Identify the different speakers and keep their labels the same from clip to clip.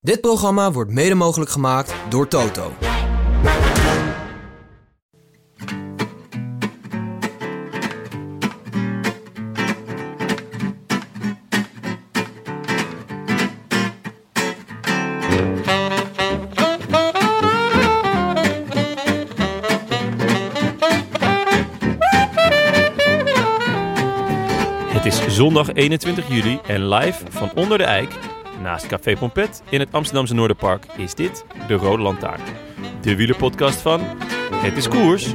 Speaker 1: Dit programma wordt mede mogelijk gemaakt door Toto.
Speaker 2: Het is zondag 21 juli en live van onder de eik, naast Café Pompet in het Amsterdamse Noorderpark, is dit de Rode Lantaarn. De wielerpodcast van Het is Koers.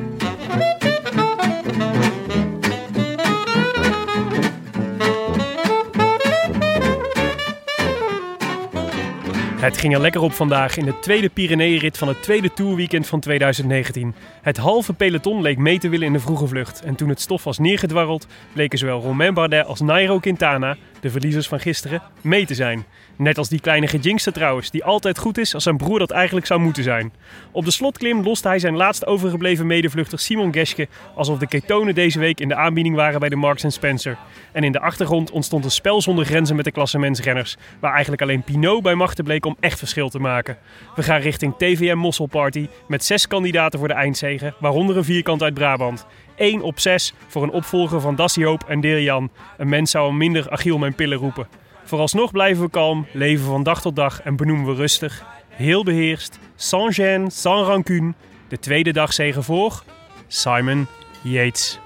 Speaker 3: Het ging er lekker op vandaag in de tweede Pyreneeënrit van het tweede Tourweekend van 2019. Het halve peloton leek mee te willen in de vroege vlucht. En toen het stof was neergedwarreld, bleken zowel Romain Bardet als Nairo Quintana, de verliezers van gisteren, mee te zijn. Net als die kleine gejinkste trouwens, die altijd goed is als zijn broer dat eigenlijk zou moeten zijn. Op de slotklim loste hij zijn laatst overgebleven medevluchter Simon Geschke, alsof de ketonen deze week in de aanbieding waren bij de Marks Spencer. En in de achtergrond ontstond een spel zonder grenzen met de klassementsrenners, waar eigenlijk alleen Pinot bij machten bleek om echt verschil te maken. We gaan richting TVM Mosselparty met zes kandidaten voor de eindzegen, waaronder een vierkant uit Brabant. 1 op 6 voor een opvolger van Dassie Hoop en Dirjan. Een mens zou al minder Achiel mijn pillen roepen. Vooralsnog blijven we kalm, leven van dag tot dag en benoemen we rustig. Heel beheerst, sans gêne, sans rancune. De tweede dag zegen voor Simon Yates.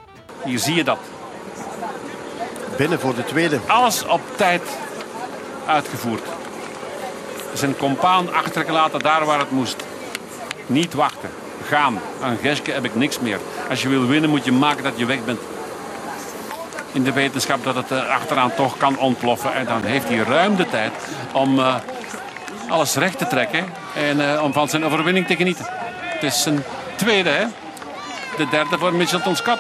Speaker 4: Hier zie je dat.
Speaker 5: Binnen voor de tweede.
Speaker 4: Alles op tijd uitgevoerd. Zijn compaan achtergelaten daar waar het moest. Niet wachten. Gaan. Aan Geske heb ik niks meer. Als je wil winnen moet je maken dat je weg bent. In de wetenschap dat het eh, achteraan toch kan ontploffen. En dan heeft hij ruim de tijd om eh, alles recht te trekken. En eh, om van zijn overwinning te genieten. Het is zijn tweede, hè? De derde voor Mitchelton Scott.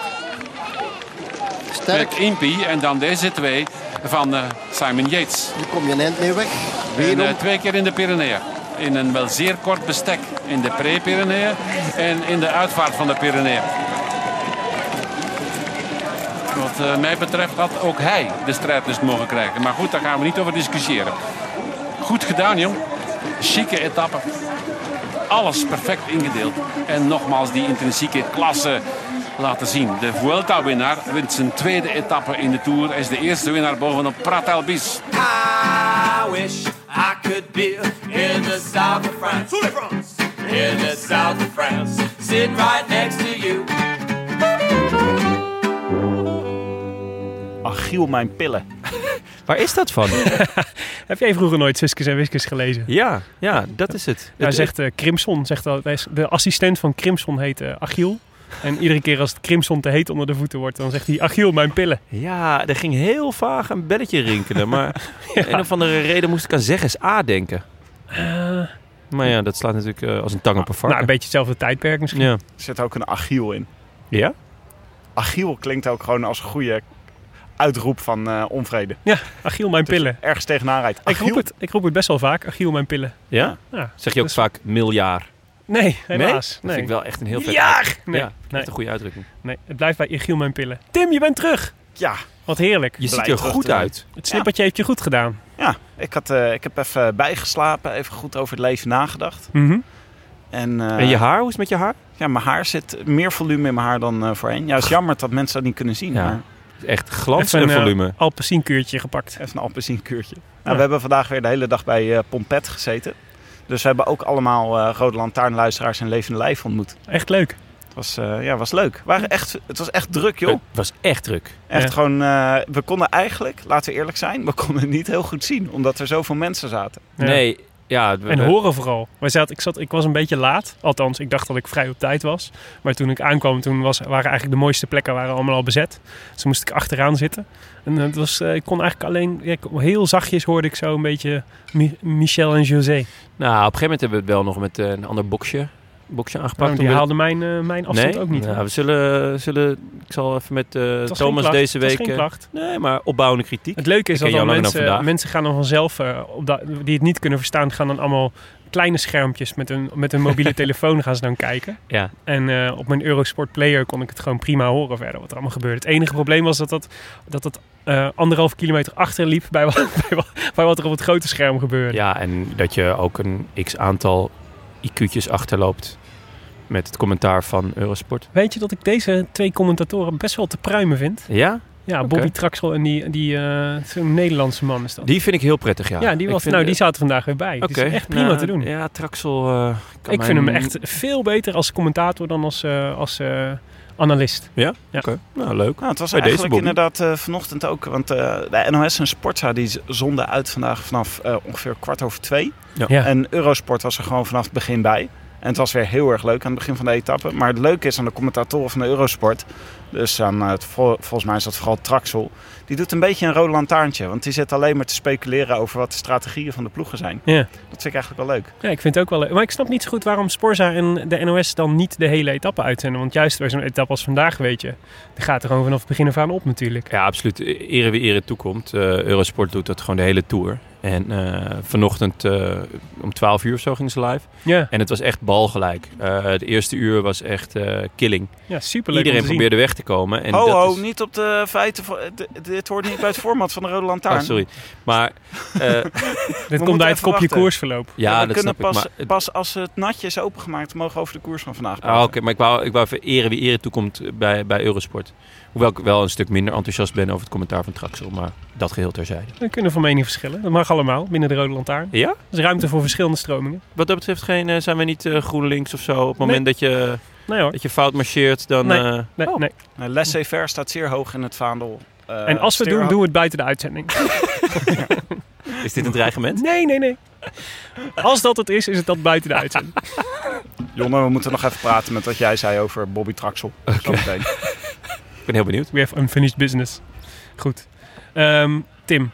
Speaker 5: Sterk.
Speaker 4: Met Impey en dan deze twee van eh, Simon Yates.
Speaker 5: Hier kom je een eind mee weg.
Speaker 4: En,
Speaker 5: Wederom.
Speaker 4: eh, twee keer in de Pyreneeën. In een wel zeer kort bestek. In de pre-Pyreneeën en in de uitvaart van de Pyreneeën. Wat eh, mij betreft had ook hij de strijdlust mogen krijgen. Maar goed, daar gaan we niet over discussiëren. Goed gedaan, jong. Chique etappe. Alles perfect ingedeeld. En nogmaals die intrinsieke klasse laten zien. De Vuelta-winnaar wint zijn tweede etappe in de Tour. Hij is de eerste winnaar bovenop Prat Albis.
Speaker 6: I wish I could be in the south of France. In the south of France. Sitting right next to you.
Speaker 7: Achiel mijn pillen.
Speaker 2: Waar is dat van?
Speaker 3: Heb jij vroeger nooit Suskes en Wiskes gelezen?
Speaker 2: ja, ja, dat is het.
Speaker 3: Hij
Speaker 2: Het-
Speaker 3: zegt eh, Crimson, zegt dat, hij is- de assistent van Crimson heet eh, Achiel. En iedere keer als het Crimson te heet onder de voeten wordt, dan zegt hij Achiel, mijn pillen.
Speaker 2: ja, er ging heel vaag een belletje rinkelen, maar om een of andere reden moest ik aan zeggens A denken. Maar ja, dat slaat natuurlijk eh, als een tang op een
Speaker 3: Eh. Nou,
Speaker 2: varken.
Speaker 3: een beetje hetzelfde tijdperk misschien.
Speaker 2: ja.
Speaker 7: Er zit ook een Achiel in.
Speaker 2: ja?
Speaker 7: Achiel klinkt ook gewoon als een goede uitroep van eh, onvrede.
Speaker 3: Ja, Achiel, mijn pillen.
Speaker 7: Ergens tegenaan rijdt.
Speaker 3: Ik roep,
Speaker 7: Achiel?
Speaker 3: het, ik roep het best wel vaak, Achiel, mijn pillen.
Speaker 2: Ja?
Speaker 3: Ja.
Speaker 2: Zeg je ook
Speaker 3: Dus-
Speaker 2: vaak miljard?
Speaker 3: Nee, helaas.
Speaker 2: Dat vind ik wel echt een heel vet
Speaker 3: Jaar! Nee,
Speaker 2: ja, echt
Speaker 3: nee,
Speaker 2: een goede uitdrukking.
Speaker 3: nee, het blijft bij Achiel, mijn pillen. Tim, je bent terug!
Speaker 7: Ja,
Speaker 3: Wat heerlijk.
Speaker 2: Je ziet
Speaker 7: Blij
Speaker 2: er
Speaker 7: terug
Speaker 2: goed
Speaker 3: eh,
Speaker 7: te zijn.
Speaker 2: uit.
Speaker 3: Het slippertje heeft je goed gedaan.
Speaker 7: ja. Ik, had, eh, ik heb even bijgeslapen, even goed over het leven nagedacht.
Speaker 3: Mhm.
Speaker 7: En, eh,
Speaker 2: En je haar, hoe is het met je haar?
Speaker 7: ja, mijn haar zit meer volume in mijn haar dan eh, voorheen. Ja, het is jammer dat mensen dat niet kunnen zien.
Speaker 2: Ja.
Speaker 7: Maar
Speaker 2: Echt glans en
Speaker 3: Even een, eh,
Speaker 2: volume.
Speaker 3: Alpecienkuurtje gepakt.
Speaker 7: even een appelsienkuurtje. Nou,
Speaker 3: Ja.
Speaker 7: We hebben vandaag weer de hele dag bij eh Pompet gezeten. Dus we hebben ook allemaal eh, Rode Lantaarnluisteraars en Levende Lijf ontmoet.
Speaker 3: Echt leuk.
Speaker 7: Het was, eh, ja, was leuk. We
Speaker 3: Hm.
Speaker 7: Waren echt, het was echt druk, joh.
Speaker 2: Het was echt druk.
Speaker 7: Echt
Speaker 3: Ja.
Speaker 7: gewoon, eh, we konden eigenlijk, laten we eerlijk zijn, we konden het niet heel goed zien, omdat er zoveel mensen zaten.
Speaker 3: Ja.
Speaker 2: Nee, ja, we-
Speaker 3: En
Speaker 2: we-
Speaker 3: horen vooral. Wij zaten, ik, zat, ik was een beetje laat. Althans, ik dacht dat ik vrij op tijd was. Maar toen ik aankwam, toen was, waren eigenlijk de mooiste plekken waren allemaal al bezet. Dus toen moest ik achteraan zitten. En het was, eh, ik kon eigenlijk alleen... ja, ik- heel zachtjes hoorde ik zo een beetje Mi- Michel en José.
Speaker 2: Nou, op een gegeven moment hebben we het wel nog met eh, een ander boxje, boxje aangepakt.
Speaker 3: Maar die
Speaker 2: Toen we-
Speaker 3: haalden mijn, eh, mijn afstand
Speaker 2: nee?
Speaker 3: ook niet.
Speaker 2: Nou,
Speaker 3: hoor.
Speaker 2: we zullen, zullen... Ik zal even met eh,
Speaker 3: Het was geen
Speaker 2: Thomas
Speaker 3: klacht,
Speaker 2: deze
Speaker 3: het was
Speaker 2: week...
Speaker 3: geen
Speaker 2: eh,
Speaker 3: klacht.
Speaker 2: nee, maar opbouwende kritiek.
Speaker 3: Het leuke is
Speaker 2: ken
Speaker 3: dat
Speaker 2: jou
Speaker 3: dan
Speaker 2: langer dan
Speaker 3: mensen,
Speaker 2: vandaag.
Speaker 3: mensen gaan dan vanzelf, eh, op dat- die het niet kunnen verstaan, gaan dan allemaal kleine schermpjes met hun, met hun mobiele telefoon gaan ze dan kijken.
Speaker 2: Ja.
Speaker 3: En eh, op mijn Eurosport Player kon ik het gewoon prima horen verder wat er allemaal gebeurde. Het enige probleem was dat dat, dat, dat eh, anderhalf kilometer achterliep bij, wat- bij, wat- bij wat er op het grote scherm gebeurde.
Speaker 2: Ja, en dat je ook een x-aantal IQ'tjes achterloopt met het commentaar van Eurosport.
Speaker 3: Weet je dat ik deze twee commentatoren best wel te pruimen vind?
Speaker 2: Ja,
Speaker 3: Ja, Bobby Traxel en die, die eh, zo'n Nederlandse man is dat.
Speaker 2: die vind ik heel prettig, ja.
Speaker 3: ja, die,
Speaker 2: Ik
Speaker 3: was,
Speaker 2: vind-
Speaker 3: nou, die zaten vandaag weer bij.
Speaker 2: Oké.
Speaker 3: Het is echt prima
Speaker 2: Nou,
Speaker 3: te doen.
Speaker 2: Ja, Traxel... eh, kan
Speaker 3: Ik
Speaker 2: mij
Speaker 3: vind hem
Speaker 2: n-
Speaker 3: echt veel beter als commentator dan als, eh, als eh, analist.
Speaker 2: Oké, nou leuk.
Speaker 7: Nou, het was
Speaker 2: Bij deze,
Speaker 7: eigenlijk
Speaker 2: Bobby.
Speaker 7: inderdaad eh, vanochtend ook. Want eh, de NOS en Sportza die z- zonden uit vandaag vanaf eh, ongeveer kwart over twee.
Speaker 2: Ja.
Speaker 3: Ja.
Speaker 7: En Eurosport was er gewoon vanaf het begin bij. En het was weer heel erg leuk aan het begin van de etappe. Maar het leuke is aan de commentatoren van de Eurosport. Dus aan eh, het, vol- volgens mij is dat vooral Traxel. Die doet een beetje een rode lantaarntje. Want die zit alleen maar te speculeren over wat de strategieën van de ploegen zijn.
Speaker 3: Ja.
Speaker 7: Dat vind ik eigenlijk wel leuk.
Speaker 3: Ja, ik vind het ook wel leuk. Maar ik snap niet zo goed waarom Sporza en de NOS dan niet de hele etappe uitzenden. Want juist bij zo'n etappe als vandaag, weet je, die gaat er gewoon vanaf het begin af aan op natuurlijk.
Speaker 2: Ja, absoluut. E-, Ere wie ere toekomt. Eh, Eurosport doet dat gewoon de hele tour. En eh, vanochtend eh, om 12 uur of zo gingen ze live.
Speaker 3: Ja,
Speaker 2: En het was echt balgelijk. Eh de eerste uur was echt eh, killing.
Speaker 3: ja superleuk
Speaker 2: Iedereen
Speaker 3: om te zien.
Speaker 2: probeerde weg te komen. En
Speaker 7: ho,
Speaker 2: dat
Speaker 7: ho,
Speaker 2: is-
Speaker 7: niet op de feiten. voor- eh, d- Dit hoort niet bij het format van de rode lantaarn.
Speaker 2: Ah, sorry. Maar eh,
Speaker 3: Dit komt
Speaker 7: moeten
Speaker 3: bij het
Speaker 7: even
Speaker 3: kopje
Speaker 7: wachten.
Speaker 3: koersverloop.
Speaker 2: ja,
Speaker 7: we
Speaker 2: dat
Speaker 7: kunnen
Speaker 2: snap
Speaker 7: pas,
Speaker 2: ik. Maar,
Speaker 7: pas als het natje is opengemaakt, mogen we over de koers van vandaag
Speaker 2: Ah, oké, maar ik wou, ik wou even ere wie ere toekomt bij, bij Eurosport. Hoewel ik wel een stuk minder enthousiast ben over het commentaar van Traxel. Maar dat geheel terzijde.
Speaker 3: We kunnen van mening verschillen. Dat mag allemaal, binnen de Rode Lantaarn.
Speaker 2: Ja?
Speaker 3: Er is ruimte voor verschillende stromingen.
Speaker 2: Wat dat betreft geen, eh, zijn we niet eh, GroenLinks of zo. Op het moment dat, je,
Speaker 3: Nee hoor.
Speaker 2: dat je fout marcheert, dan...
Speaker 3: Nee.
Speaker 2: eh,
Speaker 3: Nee, nee.
Speaker 7: Nou, Laissez-faire staat zeer hoog in het vaandel. Eh,
Speaker 3: En als we het doen,
Speaker 7: Steerhout-
Speaker 3: doen we het buiten de uitzending.
Speaker 2: is dit een dreigement?
Speaker 3: Nee, nee, nee. Als dat het is, is het dat buiten de uitzending.
Speaker 7: Jonne, we moeten nog even praten met wat jij zei over Bobby Traxel. Zometeen.
Speaker 2: Ik ben heel benieuwd.
Speaker 3: We have unfinished business. Goed. Ehm, Tim,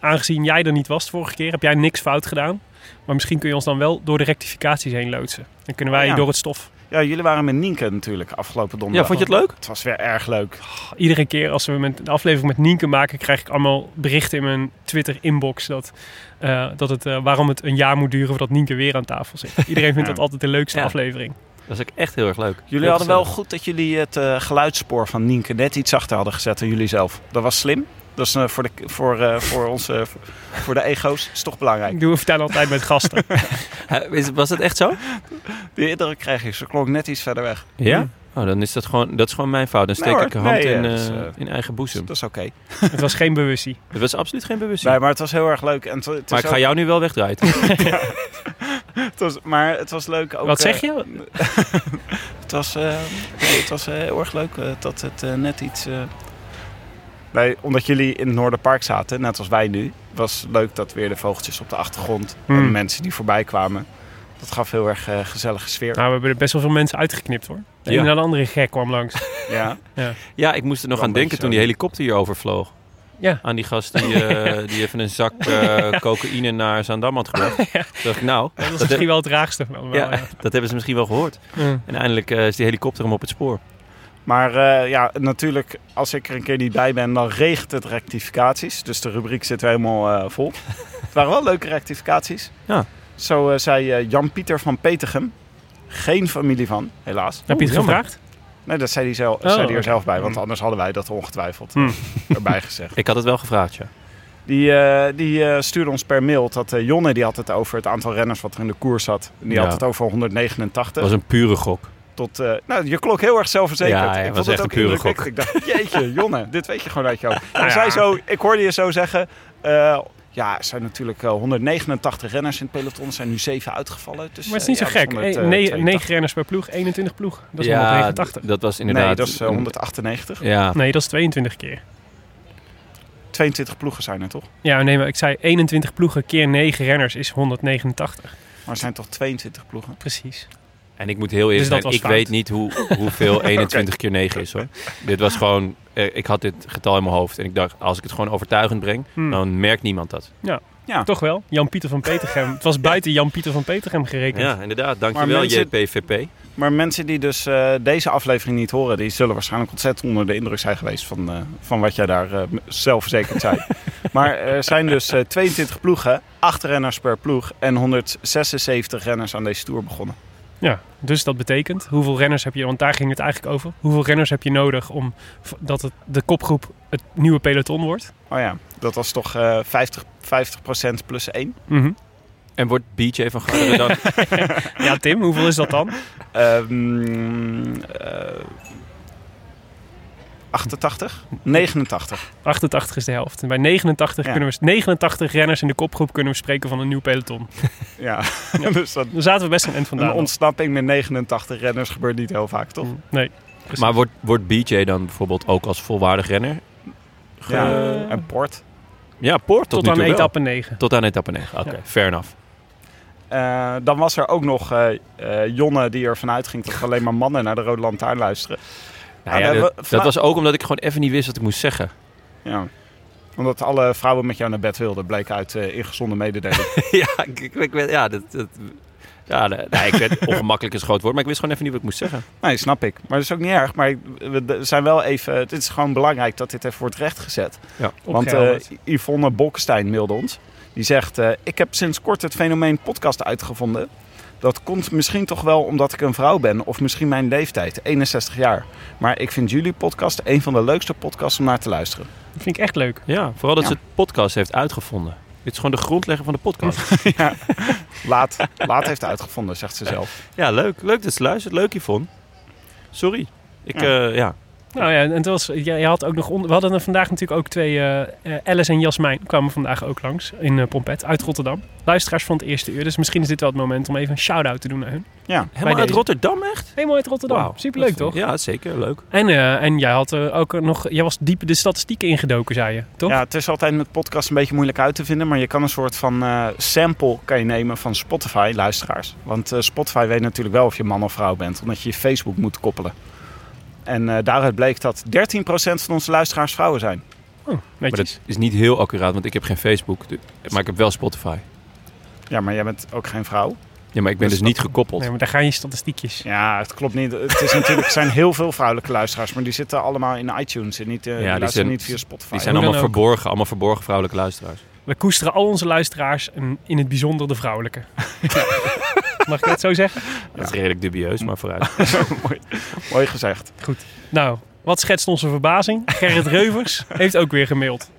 Speaker 3: aangezien jij er niet was de vorige keer, heb jij niks fout gedaan. Maar misschien kun je ons dan wel door de rectificaties heen loodsen. Dan kunnen wij
Speaker 7: Ja.
Speaker 3: door het stof.
Speaker 7: Ja, jullie waren met Nienke natuurlijk afgelopen
Speaker 2: Ja,
Speaker 7: donderdag.
Speaker 2: vond je het leuk?
Speaker 7: Het was weer erg leuk.
Speaker 3: Iedere keer als we met een aflevering met Nienke maken, krijg ik allemaal berichten in mijn Twitter-inbox. Dat, eh, dat het, eh, waarom het een jaar moet duren voordat Nienke weer aan tafel zit. Iedereen vindt
Speaker 7: Ja.
Speaker 3: dat altijd de leukste
Speaker 2: Ja.
Speaker 3: aflevering.
Speaker 2: Dat is ook echt heel erg leuk.
Speaker 7: Jullie hadden wel goed dat jullie het eh, geluidsspoor van Nienke net iets zachter hadden gezet dan jullie zelf. Dat was slim. Dat is eh, voor, de, voor, eh, voor, onze, voor, de ego's is toch belangrijk.
Speaker 3: Ik doe vertel altijd met gasten.
Speaker 2: was dat echt zo?
Speaker 7: Die indruk krijg ik. Ze klonk net iets verder weg.
Speaker 2: Ja. Oh, dan is dat gewoon, dat is gewoon mijn fout. Dan steek
Speaker 7: Nee hoor,
Speaker 2: ik een hand
Speaker 7: nee,
Speaker 2: in,
Speaker 7: ja, dat is,
Speaker 2: eh,
Speaker 7: eh,
Speaker 2: in eigen
Speaker 7: Dus
Speaker 2: boezem.
Speaker 7: dat is oké.
Speaker 3: het was geen bewustie.
Speaker 2: Het was absoluut geen bewustzijn.
Speaker 7: Nee, maar het was heel erg leuk. En het, het is
Speaker 2: maar ik ga
Speaker 7: ook-
Speaker 2: jou nu wel wegdraaien.
Speaker 7: het was, maar het was leuk ook...
Speaker 3: Wat
Speaker 7: eh,
Speaker 3: zeg je?
Speaker 7: Het was, eh, nee, het was eh, heel erg leuk eh, dat het eh, net iets. eh Wij, omdat jullie in het Noorderpark zaten, net als wij nu, was leuk dat weer de vogeltjes op de achtergrond en
Speaker 3: Hmm.
Speaker 7: de mensen die voorbij kwamen. Dat gaf heel erg eh, gezellige sfeer.
Speaker 3: Nou, we hebben er best wel veel mensen uitgeknipt hoor. De
Speaker 2: Ja.
Speaker 3: een naar de andere gek kwam langs.
Speaker 7: Ja.
Speaker 2: Ja, ik moest er nog
Speaker 7: Wel
Speaker 2: aan denken
Speaker 7: een beetje
Speaker 2: toen die
Speaker 7: zo.
Speaker 2: helikopter hier overvloog.
Speaker 3: Ja.
Speaker 2: Aan die gast die, eh, die even een zak eh, cocaïne naar Zaandam had gebracht. Toen dacht ik, nou,
Speaker 3: Dat is misschien wel het raagste van allemaal.
Speaker 2: ja,
Speaker 3: ja.
Speaker 2: dat hebben ze misschien wel gehoord.
Speaker 3: Ja.
Speaker 2: En eindelijk eh, is die helikopter hem op het spoor.
Speaker 7: Maar eh, ja, natuurlijk, als ik er een keer niet bij ben, dan regent het rectificaties. Dus de rubriek zit weer helemaal eh, vol. het waren wel leuke rectificaties.
Speaker 2: Ja.
Speaker 7: Zo eh, zei eh, Jan-Pieter van Petegem, geen familie van, helaas.
Speaker 3: Heb je het
Speaker 2: jammer.
Speaker 3: gevraagd?
Speaker 7: Nee, dat zei hij, zelf,
Speaker 3: Oh,
Speaker 7: zei hij er
Speaker 3: oké.
Speaker 7: zelf bij,
Speaker 2: Mm.
Speaker 7: want anders hadden wij dat ongetwijfeld eh,
Speaker 3: Hmm.
Speaker 7: erbij gezegd.
Speaker 2: Ik had het wel gevraagd, ja.
Speaker 7: Die, eh, die eh, stuurde ons per mail dat eh, Jonne die had het over het aantal renners wat er in de koers zat. Die
Speaker 2: Ja.
Speaker 7: had het over
Speaker 2: Het
Speaker 7: 189.
Speaker 2: was een pure gok.
Speaker 7: Tot, eh, nou, je klonk heel erg zelfverzekerd.
Speaker 2: Ja, ja,
Speaker 7: ik
Speaker 2: was
Speaker 7: vond het
Speaker 2: echt
Speaker 7: ook
Speaker 2: een pure
Speaker 7: indrukwekkend.
Speaker 2: gok.
Speaker 7: Ik dacht, jeetje, Jonne, dit weet je gewoon uit je hoofd.
Speaker 3: Ja.
Speaker 7: Hij zei zo, ik hoorde je zo zeggen... eh, ja, er zijn natuurlijk eh, 189 renners in het peloton. Er zijn nu zeven uitgevallen. Dus,
Speaker 3: Maar het is
Speaker 7: eh,
Speaker 3: niet
Speaker 7: ja,
Speaker 3: zo
Speaker 7: dat
Speaker 3: gek.
Speaker 7: is
Speaker 3: Eh,
Speaker 7: 100, eh,
Speaker 3: nee,
Speaker 7: 82.
Speaker 3: 9 renners per ploeg, 21 ploeg. Dat is
Speaker 2: ja,
Speaker 3: 189.
Speaker 2: d- Dat eh, was inderdaad...
Speaker 7: Nee, dat is eh, 198.
Speaker 2: Ja,
Speaker 3: Nee, dat is 22 keer.
Speaker 7: 22 ploegen zijn er toch?
Speaker 3: Ja, nee, maar ik zei 21 ploegen keer 9 renners is 189.
Speaker 7: Maar er zijn toch 22 ploegen?
Speaker 3: Precies.
Speaker 2: En ik moet heel eerlijk
Speaker 3: Dus dat
Speaker 2: zijn, ik
Speaker 3: was fout.
Speaker 2: weet niet hoe, hoeveel 21 keer 9 is hoor. Dit was gewoon, eh, ik had dit getal in mijn hoofd en ik dacht, als ik het gewoon overtuigend breng,
Speaker 3: Hmm.
Speaker 2: dan merkt niemand dat.
Speaker 3: Toch wel? Jan-Pieter van Petergem. Het was buiten Jan-Pieter van Petergem gerekend.
Speaker 2: Ja, inderdaad.
Speaker 7: Maar
Speaker 2: Dankjewel
Speaker 7: mensen-
Speaker 2: JPVP.
Speaker 7: Maar mensen die dus eh, deze aflevering niet horen, die zullen waarschijnlijk ontzettend onder de indruk zijn geweest van, eh, van wat jij daar eh, m- zelfverzekerd zei. maar er zijn dus eh, 22 ploegen, 8 renners per ploeg en 176 renners aan deze tour begonnen.
Speaker 3: Ja, dus dat betekent, hoeveel renners heb je, want daar ging het eigenlijk over. Hoeveel renners heb je nodig om v- dat het, de kopgroep het nieuwe peloton wordt?
Speaker 7: Oh ja, dat was toch eh 50, 50% plus 1.
Speaker 3: Mhm.
Speaker 2: En wordt BJ van Garderen dan...
Speaker 3: Ja, Tim, hoeveel is dat dan?
Speaker 7: Ehm, eh, 88? 89.
Speaker 3: 88 is de helft. En bij 89,
Speaker 7: Ja.
Speaker 3: kunnen we, 89 renners in de kopgroep kunnen we spreken van een nieuw peloton.
Speaker 7: Ja, dus dat,
Speaker 3: Dan zaten we best een eind
Speaker 7: een
Speaker 3: vandaan.
Speaker 7: ontsnapping met 89 renners gebeurt niet heel vaak, toch?
Speaker 3: Nee.
Speaker 2: Maar wordt, wordt BJ dan bijvoorbeeld ook als volwaardig renner?
Speaker 7: Ja, en Port.
Speaker 2: Ja, Poort tot,
Speaker 3: Tot,
Speaker 2: nu
Speaker 3: aan
Speaker 2: toe wel.
Speaker 3: etappe 9.
Speaker 2: Tot aan etappe 9, oké.
Speaker 3: Ja.
Speaker 2: Fair enough.
Speaker 7: Eh, dan was er ook nog eh eh, Jonne die ervan uitging dat alleen maar mannen naar de Rode Lantaarn luisteren.
Speaker 2: Nou
Speaker 7: Ah,
Speaker 2: ja,
Speaker 7: daar
Speaker 2: dat,
Speaker 7: hebben we-
Speaker 2: dat was ook omdat ik gewoon even niet wist wat ik moest zeggen.
Speaker 7: Ja. Omdat alle vrouwen met jou naar bed wilden, bleek uit eh, ingezonde mededeling.
Speaker 2: ja, ik, ik, ik weet- ja, dat... dat ja, nee, nee, ik weet, ongemakkelijk is een groot woord, maar ik wist gewoon even niet wat ik moest zeggen.
Speaker 7: nee, snap ik. Maar dat is ook niet erg. Maar ik- we we zijn wel even... Het is gewoon belangrijk dat dit even wordt rechtgezet. Want eh
Speaker 3: Opgehelderd.
Speaker 7: Yvonne Bolkestein mailde ons. Die zegt, eh, ik heb sinds kort het fenomeen podcast uitgevonden. Dat komt misschien toch wel omdat ik een vrouw ben of misschien mijn leeftijd, 61 jaar. Maar ik vind jullie podcast een van de leukste podcasts om naar te luisteren.
Speaker 3: Dat vind ik echt leuk.
Speaker 2: Ja, vooral dat
Speaker 7: Ja.
Speaker 2: ze het podcast heeft uitgevonden. Dit is gewoon de grondlegger van de podcast.
Speaker 7: Laat, laat heeft uitgevonden, zegt ze zelf.
Speaker 2: ja, leuk. Leuk dat ze luistert. Leuk, Yvonne. Sorry. Ik, ja. ja.
Speaker 3: Nou ja, en het was, je, je had ook nog onder, we hadden er vandaag natuurlijk ook twee, eh, eh, Alice en Jasmijn kwamen vandaag ook langs in eh Pompet uit Rotterdam. Luisteraars van het eerste uur, dus misschien is dit wel het moment om even een shout-out te doen aan hun.
Speaker 7: Ja,
Speaker 2: Helemaal uit
Speaker 3: deze.
Speaker 2: Rotterdam, echt?
Speaker 3: Helemaal uit Rotterdam,
Speaker 2: Wauw.
Speaker 3: superleuk
Speaker 2: Dat is-
Speaker 3: toch?
Speaker 2: Ja, zeker. Leuk.
Speaker 3: En, eh, en jij had eh, ook nog, jij was diep de statistieken ingedoken, zei je, toch?
Speaker 7: ja, het is altijd met podcasts een beetje moeilijk uit te vinden. Maar je kan een soort van eh, sample kan je nemen van Spotify luisteraars. Want eh, Spotify weet natuurlijk wel of je man of vrouw bent. Omdat je je Facebook moet koppelen. En eh, daaruit bleek dat 13% van onze luisteraars vrouwen zijn.
Speaker 3: Oh,
Speaker 2: Maar
Speaker 3: netjes.
Speaker 2: dat is niet heel accuraat, want ik heb geen Facebook. du- Maar ik heb wel Spotify.
Speaker 7: Ja, maar jij bent ook geen vrouw.
Speaker 2: Ja, maar ik ben dus,
Speaker 7: Dus
Speaker 2: niet gekoppeld.
Speaker 3: Nee, maar daar gaan je statistiekjes.
Speaker 7: Ja, het klopt niet. Het is natuurlijk, er zijn heel veel vrouwelijke luisteraars. Maar die zitten allemaal in iTunes. En niet, eh, die
Speaker 2: die
Speaker 7: luisteren
Speaker 2: zijn-
Speaker 7: niet via Spotify.
Speaker 2: Die zijn
Speaker 3: Hoe
Speaker 2: allemaal
Speaker 3: dan ook.
Speaker 2: verborgen. Allemaal verborgen vrouwelijke luisteraars.
Speaker 3: We koesteren al onze luisteraars en in het bijzonder de vrouwelijke. Mag ik dat zo zeggen?
Speaker 2: Dat is redelijk dubieus, maar vooruit.
Speaker 7: mooi, mooi gezegd.
Speaker 3: Nou, wat schetst onze verbazing? Gerrit Reuvers heeft ook weer gemaild.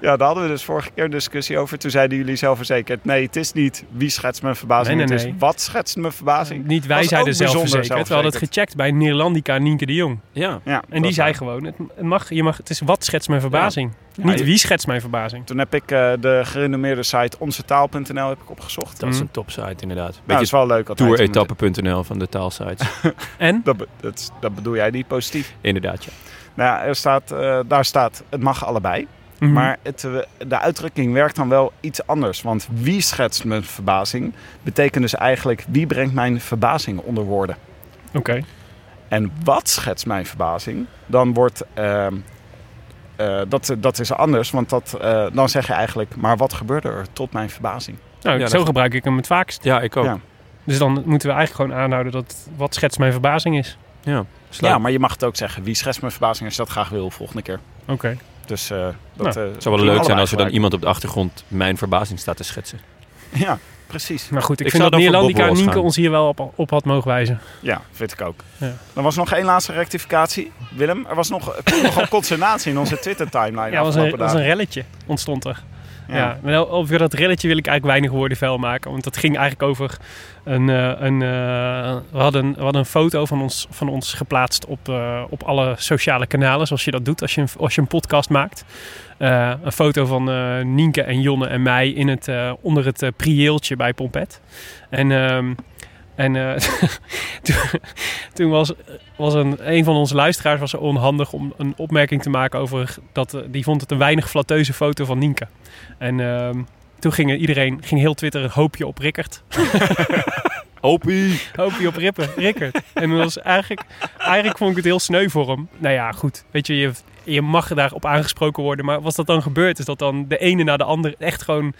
Speaker 7: Ja, daar hadden we dus vorige keer een discussie over. Toen zeiden jullie zelfverzekerd: nee, het is niet wie schetst mijn verbazing.
Speaker 3: Nee, nee,
Speaker 7: Het
Speaker 3: nee.
Speaker 7: is wat schetst mijn verbazing.
Speaker 3: Niet wij
Speaker 7: Was
Speaker 3: zeiden
Speaker 7: ook bijzonder
Speaker 3: zelfverzekerd. We hadden het gecheckt bij Neerlandica Nienke de Jong.
Speaker 2: Ja.
Speaker 7: Ja,
Speaker 3: En die
Speaker 7: dat is
Speaker 3: zei
Speaker 7: waar.
Speaker 3: gewoon, het, het mag, je mag, het is wat schetst mijn verbazing. Niet
Speaker 7: je-
Speaker 3: wie schetst mijn verbazing.
Speaker 7: Toen heb ik eh, de gerenommeerde site onzetaal.nl heb ik opgezocht.
Speaker 2: Dat is
Speaker 3: Mm.
Speaker 2: een topsite, inderdaad.
Speaker 7: Nou, dat is
Speaker 2: Beetje
Speaker 7: wel leuk. altijd om het-
Speaker 2: touretappe.nl van de taalsites.
Speaker 3: En?
Speaker 7: Dat, be- dat, is- dat bedoel jij niet positief.
Speaker 2: inderdaad, ja.
Speaker 7: Nou, ja, er staat, eh, daar staat: het mag allebei.
Speaker 3: Mhm.
Speaker 7: Maar het, eh, de uitdrukking werkt dan wel iets anders. Want wie schetst mijn verbazing betekent dus eigenlijk wie brengt mijn verbazing onder woorden.
Speaker 3: Oké.
Speaker 7: En wat schetst mijn verbazing? Dan wordt. eh, eh, dat, dat is anders, want dat, eh, dan zeg je eigenlijk. Maar wat gebeurde er tot mijn verbazing?
Speaker 3: Nou,
Speaker 2: Ja,
Speaker 3: zo
Speaker 2: dat-
Speaker 3: gebruik ik hem het vaakst.
Speaker 2: Ja, ik ook.
Speaker 7: Ja.
Speaker 3: Dus dan moeten we eigenlijk gewoon aanhouden dat wat schetst mijn verbazing is.
Speaker 2: Sluit.
Speaker 7: Ja, Nou, maar je mag het ook zeggen. Wie schetst mijn verbazing als je dat graag wil volgende keer?
Speaker 3: Oké.
Speaker 7: Dus eh, dat.
Speaker 3: Nou,
Speaker 7: eh,
Speaker 2: Het zou wel
Speaker 7: doen
Speaker 2: leuk zijn
Speaker 7: allebei
Speaker 2: als er dan
Speaker 7: gelijk.
Speaker 2: iemand op de achtergrond mijn verbazing staat te schetsen.
Speaker 7: Ja, precies.
Speaker 3: Maar goed, ik,
Speaker 2: Ik
Speaker 3: vind
Speaker 2: zou dan voor
Speaker 3: dat Nederlandica
Speaker 2: Bob Ross
Speaker 3: Nienke
Speaker 2: gaan.
Speaker 3: ons hier wel op, op had mogen wijzen.
Speaker 7: Ja, vind ik ook.
Speaker 3: Ja.
Speaker 7: Er was nog één laatste rectificatie, Willem. Er was nog, er kwam nogal consternatie in onze
Speaker 3: Ja,
Speaker 7: Twitter-timeline
Speaker 3: dat was een,
Speaker 7: afgelopen
Speaker 3: dat was een
Speaker 7: dagen.
Speaker 3: relletje, ontstond er. Ja.
Speaker 7: Ja.
Speaker 3: maar wel- over dat relletje wil ik eigenlijk weinig woorden vuil maken. Want dat ging eigenlijk over een... eh, een eh, we, hadden, we hadden een foto van ons, van ons geplaatst op, eh, op alle sociale kanalen. Zoals je dat doet als je een, als je een podcast maakt. Eh, een foto van eh, Nienke en Jonne en mij in het, eh, onder het eh, prieeltje bij Pompet. En... ehm, En eh, toen, toen was, was een, een van onze luisteraars was zo onhandig om een opmerking te maken over dat eh, die vond het een weinig flatteuze foto van Nienke. En ehm, toen ging er iedereen, ging heel Twitter een hoopje op Rickert.
Speaker 2: Opie!
Speaker 3: Hoopje op Rippen, Rickert. En dat was eigenlijk, eigenlijk vond ik het heel sneu voor hem. Nou ja, goed. Weet je, je, je mag daarop aangesproken worden. Maar was dat dan gebeurd? Is dat dan de ene na de andere echt gewoon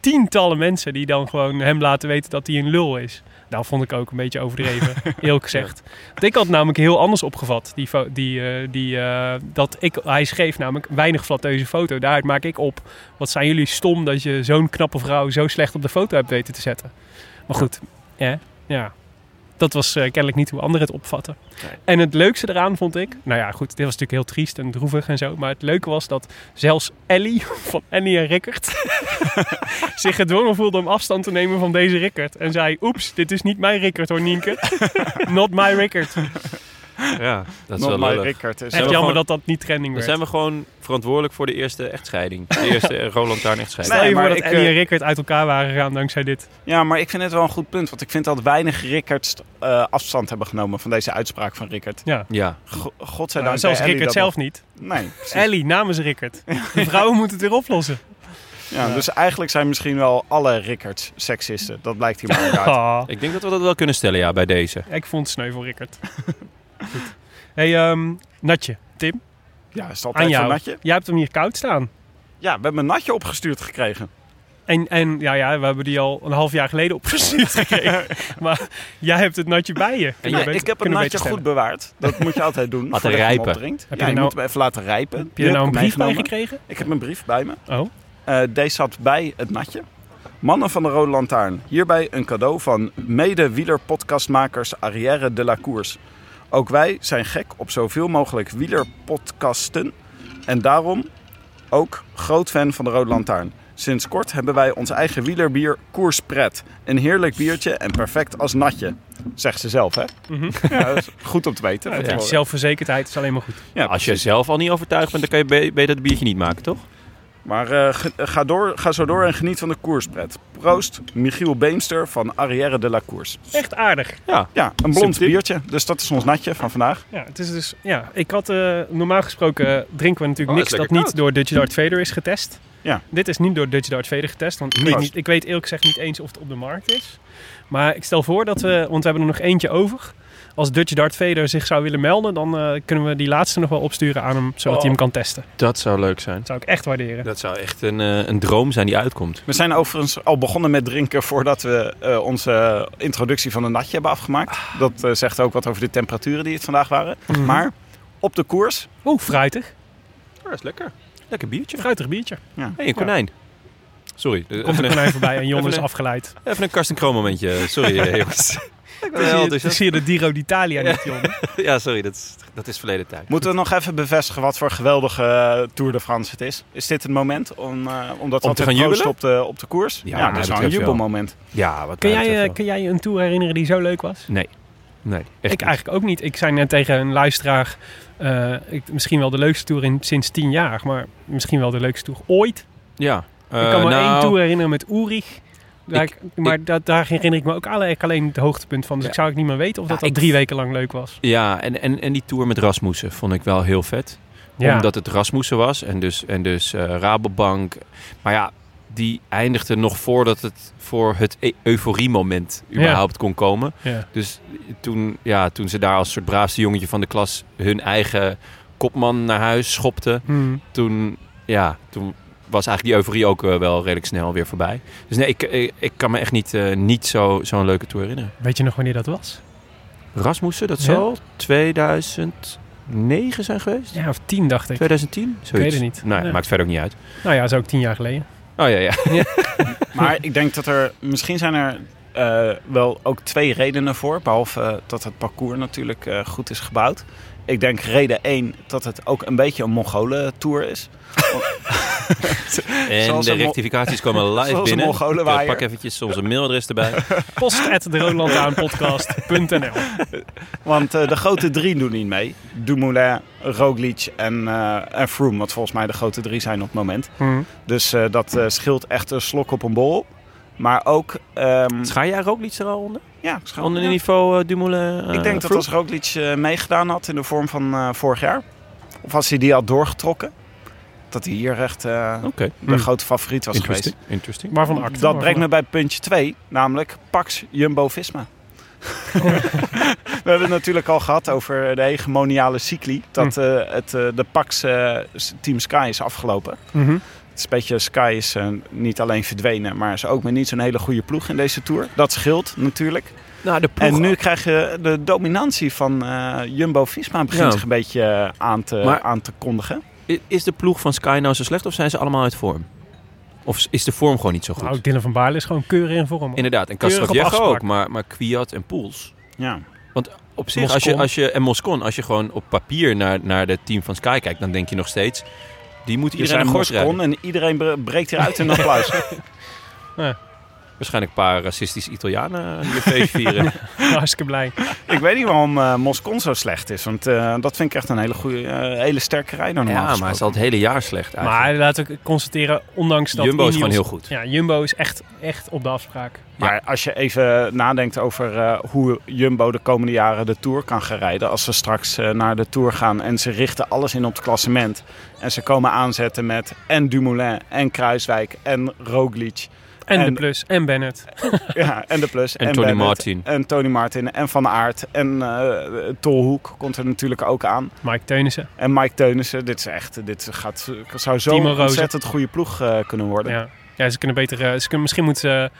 Speaker 3: tientallen mensen die dan gewoon hem laten weten dat hij een lul is? Nou, vond ik ook een beetje overdreven, eerlijk gezegd. Want ik had het namelijk heel anders opgevat. Die, fo- die, eh, die, eh, dat ik, hij schreef namelijk weinig flatteuze foto. Daaruit maak ik op. Wat zijn jullie stom dat je zo'n knappe vrouw zo slecht op de foto hebt weten te zetten. Maar goed, hè? ja dat was eh, kennelijk niet hoe anderen het opvatten.
Speaker 2: Nee.
Speaker 3: En het leukste eraan vond ik... Nou ja, goed, dit was natuurlijk heel triest en droevig en zo. Maar het leuke was dat zelfs Ellie van Annie en Rickert... zich gedwongen voelde om afstand te nemen van deze Rickert. En zei, oeps, dit is niet mijn Rickert hoor, Nienke. Not my Rickert.
Speaker 2: Ja, dat is
Speaker 7: Not my
Speaker 2: wel leuk.
Speaker 7: Rickert is
Speaker 3: Echt
Speaker 2: we
Speaker 7: het.
Speaker 3: jammer
Speaker 2: gewoon-
Speaker 3: dat dat niet trending
Speaker 2: Dan
Speaker 3: werd.
Speaker 2: zijn we gewoon verantwoordelijk voor de eerste echtscheiding. De eerste Roland Taarn echtscheiding.
Speaker 3: Stel je
Speaker 7: Nee,
Speaker 3: voor
Speaker 7: maar
Speaker 3: dat
Speaker 7: ik,
Speaker 3: Ellie
Speaker 7: eh,
Speaker 3: en Rickert uit elkaar waren gegaan dankzij dit.
Speaker 7: Ja, maar ik vind het wel een goed punt. Want ik vind dat weinig Rickerts eh, afstand hebben genomen van deze uitspraak van Rickert.
Speaker 2: Ja,
Speaker 7: Go-
Speaker 3: Nou,
Speaker 7: Godzijdank. bij
Speaker 3: zelfs
Speaker 7: Ellie
Speaker 3: Rickert
Speaker 7: dat
Speaker 3: zelf niet.
Speaker 7: nog- Nee, precies.
Speaker 3: Ellie namens Rickert. De vrouwen moeten het weer oplossen.
Speaker 7: Ja, Dus eigenlijk zijn misschien wel alle Rickerts seksisten. Dat blijkt hier maar uit.
Speaker 3: Ah.
Speaker 2: ik denk dat we dat wel kunnen stellen ja, bij deze.
Speaker 3: Ik vond het sneu voor Rickert. Goed. hey, ehm, Natje, Tim,
Speaker 7: Ja, is het
Speaker 3: aan
Speaker 7: altijd
Speaker 3: jou.
Speaker 7: een natje?
Speaker 3: Jij hebt hem hier koud staan.
Speaker 7: Ja, we hebben een natje opgestuurd gekregen.
Speaker 3: En, en ja, ja, we hebben die al een half jaar geleden opgestuurd gekregen. maar jij hebt het natje bij je. Kun je
Speaker 7: Nee,
Speaker 3: beter-
Speaker 7: ik heb een
Speaker 3: kunnen we
Speaker 7: natje
Speaker 3: beter
Speaker 7: goed bewaard. Dat moet je altijd doen. voordat je hem
Speaker 2: rijpen.
Speaker 7: opdrinkt.
Speaker 3: Heb je
Speaker 7: ja,
Speaker 3: er
Speaker 7: je
Speaker 3: nou-
Speaker 7: moet hem even laten rijpen.
Speaker 3: stellen. Heb je er nou een brief bij
Speaker 7: meegenomen?
Speaker 3: gekregen?
Speaker 7: Ik heb een brief bij me.
Speaker 3: Oh,
Speaker 7: Eh, deze zat bij het natje. Mannen van de Rode Lantaarn, hierbij een cadeau van mede-wielerpodcastmakers Arrière de la Course. Ook wij zijn gek op zoveel mogelijk wielerpodcasten en daarom ook groot fan van de Rode Lantaarn. Sinds kort hebben wij ons eigen wielerbier Koerspret. Een heerlijk biertje en perfect als natje. Zegt ze zelf, hè? Ja, dat is goed om te weten. van
Speaker 3: ja,
Speaker 7: tevoren.
Speaker 3: zelfverzekerdheid is alleen maar goed.
Speaker 7: Ja,
Speaker 2: Als je zelf al niet overtuigd bent, dan kan je be- beter het biertje niet maken, toch?
Speaker 7: Maar eh, ge- eh, ga, door, ga zo door en geniet van de koerspret. Proost, Michiel Beemster van Arrière de la Course.
Speaker 3: Echt aardig.
Speaker 7: Ja, een blond
Speaker 2: Subtiel.
Speaker 7: biertje. Dus dat is ons natje van vandaag.
Speaker 3: Ja, het is dus, ja, ik had, eh, normaal gesproken eh, drinken we natuurlijk
Speaker 2: Oh, dat
Speaker 3: niks
Speaker 2: is
Speaker 3: dat
Speaker 2: lekker
Speaker 3: niet
Speaker 2: koud.
Speaker 3: door Dutch Dart Vader is getest.
Speaker 7: Ja.
Speaker 3: Dit is niet door Dutch Dart Vader getest, want ik
Speaker 7: Niet.
Speaker 3: weet, niet, ik weet eerlijk gezegd niet eens of het op de markt is. Maar ik stel voor dat we, want we hebben er nog eentje over. Als Dutch Dart Vader zich zou willen melden, dan eh, kunnen we die laatste nog wel opsturen aan hem, zodat
Speaker 2: Oh.
Speaker 3: hij hem kan testen.
Speaker 2: Dat zou leuk zijn.
Speaker 3: Dat zou ik echt waarderen.
Speaker 2: Dat zou echt een, eh, een droom zijn die uitkomt.
Speaker 7: We zijn overigens al begonnen met drinken voordat we eh, onze introductie van een natje hebben afgemaakt. Dat eh, zegt ook wat over de temperaturen die het vandaag waren.
Speaker 3: Mhm.
Speaker 7: Maar op de koers,
Speaker 3: Oeh, fruitig.
Speaker 2: dat is lekker. Lekker biertje.
Speaker 3: Fruitig biertje.
Speaker 2: hey, een konijn. Sorry, eh,
Speaker 3: Komt
Speaker 2: even
Speaker 3: er
Speaker 2: een,
Speaker 3: konijn voorbij en Jon
Speaker 2: even
Speaker 3: is
Speaker 2: een-
Speaker 3: afgeleid.
Speaker 2: even een Karsten Kroon momentje. Sorry, eh, jongens. Ik dus ben
Speaker 3: Dan
Speaker 2: heel
Speaker 3: zie je- dan
Speaker 2: enthousiast.
Speaker 3: zie je de Giro d'Italia niet, Jon.
Speaker 2: Ja, sorry, dat is, dat is verleden tijd.
Speaker 7: moeten we nog even bevestigen wat voor geweldige eh, Tour de France het is. Is dit het moment om, eh om dat
Speaker 2: Om
Speaker 7: wat
Speaker 2: te gaan
Speaker 7: proosten
Speaker 2: jubelen?
Speaker 7: op de, op de koers?
Speaker 2: Ja,
Speaker 7: Ja,
Speaker 2: mij
Speaker 7: dat is wel een
Speaker 2: betreft wel.
Speaker 7: jubelmoment.
Speaker 2: Ja, wat
Speaker 3: Kun
Speaker 2: mij
Speaker 3: jij, eh,
Speaker 2: betreft
Speaker 3: kun jij je een tour herinneren die zo leuk was?
Speaker 2: wel. Nee. Nee, echt
Speaker 3: ik
Speaker 2: niet.
Speaker 3: eigenlijk ook niet. Ik zei net tegen een luisteraar, eh, ik, misschien wel de leukste tour in, sinds tien jaar, maar misschien wel de leukste tour ooit.
Speaker 2: Ja.
Speaker 3: ik
Speaker 2: eh,
Speaker 3: kan me één
Speaker 2: nou,
Speaker 3: tour herinneren met Ulrich. Daar,
Speaker 2: Ik-
Speaker 3: ik- maar dat, daar herinner ik me ook eigenlijk alleen het hoogtepunt van. Dus
Speaker 2: Ja.
Speaker 3: ik zou ook niet meer weten of
Speaker 2: Ja,
Speaker 3: dat al
Speaker 2: ik-
Speaker 3: drie weken lang leuk was.
Speaker 2: Ja, en, en, en die tour met Rasmussen vond ik wel heel vet.
Speaker 3: Ja.
Speaker 2: Omdat het Rasmussen was en dus, en dus eh, Rabobank. Maar ja, die eindigde nog voordat het voor het e- euforiemoment überhaupt kon komen.
Speaker 3: Ja.
Speaker 2: Dus toen, ja, toen ze daar als soort braafste jongetje van de klas hun eigen kopman naar huis schopte,
Speaker 3: Hmm.
Speaker 2: toen, ja, toen was eigenlijk die euforie ook eh, wel redelijk snel weer voorbij. Dus nee, ik, ik, ik kan me echt niet, eh, niet zo- zo'n leuke tour herinneren.
Speaker 3: Weet je nog wanneer dat was?
Speaker 2: Rasmussen, dat
Speaker 3: Ja.
Speaker 2: zal 2009 zijn geweest?
Speaker 3: Ja, of tien dacht ik.
Speaker 2: 2010? Zoiets.
Speaker 3: weet het niet.
Speaker 2: Nee,
Speaker 3: Nee.
Speaker 2: maakt verder ook niet uit.
Speaker 3: Nou ja, dat is ook tien jaar geleden.
Speaker 2: Oh ja, ja.
Speaker 7: Maar ik denk dat er misschien zijn er eh, wel ook twee redenen voor. Behalve eh, dat het parcours natuurlijk eh, goed is gebouwd. Ik denk reden één dat het ook een beetje een Mongolen-tour is.
Speaker 2: En
Speaker 7: Zoals
Speaker 2: de
Speaker 7: een mo-
Speaker 2: rectificaties komen live
Speaker 7: Zoals een
Speaker 2: binnen.
Speaker 7: Mongolenwaaier.
Speaker 2: Ik, eh, pak eventjes onze mailadres erbij.
Speaker 3: Post at de Rolandtaanpodcast.nl
Speaker 7: Want eh, de grote drie doen niet mee. Dumoulin, Roglic en, eh en Froome. Wat volgens mij de grote drie zijn op het moment.
Speaker 3: Hmm.
Speaker 7: Dus eh, dat eh, scheelt echt een slok op een bol. Maar ook... ehm,
Speaker 2: Schaar jij Roglic er al onder?
Speaker 7: ja, ik schaal-
Speaker 2: Onder het
Speaker 7: ja.
Speaker 2: niveau eh, Dumoulin? eh,
Speaker 7: Ik denk dat
Speaker 2: Froome?
Speaker 7: als Roglic eh, meegedaan had in de vorm van eh, vorig jaar... of als hij die had doorgetrokken... dat hij hier echt eh,
Speaker 2: Oké.
Speaker 7: de grote favoriet was geweest.
Speaker 2: Oh, hm. Interesting. Interesting.
Speaker 3: Waarvan acte.
Speaker 7: Dat brengt me bij puntje 2, namelijk Pax Jumbo-Visma. We hebben het natuurlijk al gehad over de hegemoniale cycli.
Speaker 2: Hm.
Speaker 7: Dat eh, het, eh, de Pax eh, s- Team Sky is afgelopen.
Speaker 3: Mhm.
Speaker 7: Het is een beetje, Sky is eh, niet alleen verdwenen, maar is ook maar niet zo'n hele goede ploeg in deze Tour. Dat scheelt natuurlijk.
Speaker 2: Nou, de
Speaker 7: En nu krijg je de dominantie van eh, Jumbo-Visma begint
Speaker 2: Ja.
Speaker 7: zich een beetje eh, aan te,
Speaker 2: Maar-
Speaker 7: aan te kondigen.
Speaker 2: I- Is de ploeg van Sky nou zo slecht of zijn ze allemaal uit vorm? Of s- is de vorm gewoon niet zo goed?
Speaker 3: Nou, Dylan van Baarle is gewoon keurig in vorm.
Speaker 2: Inderdaad, en
Speaker 3: Keurig op
Speaker 2: Kastrovjeg ook,
Speaker 3: afspraak.
Speaker 2: maar, maar Kwiat en Poels.
Speaker 7: Ja.
Speaker 2: Op zich, als je,
Speaker 3: Moscon.
Speaker 2: als je, en Moscon, als je gewoon op papier naar, naar het team van Sky kijkt, dan denk je nog steeds, die moet
Speaker 7: Je
Speaker 2: iedereen
Speaker 7: zijn
Speaker 2: een gort rijden.
Speaker 7: Moscon en iedereen bre- breekt hieruit in applaus.
Speaker 2: Waarschijnlijk een paar racistische Italianen die een feest vieren.
Speaker 3: Hartstikke blij.
Speaker 7: Ik weet niet waarom eh, Moscon zo slecht is. Want eh, dat vind ik echt een hele, goede, eh, hele sterke rijder normaal
Speaker 2: ja, maar hij
Speaker 7: gesproken.
Speaker 2: is al het hele jaar slecht eigenlijk.
Speaker 3: Maar laten we constateren, ondanks dat...
Speaker 2: Jumbo is
Speaker 3: Ineos-
Speaker 2: gewoon heel goed.
Speaker 3: Ja, Jumbo is echt, echt op de afspraak.
Speaker 7: Maar als je even nadenkt over eh, hoe Jumbo de komende jaren de Tour kan gaan rijden. Als ze straks eh, naar de Tour gaan en ze richten alles in op het klassement. En ze komen aanzetten met en Dumoulin en Kruiswijk en Roglic.
Speaker 3: En,
Speaker 7: En-
Speaker 3: de plus, en Bennett.
Speaker 7: Ja, en de plus.
Speaker 2: En Tony
Speaker 7: Bennett,
Speaker 2: Martin.
Speaker 7: En Tony Martin en Van Aert. En eh, Tolhoek komt er natuurlijk ook aan.
Speaker 3: Mike Teunissen.
Speaker 7: En Mike Teunissen. Dit, is echt, dit gaat,
Speaker 3: Timo
Speaker 7: zou zo'n
Speaker 3: Rozen.
Speaker 7: ontzettend goede ploeg eh, kunnen worden.
Speaker 3: Ja. ja, ze kunnen beter... eh, ze kunnen, misschien moeten ze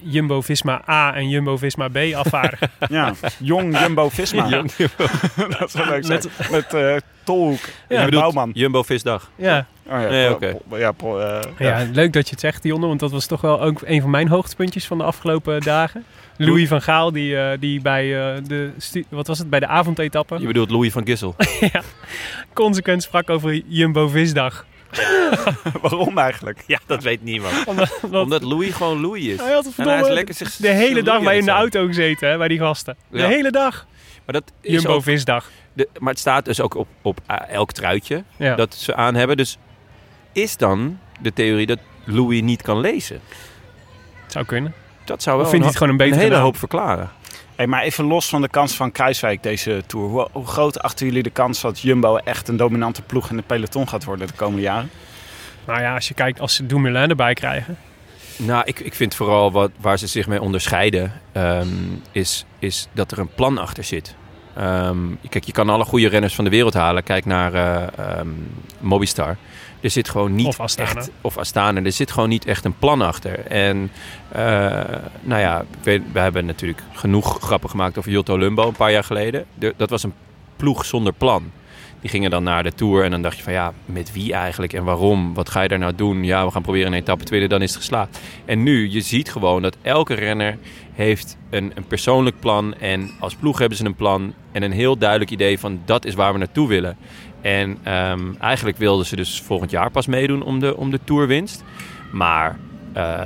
Speaker 3: Jumbo-Visma A en Jumbo-Visma B afvaren.
Speaker 7: Ja, jong Jumbo Visma.
Speaker 2: Jong
Speaker 7: dat zou leuk zijn.
Speaker 3: Net-
Speaker 7: Met eh Tolhoek
Speaker 3: Ja,
Speaker 7: en
Speaker 2: bedoelt
Speaker 7: Bouwman.
Speaker 2: Jumbo Visdag.
Speaker 3: ja.
Speaker 7: Oh, ja,
Speaker 2: Nee,
Speaker 7: Paul-
Speaker 2: oké.
Speaker 7: Paul- ja, Paul, eh,
Speaker 3: Ja, leuk dat je het zegt, Dionne, want dat was toch wel ook een van mijn hoogtepuntjes van de afgelopen dagen. Louis van Gaal, die, eh, die bij, eh, de stu- wat was het, bij de avondetappe
Speaker 2: Je bedoelt Louis van Gissel.
Speaker 3: consequent sprak over Jumbo Visdag.
Speaker 7: waarom eigenlijk?
Speaker 2: ja, dat weet niemand.
Speaker 3: Omdat,
Speaker 2: Omdat Louis gewoon Louis is.
Speaker 3: hij had het
Speaker 2: En hij is
Speaker 3: verdomme
Speaker 2: lekker zich
Speaker 3: de hele dag bij in de
Speaker 2: zijn.
Speaker 3: auto gezeten, hè, bij die gasten. De
Speaker 2: Ja.
Speaker 3: hele dag.
Speaker 2: Maar, dat is
Speaker 3: Jumbo
Speaker 2: ook-
Speaker 3: Visdag.
Speaker 2: de- maar het staat dus ook op, op eh, elk truitje.
Speaker 3: Ja.
Speaker 2: dat ze aan hebben. Dus is dan de theorie dat Louis niet kan lezen?
Speaker 3: zou kunnen.
Speaker 2: Dat zou wel
Speaker 3: Of vindt hij
Speaker 2: een,
Speaker 3: het gewoon een
Speaker 2: een
Speaker 3: betere
Speaker 2: hele
Speaker 3: naam?
Speaker 2: hoop verklaren.
Speaker 7: Hey, maar even los van de kans van Kruiswijk deze Tour. Hoe, hoe groot achten jullie de kans dat Jumbo echt een dominante ploeg in het peloton gaat worden de komende jaren?
Speaker 3: Nou ja, als je kijkt, als ze Dumoulin erbij krijgen.
Speaker 2: Nou, ik, ik vind vooral wat, waar ze zich mee onderscheiden... ehm, is, is dat er een plan achter zit. Ehm, kijk, je kan alle goede renners van de wereld halen. Kijk naar eh, ehm, Mobistar. Er zit gewoon niet
Speaker 3: Of Astana.
Speaker 2: echt... Of Astana. Er zit gewoon niet echt een plan achter. En eh, nou ja, we, we hebben natuurlijk genoeg grappen gemaakt over Jotto Lumbo een paar jaar geleden. De- dat was een ploeg zonder plan. Die gingen dan naar de Tour en dan dacht je van ja, met wie eigenlijk en waarom? Wat ga je daar nou doen? Ja, we gaan proberen een etappe te winnen, dan is het geslaagd. En nu, je ziet gewoon dat elke renner heeft een, een persoonlijk plan. En als ploeg hebben ze een plan en een heel duidelijk idee van dat is waar we naartoe willen. En ehm, eigenlijk wilden ze dus volgend jaar pas meedoen om de, om de Tourwinst. Maar eh,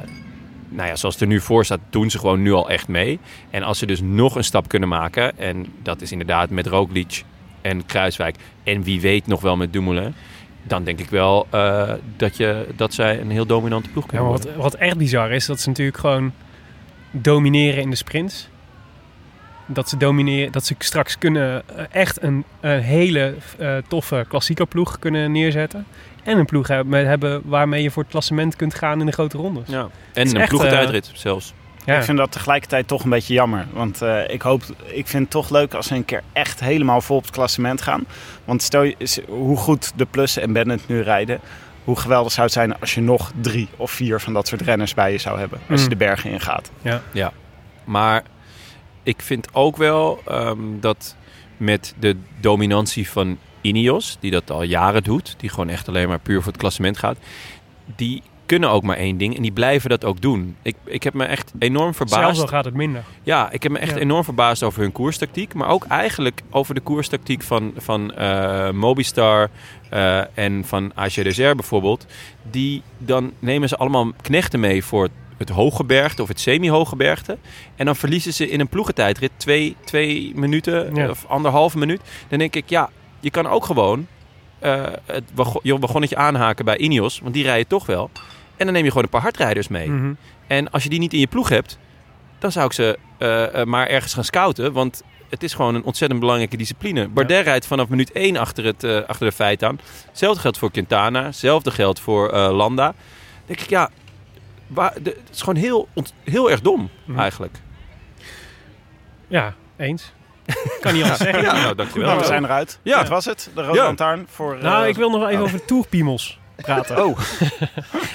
Speaker 2: nou ja, zoals het er nu voor staat, doen ze gewoon nu al echt mee. En als ze dus nog een stap kunnen maken, en dat is inderdaad met Roglic en Kruiswijk... en wie weet nog wel met Dumoulin... dan denk ik wel eh, dat, je, dat zij een heel dominante ploeg
Speaker 3: Ja,
Speaker 2: kunnen
Speaker 3: maar
Speaker 2: worden.
Speaker 3: wat, wat echt bizar is, dat ze natuurlijk gewoon domineren in de sprints. Dat ze, domineren, dat ze straks kunnen eh, echt een, een hele eh, toffe klassieke ploeg kunnen neerzetten. En een ploeg hebben, hebben waarmee je voor het klassement kunt gaan in de grote rondes.
Speaker 2: Ja.
Speaker 3: is
Speaker 2: En een
Speaker 3: echt, eh,
Speaker 2: ploegentijdrit zelfs.
Speaker 3: Ja.
Speaker 7: Ik vind dat tegelijkertijd toch een beetje jammer. Want eh, ik, hoop, ik vind het toch leuk als ze een keer echt helemaal vol op het klassement gaan. Want stel je is- hoe goed de Plus en Bennett nu rijden. Hoe geweldig zou het zijn als je nog drie of vier van dat soort renners bij je zou hebben. Als je
Speaker 3: Mm.
Speaker 7: de bergen ingaat.
Speaker 2: Maar ik vind ook wel ehm, dat met de dominantie van Ineos, die dat al jaren doet, die gewoon echt alleen maar puur voor het klassement gaat, die kunnen ook maar één ding en die blijven dat ook doen. Ik, ik heb me echt enorm
Speaker 3: Zelfs
Speaker 2: verbaasd.
Speaker 3: al gaat het minder.
Speaker 2: Ja, ik heb me echt
Speaker 3: Ja.
Speaker 2: enorm verbaasd over hun koerstactiek, maar ook eigenlijk over de koerstactiek van, van eh, Mobistar eh, en van AG Desert bijvoorbeeld. Die dan nemen ze allemaal knechten mee voor het, het hoge bergte of het semi-hoge bergte. En dan verliezen ze in een ploegentijdrit twee, twee minuten eh,
Speaker 3: Ja.
Speaker 2: of anderhalve minuut. Dan denk ik, ja, je kan ook gewoon eh, het wago- je wagonnetje aanhaken bij Ineos, want die rijden toch wel. En dan neem je gewoon een paar hardrijders mee.
Speaker 3: Mhm.
Speaker 2: En als je die niet in je ploeg hebt, dan zou ik ze eh, eh, maar ergens gaan scouten. Want het is gewoon een ontzettend belangrijke discipline. Bardet rijdt vanaf minuut 1 achter, het, eh, achter de feit aan. Hetzelfde geldt voor Quintana. Hetzelfde geldt voor eh, Landa. Dan denk ik, ja, waar, de- het is gewoon heel, ont- heel erg dom
Speaker 3: Mhm.
Speaker 2: eigenlijk.
Speaker 3: Ja, eens. Kan niet anders zeggen.
Speaker 2: Ja, nou, dankjewel.
Speaker 7: Nou, we zijn eruit.
Speaker 2: Ja.
Speaker 7: Dat was het. De Rode
Speaker 2: Ja.
Speaker 7: Lantaarn voor...
Speaker 3: Nou,
Speaker 7: eh,
Speaker 3: ik wil nog wel even over de tourpiemels praten.
Speaker 2: Oh,
Speaker 3: hebben,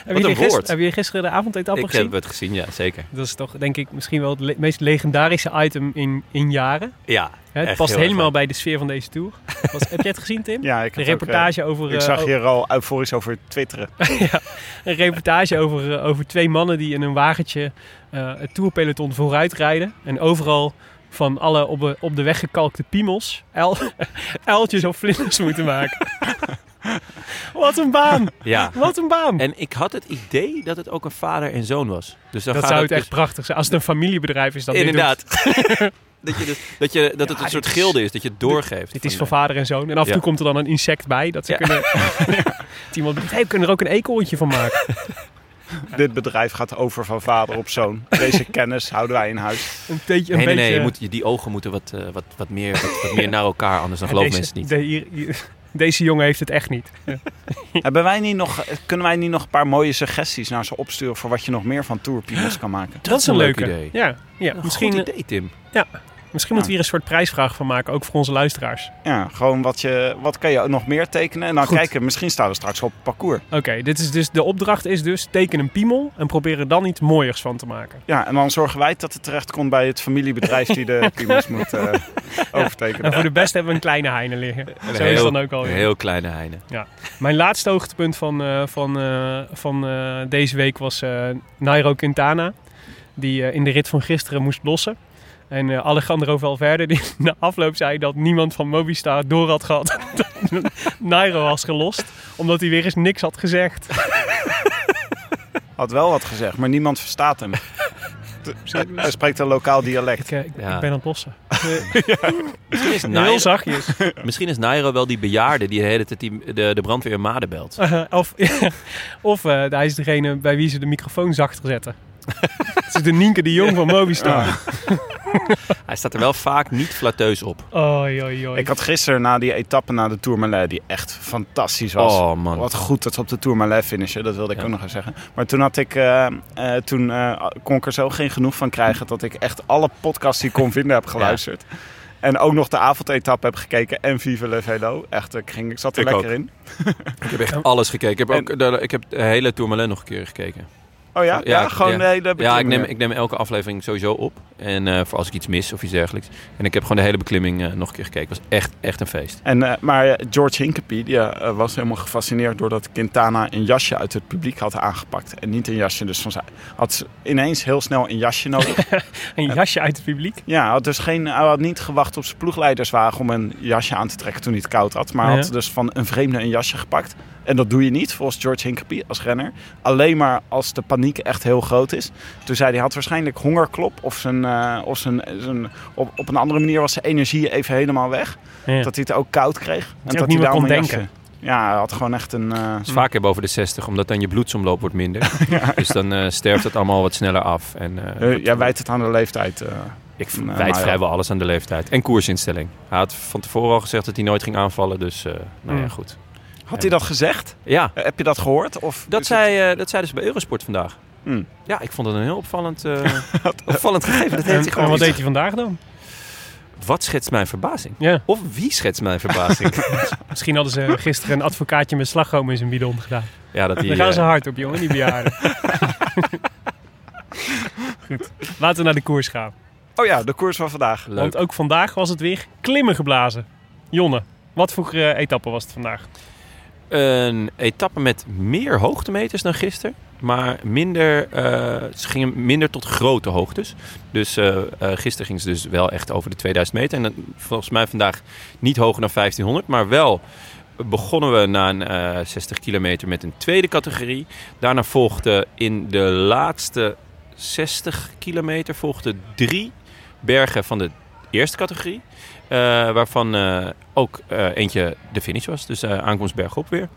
Speaker 3: jullie
Speaker 2: woord.
Speaker 3: gisteren, hebben jullie gisteren de avondetappel
Speaker 2: ik eh,
Speaker 3: gezien?
Speaker 2: heb het gezien, ja, zeker.
Speaker 3: Dat is toch denk ik misschien wel het le- meest legendarische item in, in jaren.
Speaker 2: Ja,
Speaker 3: Hè, het
Speaker 2: Echt
Speaker 3: past
Speaker 2: heel erg
Speaker 3: helemaal
Speaker 2: leuk.
Speaker 3: bij de sfeer van deze tour. Was, heb jij het gezien, Tim?
Speaker 7: Ja, ik
Speaker 3: De
Speaker 7: heb ook, eh,
Speaker 3: reportage over,
Speaker 7: Ik
Speaker 3: eh,
Speaker 7: zag
Speaker 3: o-
Speaker 7: hier al euforisch over twitteren.
Speaker 3: een reportage over, eh, over twee mannen die in een wagentje eh, het tourpeloton vooruit rijden. En overal van alle op, de- op de weg gekalkte piemels uil- uiltjes of vlinders moeten maken. Wat een baan!
Speaker 2: ja.
Speaker 3: Wat een baan!
Speaker 2: En ik had het idee dat het ook een vader en zoon was. Dus dan
Speaker 3: dat
Speaker 2: gaat
Speaker 3: zou het
Speaker 2: het
Speaker 3: echt
Speaker 2: dus-
Speaker 3: prachtig zijn. Als het een familiebedrijf is, dan
Speaker 2: Inderdaad. dat, je dus, dat, je, dat het een soort gilde is, dat je het doorgeeft.
Speaker 3: Dit is
Speaker 2: Van, eh,
Speaker 3: van vader en zoon. En af en
Speaker 2: Ja.
Speaker 3: toe komt er dan een insect bij. Dat ze
Speaker 2: Ja.
Speaker 3: kunnen... dat iemand denkt, hey, we kunnen er ook een eekhoorntje van maken.
Speaker 7: Dit bedrijf gaat over van vader op zoon. Deze kennis houden wij in huis.
Speaker 3: Een beetje, een
Speaker 2: nee, nee,
Speaker 3: beetje...
Speaker 2: nee, je moet, je- die ogen moeten wat, eh, wat, wat, meer, wat, wat meer naar elkaar, anders dan geloven
Speaker 3: Deze-
Speaker 2: mensen het
Speaker 3: de- hier- hier- deze jongen heeft het echt niet.
Speaker 7: Hebben wij niet nog, kunnen wij niet nog een paar mooie suggesties naar ze opsturen... voor wat je nog meer van tourpiemels kan maken?
Speaker 2: Dat is een leuk idee.
Speaker 3: Ja, ja.
Speaker 2: niet.
Speaker 3: misschien,
Speaker 2: Goed idee, Tim.
Speaker 3: misschien moeten we hier een soort prijsvraag van maken. Ook voor onze luisteraars.
Speaker 7: Ja, gewoon wat, je, wat kan je nog meer tekenen? En dan
Speaker 3: Goed.
Speaker 7: kijken, misschien staan we straks op het parcours.
Speaker 3: Oké, dit is dus, de opdracht is dus teken een piemel en probeer er dan iets mooiers van te maken.
Speaker 7: Ja, en dan zorgen wij dat het terecht komt bij het familiebedrijf... die de piemels moet eh,
Speaker 3: En
Speaker 7: overtekenen.
Speaker 3: voor de best hebben we een kleine heine liggen.
Speaker 2: Een
Speaker 3: Zo is
Speaker 2: heel-
Speaker 3: het dan ook alweer.
Speaker 2: Een heel kleine heine.
Speaker 3: Mijn laatste hoogtepunt van, eh, van, eh, van eh, deze week was eh, Nairo Quintana. Die eh, in de rit van gisteren moest lossen. En eh, Alejandro Valverde, die na afloop zei dat niemand van Mobistar door had gehad dat Nairo was gelost. Omdat hij weer eens niks had gezegd.
Speaker 7: Had wel wat gezegd, maar niemand verstaat hem. Hij spreekt een lokaal
Speaker 3: Ik,
Speaker 7: dialect.
Speaker 3: eh, ik,
Speaker 2: Ja. Nou,
Speaker 3: ik ben aan het lossen.
Speaker 2: Misschien is,
Speaker 3: Heel
Speaker 2: Nairo,
Speaker 3: zachtjes.
Speaker 2: misschien is Nairo wel die bejaarde die de hele tijd die, de, de brandweer in Maden belt.
Speaker 3: Eh, of of eh, hij is degene bij wie ze de microfoon zachter zetten. Het is de Nienke de Jong van Mobistar.
Speaker 2: Hij staat er wel vaak niet flatteus op.
Speaker 3: Oei, oei, oei.
Speaker 7: Ik had gisteren na die etappe na de Tourmalet, die echt fantastisch was.
Speaker 2: Oh, man.
Speaker 7: Wat goed dat ze op de Tourmalet finishen, dat wilde ik
Speaker 2: Ja.
Speaker 7: ook nog even zeggen. Maar toen had ik, eh, eh, toen eh, kon ik er zo geen genoeg van krijgen dat ik echt alle podcasts die ik kon vinden heb geluisterd. En ook nog de avondetappe heb gekeken en Vive Le Velo. Echt, ik, ging, ik zat er
Speaker 2: Ik
Speaker 7: lekker
Speaker 2: ook.
Speaker 7: in.
Speaker 2: Ik heb echt alles gekeken. Ik heb, ook, de, ik heb de hele Tourmalet nog een keer gekeken.
Speaker 7: Oh ja? Ja,
Speaker 2: ik-
Speaker 7: gewoon de hele
Speaker 2: Ja, ik
Speaker 7: beklimming.
Speaker 2: neem, ik neem elke aflevering sowieso op. En eh, voor als ik iets mis of iets dergelijks. En ik heb gewoon de hele beklimming eh, nog een keer gekeken. Het was echt, echt een feest.
Speaker 7: En, eh, maar eh, George Hinkepie die, eh, was helemaal gefascineerd doordat Quintana een jasje uit het publiek had aangepakt. En niet een jasje, dus van zijn. Had ze ineens heel snel een jasje nodig.
Speaker 3: Een jasje uit het publiek.
Speaker 7: ja, hij had dus geen, hij had niet gewacht op zijn ploegleiderswagen om een jasje aan te trekken toen hij het koud had. Maar hij
Speaker 3: Ja.
Speaker 7: had dus van een vreemde een jasje gepakt. En dat doe je niet, volgens George Hinkepie als renner. Alleen maar als de paniek echt heel groot is. Toen zei hij, hij had waarschijnlijk hongerklop of, zijn, eh, of zijn, zijn, op, op een andere manier was zijn energie even helemaal weg.
Speaker 3: Ja.
Speaker 7: Dat hij het ook koud kreeg. En
Speaker 3: hij ook
Speaker 7: dat
Speaker 3: niet meer kon
Speaker 7: daarom een
Speaker 3: denken.
Speaker 7: jasje- Ja, hij had gewoon echt een... eh,
Speaker 2: Het is
Speaker 3: Hmm.
Speaker 2: vaker boven de 60, omdat dan je bloedsomloop wordt minder. Dus dan eh, sterft het allemaal wat sneller af. En, eh,
Speaker 7: eh, jij wijt het aan de leeftijd. eh.
Speaker 2: ik
Speaker 7: nou,
Speaker 2: wijd
Speaker 7: ja.
Speaker 2: vrijwel alles aan de leeftijd. En koersinstelling. Hij had van tevoren al gezegd dat hij nooit ging aanvallen. Dus eh, nou ja,
Speaker 3: Mm.
Speaker 2: goed.
Speaker 7: Had hij dat gezegd?
Speaker 2: Ja,
Speaker 7: Eh, heb je dat gehoord? Of
Speaker 2: dat
Speaker 7: is
Speaker 2: zei, eh, dat zei dus bij Eurosport vandaag.
Speaker 7: Hmm.
Speaker 2: Ja, ik vond het een heel opvallend, eh, opvallend gegeven. Dat heeft
Speaker 3: En,
Speaker 2: hij
Speaker 3: en
Speaker 2: gewoon
Speaker 3: wat
Speaker 2: niet.
Speaker 3: deed hij vandaag dan?
Speaker 2: Wat schetst mijn verbazing?
Speaker 3: Ja.
Speaker 2: Of wie schetst mijn verbazing?
Speaker 3: Misschien hadden ze gisteren een advocaatje met slagroom in zijn bidon gedaan.
Speaker 2: ja, dat die,
Speaker 3: Daar gaan
Speaker 2: eh,
Speaker 3: ze hard op, jongen, die bejaarden. Goed, laten we naar de koers gaan.
Speaker 7: het- Oh ja, de koers van vandaag.
Speaker 2: leuk.
Speaker 3: Want ook vandaag was het weer klimmen geblazen. Jonne, wat voor eh, etappe was het vandaag?
Speaker 2: een etappe met meer hoogtemeters dan gisteren. Maar minder, eh, ze gingen minder tot grote hoogtes. Dus eh, eh, gisteren gingen ze dus wel echt over de 2000 meter. En dan, volgens mij vandaag niet hoger dan 1500. Maar wel begonnen we na een eh, 60 kilometer met een tweede categorie. Daarna volgden in de laatste 60 kilometer volgden drie bergen van de eerste categorie. Eh, waarvan eh, ook eh, eentje de finish was. Dus eh, aankomst bergop weer.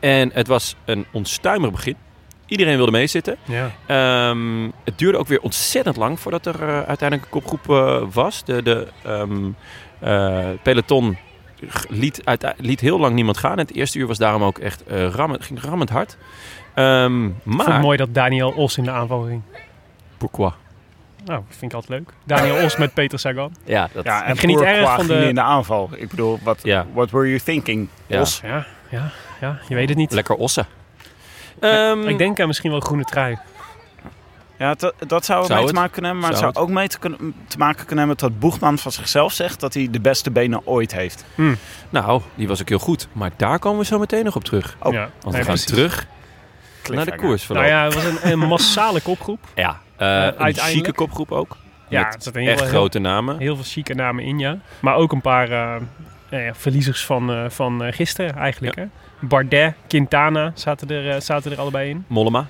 Speaker 2: En het was een onstuimig begin. Iedereen wilde meezitten.
Speaker 3: Ja.
Speaker 2: Ehm, het duurde ook weer ontzettend lang voordat er eh, uiteindelijk een kopgroep eh, was. De, de ehm, eh, peloton g- liet, uite- liet heel lang niemand gaan. Het eerste uur was daarom ook echt eh rammend, ging rammend hard. Ehm,
Speaker 3: Ik vond het
Speaker 2: maar...
Speaker 3: mooi dat Daniel Os in de aanval ging.
Speaker 2: Pourquoi?
Speaker 3: Nou, dat vind ik altijd leuk. Daniel Os met Peter Sagan.
Speaker 2: Ja, dat,
Speaker 7: Ja, en
Speaker 3: Ik geniet
Speaker 7: Courtois
Speaker 3: erg van
Speaker 7: ging
Speaker 3: de-
Speaker 7: in de aanval. Ik bedoel, wat
Speaker 2: Ja.
Speaker 7: what were you thinking?
Speaker 2: Ja.
Speaker 7: Os?
Speaker 3: Ja, ja, ja. Je weet het niet.
Speaker 2: lekker ossen. Ehm,
Speaker 3: Ik denk aan misschien wel groene trui.
Speaker 7: Ja, dat, dat zou,
Speaker 2: Zou
Speaker 7: er mee
Speaker 2: het?
Speaker 7: te maken kunnen hebben. Maar
Speaker 2: Zou
Speaker 7: het zou ook mee te, kunnen- te maken kunnen hebben dat Boegman van zichzelf zegt dat hij de beste benen ooit heeft.
Speaker 2: Nou, die was ook heel goed. Maar daar komen we zo meteen nog op terug.
Speaker 7: Oh,
Speaker 3: ja.
Speaker 2: Want
Speaker 3: Nee,
Speaker 2: we gaan
Speaker 3: precies.
Speaker 2: terug naar de
Speaker 7: Cliffhanger.
Speaker 2: koersverloop.
Speaker 3: Nou ja, het was een, een massale kopgroep.
Speaker 2: Ja, eh een
Speaker 3: uiteindelijk-
Speaker 2: chique kopgroep ook.
Speaker 3: Ja,
Speaker 2: Met
Speaker 3: het zat een heel,
Speaker 2: Echt
Speaker 3: heel-
Speaker 2: grote namen.
Speaker 3: Heel veel chique namen in, ja. Maar ook een paar eh, nou ja, verliezers van, eh, van eh, gisteren eigenlijk. Hè? Bardet, Quintana zaten er, eh, zaten er allebei in.
Speaker 2: Mollema,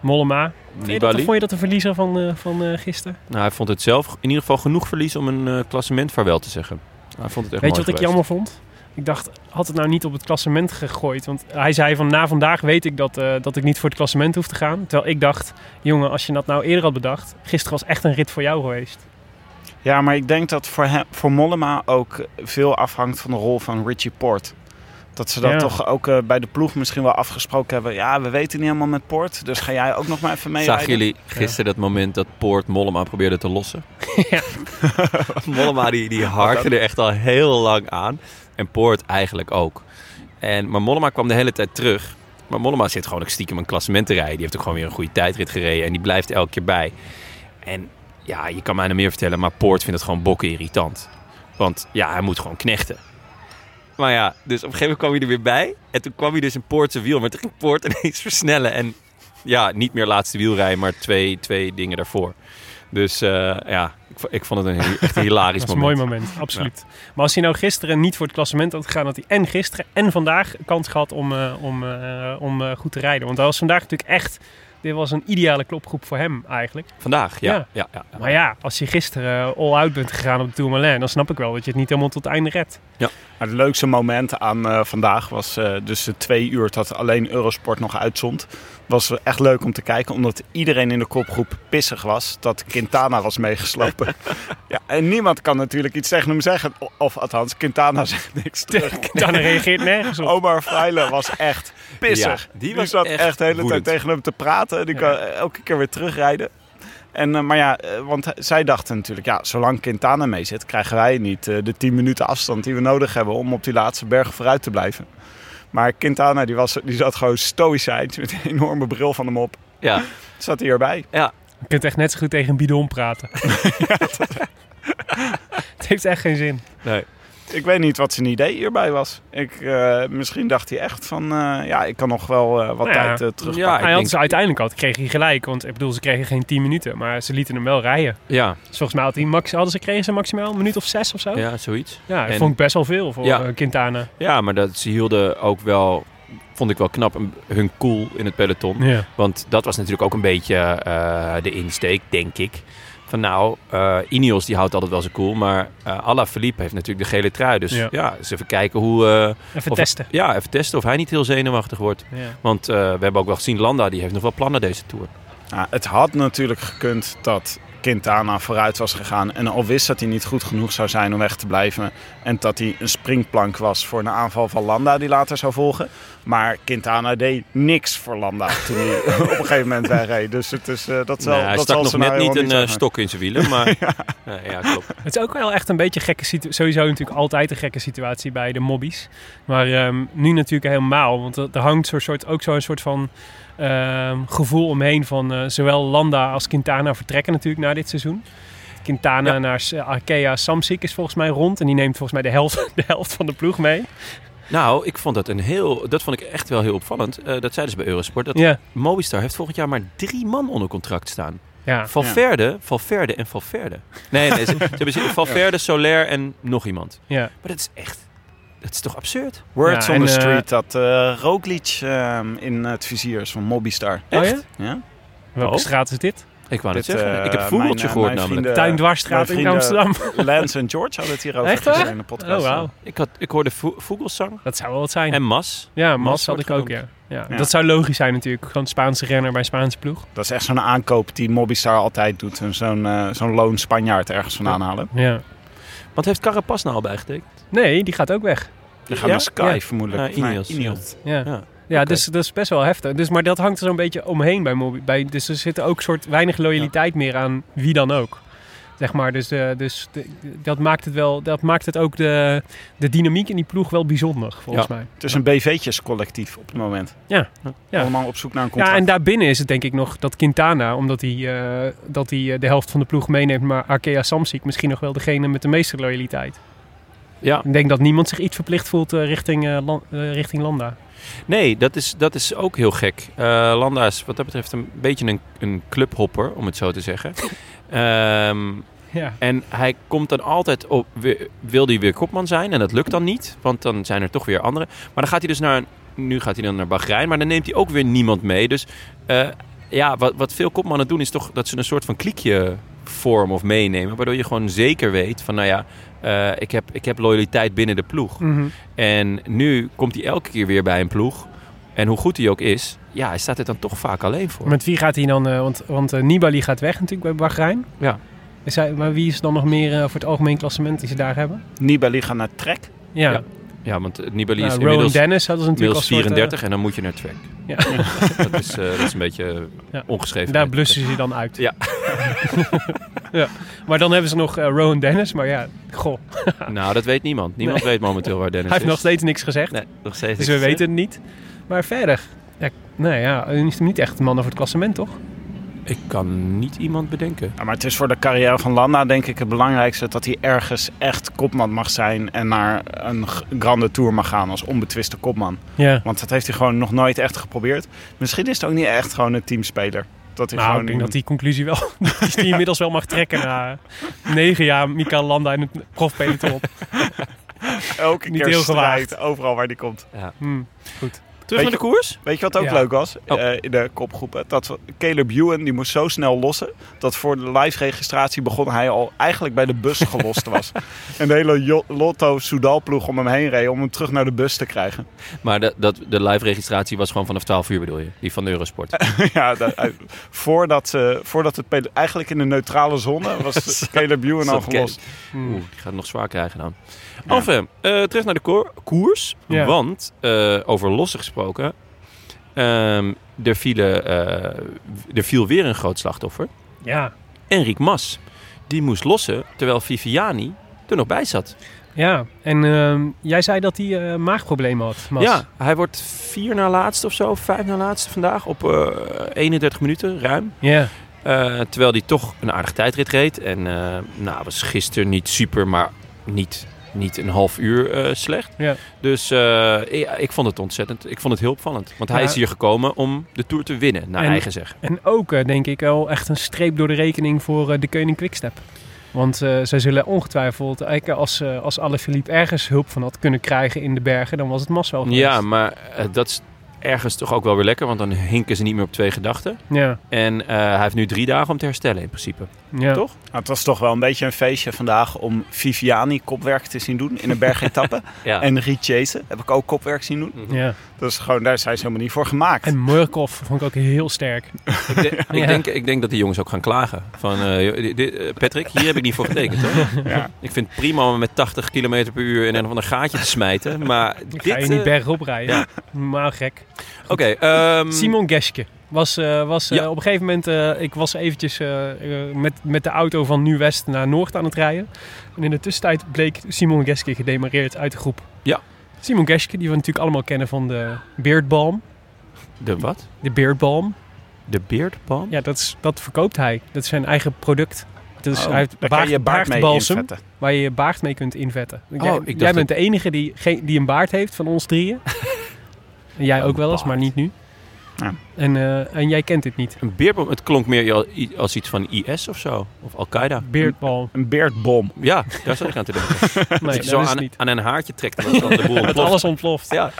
Speaker 3: Mollema. Vond je, dat,
Speaker 2: Nibali.
Speaker 3: vond je dat een verliezer van, eh, van eh, gisteren?
Speaker 2: Nou, hij vond het zelf in ieder geval genoeg verlies om een eh, klassement vaarwel te zeggen. Hij vond het echt
Speaker 3: Weet je
Speaker 2: mooi
Speaker 3: wat ik
Speaker 2: geweest.
Speaker 3: jammer vond? Ik dacht, had het nou niet op het klassement gegooid? Want hij zei van na vandaag weet ik dat, eh, dat ik niet voor het klassement hoef te gaan. Terwijl ik dacht, jongen, als je dat nou eerder had bedacht, gisteren was echt een rit voor jou geweest.
Speaker 7: Ja, maar ik denk dat voor, hem, voor Mollema ook veel afhangt van de rol van Richie Port. Dat ze dat
Speaker 3: Ja.
Speaker 7: toch ook eh, bij de ploeg misschien wel afgesproken hebben. Ja, we weten niet helemaal met Port, dus ga jij ook nog maar even mee
Speaker 2: Zagen jullie gisteren dat moment dat Poort Mollema probeerde te lossen?
Speaker 3: Ja.
Speaker 2: Mollema die, die harkte er echt al heel lang aan. En Poort eigenlijk ook. En, maar Mollema kwam de hele tijd terug. Maar Mollema zit gewoon ook stiekem een klassement te rijden. Die heeft ook gewoon weer een goede tijdrit gereden. En die blijft elke keer bij. En ja, je kan mij nog meer vertellen. Maar Poort vindt het gewoon bokken irritant. Want ja, hij moet gewoon knechten. Maar ja, dus op een gegeven moment kwam hij er weer bij. En toen kwam hij dus in Poort zijn wiel. Maar toen ging Poort ineens versnellen. En ja, niet meer laatste wielrij, maar twee, twee dingen daarvoor. Dus eh, ja, ik, vo- ik vond het een heel- echt een hilarisch
Speaker 3: Dat is een
Speaker 2: moment.
Speaker 3: mooi moment, absoluut. Maar als hij nou gisteren niet voor het klassement had gegaan, had hij en gisteren en vandaag kans gehad om, eh, om, eh, om eh, goed te rijden. Want hij was vandaag natuurlijk echt, dit was een ideale klopgroep voor hem eigenlijk.
Speaker 2: Vandaag, ja. ja.
Speaker 3: Ja.
Speaker 2: ja, ja.
Speaker 3: Maar ja, als je gisteren eh, all-out bent gegaan op de Tourmalet, dan snap ik wel dat je het niet helemaal tot het einde redt.
Speaker 7: Maar het leukste moment aan eh, vandaag was eh, dus de twee uur dat alleen Eurosport nog uitzond. Was echt leuk om te kijken, omdat iedereen in de kopgroep pissig was dat Quintana was meegeslopen. ja, en niemand kan natuurlijk iets tegen hem zeggen. O- Of althans, Quintana zegt niks terug.
Speaker 3: Dan reageert nergens
Speaker 2: Oh.
Speaker 3: op.
Speaker 7: Omar Freile was echt pissig.
Speaker 2: Ja, die
Speaker 7: die,
Speaker 2: was
Speaker 7: zat
Speaker 2: echt
Speaker 7: echt, de hele
Speaker 2: woedend.
Speaker 7: tijd tegen hem te praten. Die kan elke keer weer terugrijden. En, eh, maar ja, eh, want hij- zij dachten natuurlijk, ja, zolang Quintana mee zit, krijgen wij niet eh, de 10 minuten afstand die we nodig hebben om op die laatste bergen vooruit te blijven. Maar Quintana, die, was, die zat gewoon stoïcijns met een enorme bril van hem op.
Speaker 2: Ja,
Speaker 7: Zat hij erbij.
Speaker 3: Je kunt echt net zo goed tegen een bidon praten. Het heeft echt geen zin.
Speaker 2: nee.
Speaker 7: Ik weet niet wat zijn idee hierbij was. Ik, eh, misschien dacht hij echt van, eh, ja, ik kan nog wel eh, wat
Speaker 3: Nou ja.
Speaker 7: tijd eh, terug.
Speaker 2: Ja, Ah, ik
Speaker 3: hij had
Speaker 2: denk-
Speaker 3: ze uiteindelijk had, kreeg hij gelijk. Want ik bedoel, ze kregen geen 10 minuten, maar ze lieten hem wel rijden.
Speaker 2: ja,
Speaker 3: Dus volgens mij had hij max, hadden ze, kregen ze maximaal een minuut of zes of zo. Ja,
Speaker 2: ja, zoiets.
Speaker 3: dat
Speaker 2: En-
Speaker 3: vond ik best wel veel voor
Speaker 2: Ja.
Speaker 3: eh, Quintana.
Speaker 2: Ja, maar dat, ze hielden ook wel, vond ik wel knap, een- hun cool in het peloton.
Speaker 3: Ja.
Speaker 2: Want dat was natuurlijk ook een beetje eh, de insteek, denk ik. Van nou, eh Ineos die houdt altijd wel zijn cool, maar eh Alaphilippe heeft natuurlijk de gele trui. Dus ja,
Speaker 3: Ja.
Speaker 2: eens even kijken hoe... eh,
Speaker 3: Even
Speaker 2: of-
Speaker 3: testen.
Speaker 2: Ja, even testen of hij niet heel zenuwachtig wordt.
Speaker 3: Ja.
Speaker 2: Want eh, we hebben ook wel gezien, Landa die heeft nog wel plannen deze Tour.
Speaker 7: Ja, Nou, het had natuurlijk gekund dat Quintana vooruit was gegaan. En al wist dat hij niet goed genoeg zou zijn om weg te blijven. En dat hij een springplank was voor een aanval van Landa die later zou volgen. Maar Quintana deed niks voor Landa toen hij op een gegeven moment wegreed. Dus het is, eh, dat zal,
Speaker 2: Nee, Nou, hij
Speaker 7: dat
Speaker 2: stak
Speaker 7: zal nou
Speaker 2: nog net
Speaker 7: scenario
Speaker 2: niet een eh,
Speaker 7: zijn.
Speaker 2: stok in zijn wielen, maar... Nee, ja, klopt.
Speaker 3: Het is ook wel echt een beetje een gekke situatie. Sowieso natuurlijk altijd een gekke situatie bij de mobbies. Maar ehm, nu natuurlijk helemaal. Want er er hangt zo'n soort, ook zo'n soort van ehm, gevoel omheen van eh, zowel Landa als Quintana vertrekken natuurlijk na dit seizoen. Quintana naar S- Arkea Samsic is volgens mij rond. En die neemt volgens mij de helft, de helft van de ploeg mee.
Speaker 2: Nou, ik vond dat een heel... Dat vond ik echt wel heel opvallend. Eh, dat zeiden ze bij Eurosport. Dat
Speaker 3: Ja.
Speaker 2: Movistar heeft volgend jaar maar drie man onder contract staan.
Speaker 3: Ja.
Speaker 2: Valverde, Valverde en Valverde. Nee, nee ze, ze hebben ze- Valverde, Soler en nog iemand.
Speaker 3: ja.
Speaker 2: Maar dat is echt... Dat is toch absurd?
Speaker 7: Words
Speaker 3: Ja,
Speaker 7: on
Speaker 3: en,
Speaker 7: the
Speaker 3: eh,
Speaker 7: street dat eh Roglic eh, in het vizier is van Mobistar.
Speaker 3: Oh ja?
Speaker 2: Echt?
Speaker 7: Ja?
Speaker 3: Welke
Speaker 2: Oh.
Speaker 3: straat is dit?
Speaker 2: Ik wou het
Speaker 7: Dit,
Speaker 2: zeggen.
Speaker 7: eh,
Speaker 2: ik heb vogeltje
Speaker 7: mijn, eh,
Speaker 2: gehoord
Speaker 7: mijn
Speaker 2: namelijk.
Speaker 7: vrienden-
Speaker 3: Tuindwarsstraat
Speaker 7: mijn
Speaker 3: in
Speaker 7: vrienden
Speaker 3: Amsterdam.
Speaker 7: Lance en George hadden het hierover
Speaker 3: Echt waar?
Speaker 7: gezien in de podcast.
Speaker 3: Oh, wauw.
Speaker 2: Ik, had, ik hoorde vo- vogelsang
Speaker 3: Dat zou wel wat zijn.
Speaker 2: en mas.
Speaker 3: ja,
Speaker 2: Mas
Speaker 3: Mas had
Speaker 2: wordt
Speaker 3: ik ook, ja.
Speaker 2: genoemd.
Speaker 3: Ja,
Speaker 7: Ja.
Speaker 3: Dat zou logisch zijn natuurlijk. Gewoon Spaanse renner bij Spaanse ploeg.
Speaker 7: Dat is echt zo'n aankoop die Mobistar altijd doet. En Zo'n eh zo'n loon Spanjaard ergens vandaan halen.
Speaker 3: Ja.
Speaker 2: Want heeft Carapaz nou al bijgetekend?
Speaker 3: Nee, die gaat ook weg.
Speaker 7: Die gaan
Speaker 3: Ja?
Speaker 7: naar Sky
Speaker 3: Ja.
Speaker 7: vermoedelijk.
Speaker 2: Naar Ineos.
Speaker 7: Nee,
Speaker 3: Ja, ja.
Speaker 2: Ja. Oké.
Speaker 3: dus dat is best wel heftig. Dus, maar dat hangt er zo'n beetje omheen bij Mobi. Bij, dus er zit ook soort weinig loyaliteit meer aan wie dan ook. Zeg maar, dus, eh, dus de- dat maakt het wel, dat maakt het ook de, de dynamiek in die ploeg wel bijzonder, volgens mij.
Speaker 7: Het is een BV'tjes collectief op het moment.
Speaker 3: Ja. Ja.
Speaker 7: Allemaal op zoek naar een
Speaker 3: Ja,
Speaker 7: contract.
Speaker 3: en daarbinnen is het denk ik nog dat Quintana, omdat hij, eh, dat hij eh, de helft van de ploeg meeneemt, maar Arkea Samsic misschien nog wel degene met de meeste loyaliteit.
Speaker 2: Ja.
Speaker 3: Ik denk dat niemand zich iets verplicht voelt eh, richting, eh, Lan- eh, richting Landa.
Speaker 2: Nee, dat is, dat is ook heel gek. Eh, Landa is wat dat betreft een beetje een, een clubhopper, om het zo te zeggen. Ehm,
Speaker 3: Ja.
Speaker 2: en hij komt dan altijd op, weer- wil hij weer kopman zijn en dat lukt dan niet, want dan zijn er toch weer anderen. Maar dan gaat hij dus naar, nu gaat hij dan naar Bahrein, maar dan neemt hij ook weer niemand mee. Dus eh, ja, wat, wat veel kopmannen doen is toch dat ze een soort van kliekje vormen of meenemen, waardoor je gewoon zeker weet van nou ja, eh, ik, heb, ik heb loyaliteit binnen de ploeg.
Speaker 3: Hm. Mhm.
Speaker 2: En nu komt hij elke keer weer bij een ploeg. En hoe goed hij ook is, ja, hij staat er dan toch vaak alleen voor.
Speaker 3: Met wie gaat hij dan? eh, want want eh, Nibali gaat weg natuurlijk bij Bahrein.
Speaker 2: Ja.
Speaker 3: Is hij, maar wie is dan nog meer eh, voor het algemeen klassement die ze daar hebben?
Speaker 7: Nibali gaat naar Trek.
Speaker 3: Ja,
Speaker 2: Ja, Ja, want eh, Nibali is
Speaker 3: nou, Rowan
Speaker 2: inmiddels,
Speaker 3: Dennis hadden ze natuurlijk
Speaker 2: inmiddels
Speaker 3: als soort, eh,
Speaker 2: 34 en dan moet je naar Trek.
Speaker 3: Ja.
Speaker 2: dat, is, eh, dat is een beetje
Speaker 3: Ja.
Speaker 2: ongeschreven.
Speaker 3: daar blussen ze dan uit.
Speaker 2: Ja.
Speaker 3: ja. Maar dan hebben ze nog eh, Rowan Dennis. Maar ja, goh,
Speaker 2: Nou, dat weet niemand. Niemand weet momenteel waar Dennis
Speaker 3: hij heeft
Speaker 2: is.
Speaker 3: nog steeds niks gezegd.
Speaker 2: Nee, nog steeds
Speaker 3: dus we
Speaker 2: niks gezegd.
Speaker 3: weten het niet. Maar verder, ja, nou ja, hij is niet echt een man voor het klassement, toch?
Speaker 2: Ik kan niet iemand bedenken.
Speaker 7: Ja, maar het is voor de carrière van Landa denk ik het belangrijkste dat hij ergens echt kopman mag zijn en naar een g- grande tour mag gaan als onbetwiste kopman.
Speaker 3: Ja.
Speaker 7: Want dat heeft hij gewoon nog nooit echt geprobeerd. Misschien is het ook niet echt gewoon een teamspeler. Dat hij
Speaker 3: Nou,
Speaker 7: gewoon
Speaker 3: ik denk dat
Speaker 7: iemand-
Speaker 3: die conclusie wel, dat die die inmiddels wel mag trekken na negen jaar Mika Landa in het profpeloton.
Speaker 7: elke
Speaker 3: niet
Speaker 7: keer
Speaker 3: heel
Speaker 7: strijdt,
Speaker 3: gewaagd.
Speaker 7: overal waar hij komt.
Speaker 3: Hm.
Speaker 2: Terug
Speaker 7: Hmm. Weet
Speaker 2: naar de koers?
Speaker 7: Weet je wat ook
Speaker 3: Ja.
Speaker 7: leuk was
Speaker 2: Oh.
Speaker 7: eh, in de kopgroepen? Dat we- Caleb Ewan die moest zo snel lossen dat voor de live registratie begon hij al eigenlijk bij de bus gelost was. en de hele Jo- Lotto Soudal ploeg om hem heen reed om hem terug naar de bus te krijgen.
Speaker 2: Maar de, dat, de live registratie was gewoon vanaf 12 uur bedoel je? Die van de Eurosport.
Speaker 7: Ja, dat- eh, voordat, ze, voordat het pele- eigenlijk in de neutrale zone was Caleb Ewan al
Speaker 2: Zat Caleb.
Speaker 7: gelost.
Speaker 3: Mm.
Speaker 2: Oeh, die gaat het nog zwaar krijgen dan. Enfin, eh, terug naar de koor- koers.
Speaker 3: Ja.
Speaker 2: Want, eh, over lossen gesproken... ehm, er, vielen, eh, w- er viel weer een groot slachtoffer.
Speaker 3: Ja.
Speaker 2: Enric Mas. Die moest lossen, terwijl Viviani er nog bij zat.
Speaker 3: Ja, en ehm, jij zei dat hij eh, maagproblemen had, Mas.
Speaker 2: Ja, hij wordt vier na laatste of zo, vijf na laatste vandaag op eh, 31 minuten ruim.
Speaker 3: Ja.
Speaker 2: Eh, terwijl hij toch een aardige tijdrit reed. En eh nou, was gisteren niet super, maar niet, niet een half uur eh, slecht.
Speaker 3: Ja.
Speaker 2: Dus eh, ik, ik vond het ontzettend. Ik vond het heel opvallend. Want hij
Speaker 3: Ja.
Speaker 2: is hier gekomen om de Tour te winnen, naar
Speaker 3: En-
Speaker 2: eigen zeggen.
Speaker 3: En ook, eh, denk ik, wel echt een streep door de rekening voor eh, de Koning Quickstep. Want eh, zij zullen ongetwijfeld, eigenlijk als, eh als Alaphilippe ergens hulp van had kunnen krijgen in de bergen, dan was het Mas wel geweest.
Speaker 2: Ja, maar eh, dat is ergens toch ook wel weer lekker. Want dan hinken ze niet meer op twee gedachten.
Speaker 3: ja,
Speaker 2: En eh, hij heeft nu drie dagen om te herstellen in principe.
Speaker 3: ja.
Speaker 2: Toch?
Speaker 7: Nou, het was toch wel een beetje een feestje vandaag om Viviani kopwerk te zien doen in een bergetappe.
Speaker 2: Ja.
Speaker 7: En Riet Jason heb ik ook kopwerk zien doen.
Speaker 2: Hmm.
Speaker 3: Ja.
Speaker 7: Dus gewoon, daar zijn ze helemaal niet voor gemaakt.
Speaker 3: En Murkoff vond ik ook heel sterk.
Speaker 2: Ik, denk- ik
Speaker 3: Ja.
Speaker 2: denk, ik denk dat die jongens ook gaan klagen. Van, eh, joh, dit- dit- eh, Patrick, hier heb ik niet voor getekend. Hoor.
Speaker 7: Ja.
Speaker 2: Ik vind het prima om met 80 km per uur in een of ander gaatje te smijten. Maar dit...
Speaker 3: Ga je niet
Speaker 2: eh,
Speaker 3: berg oprijden. Maar gek.
Speaker 2: Oké, ehm,
Speaker 7: Mm.
Speaker 3: Simon Geske was, eh, was eh,
Speaker 2: Ja.
Speaker 3: op een gegeven moment... eh, ik was eventjes eh, eh, met, met de auto van Nu-West naar Noord aan het rijden. En in de tussentijd bleek Simon Geske gedemareerd uit de groep.
Speaker 2: Ja.
Speaker 3: Simon Geske, die we natuurlijk allemaal kennen van de beardbalm.
Speaker 2: De wat?
Speaker 3: De beardbalm.
Speaker 2: De beardbalm?
Speaker 3: Ja, dat, is, dat verkoopt hij. Dat is zijn eigen product. Dus
Speaker 7: Oh,
Speaker 3: hij heeft
Speaker 7: daar
Speaker 3: baard-
Speaker 7: kan je baard mee Oh,
Speaker 3: baardbalsem.
Speaker 7: inzetten.
Speaker 3: waar je je baard mee kunt invetten. jij
Speaker 2: ik dacht
Speaker 3: jij
Speaker 2: dat-
Speaker 3: bent de enige die, geen, die een baard heeft van ons drieën. En jij ook wel eens, maar niet nu.
Speaker 7: Ja.
Speaker 3: En, eh, en jij kent dit niet.
Speaker 2: Een beardbalm? Het klonk meer al- i- als iets van IS of zo. Of Al-Qaeda.
Speaker 3: Beardbal.
Speaker 7: Een beardbom.
Speaker 2: Ja, daar zat ik aan te denken. Als
Speaker 3: Nee,
Speaker 2: je
Speaker 3: dat
Speaker 2: zo
Speaker 3: is
Speaker 2: aan,
Speaker 3: het niet.
Speaker 2: aan een haartje trekt, dan is dan de boel
Speaker 3: Dat
Speaker 2: ontploft.
Speaker 3: alles ontploft.
Speaker 2: Ja.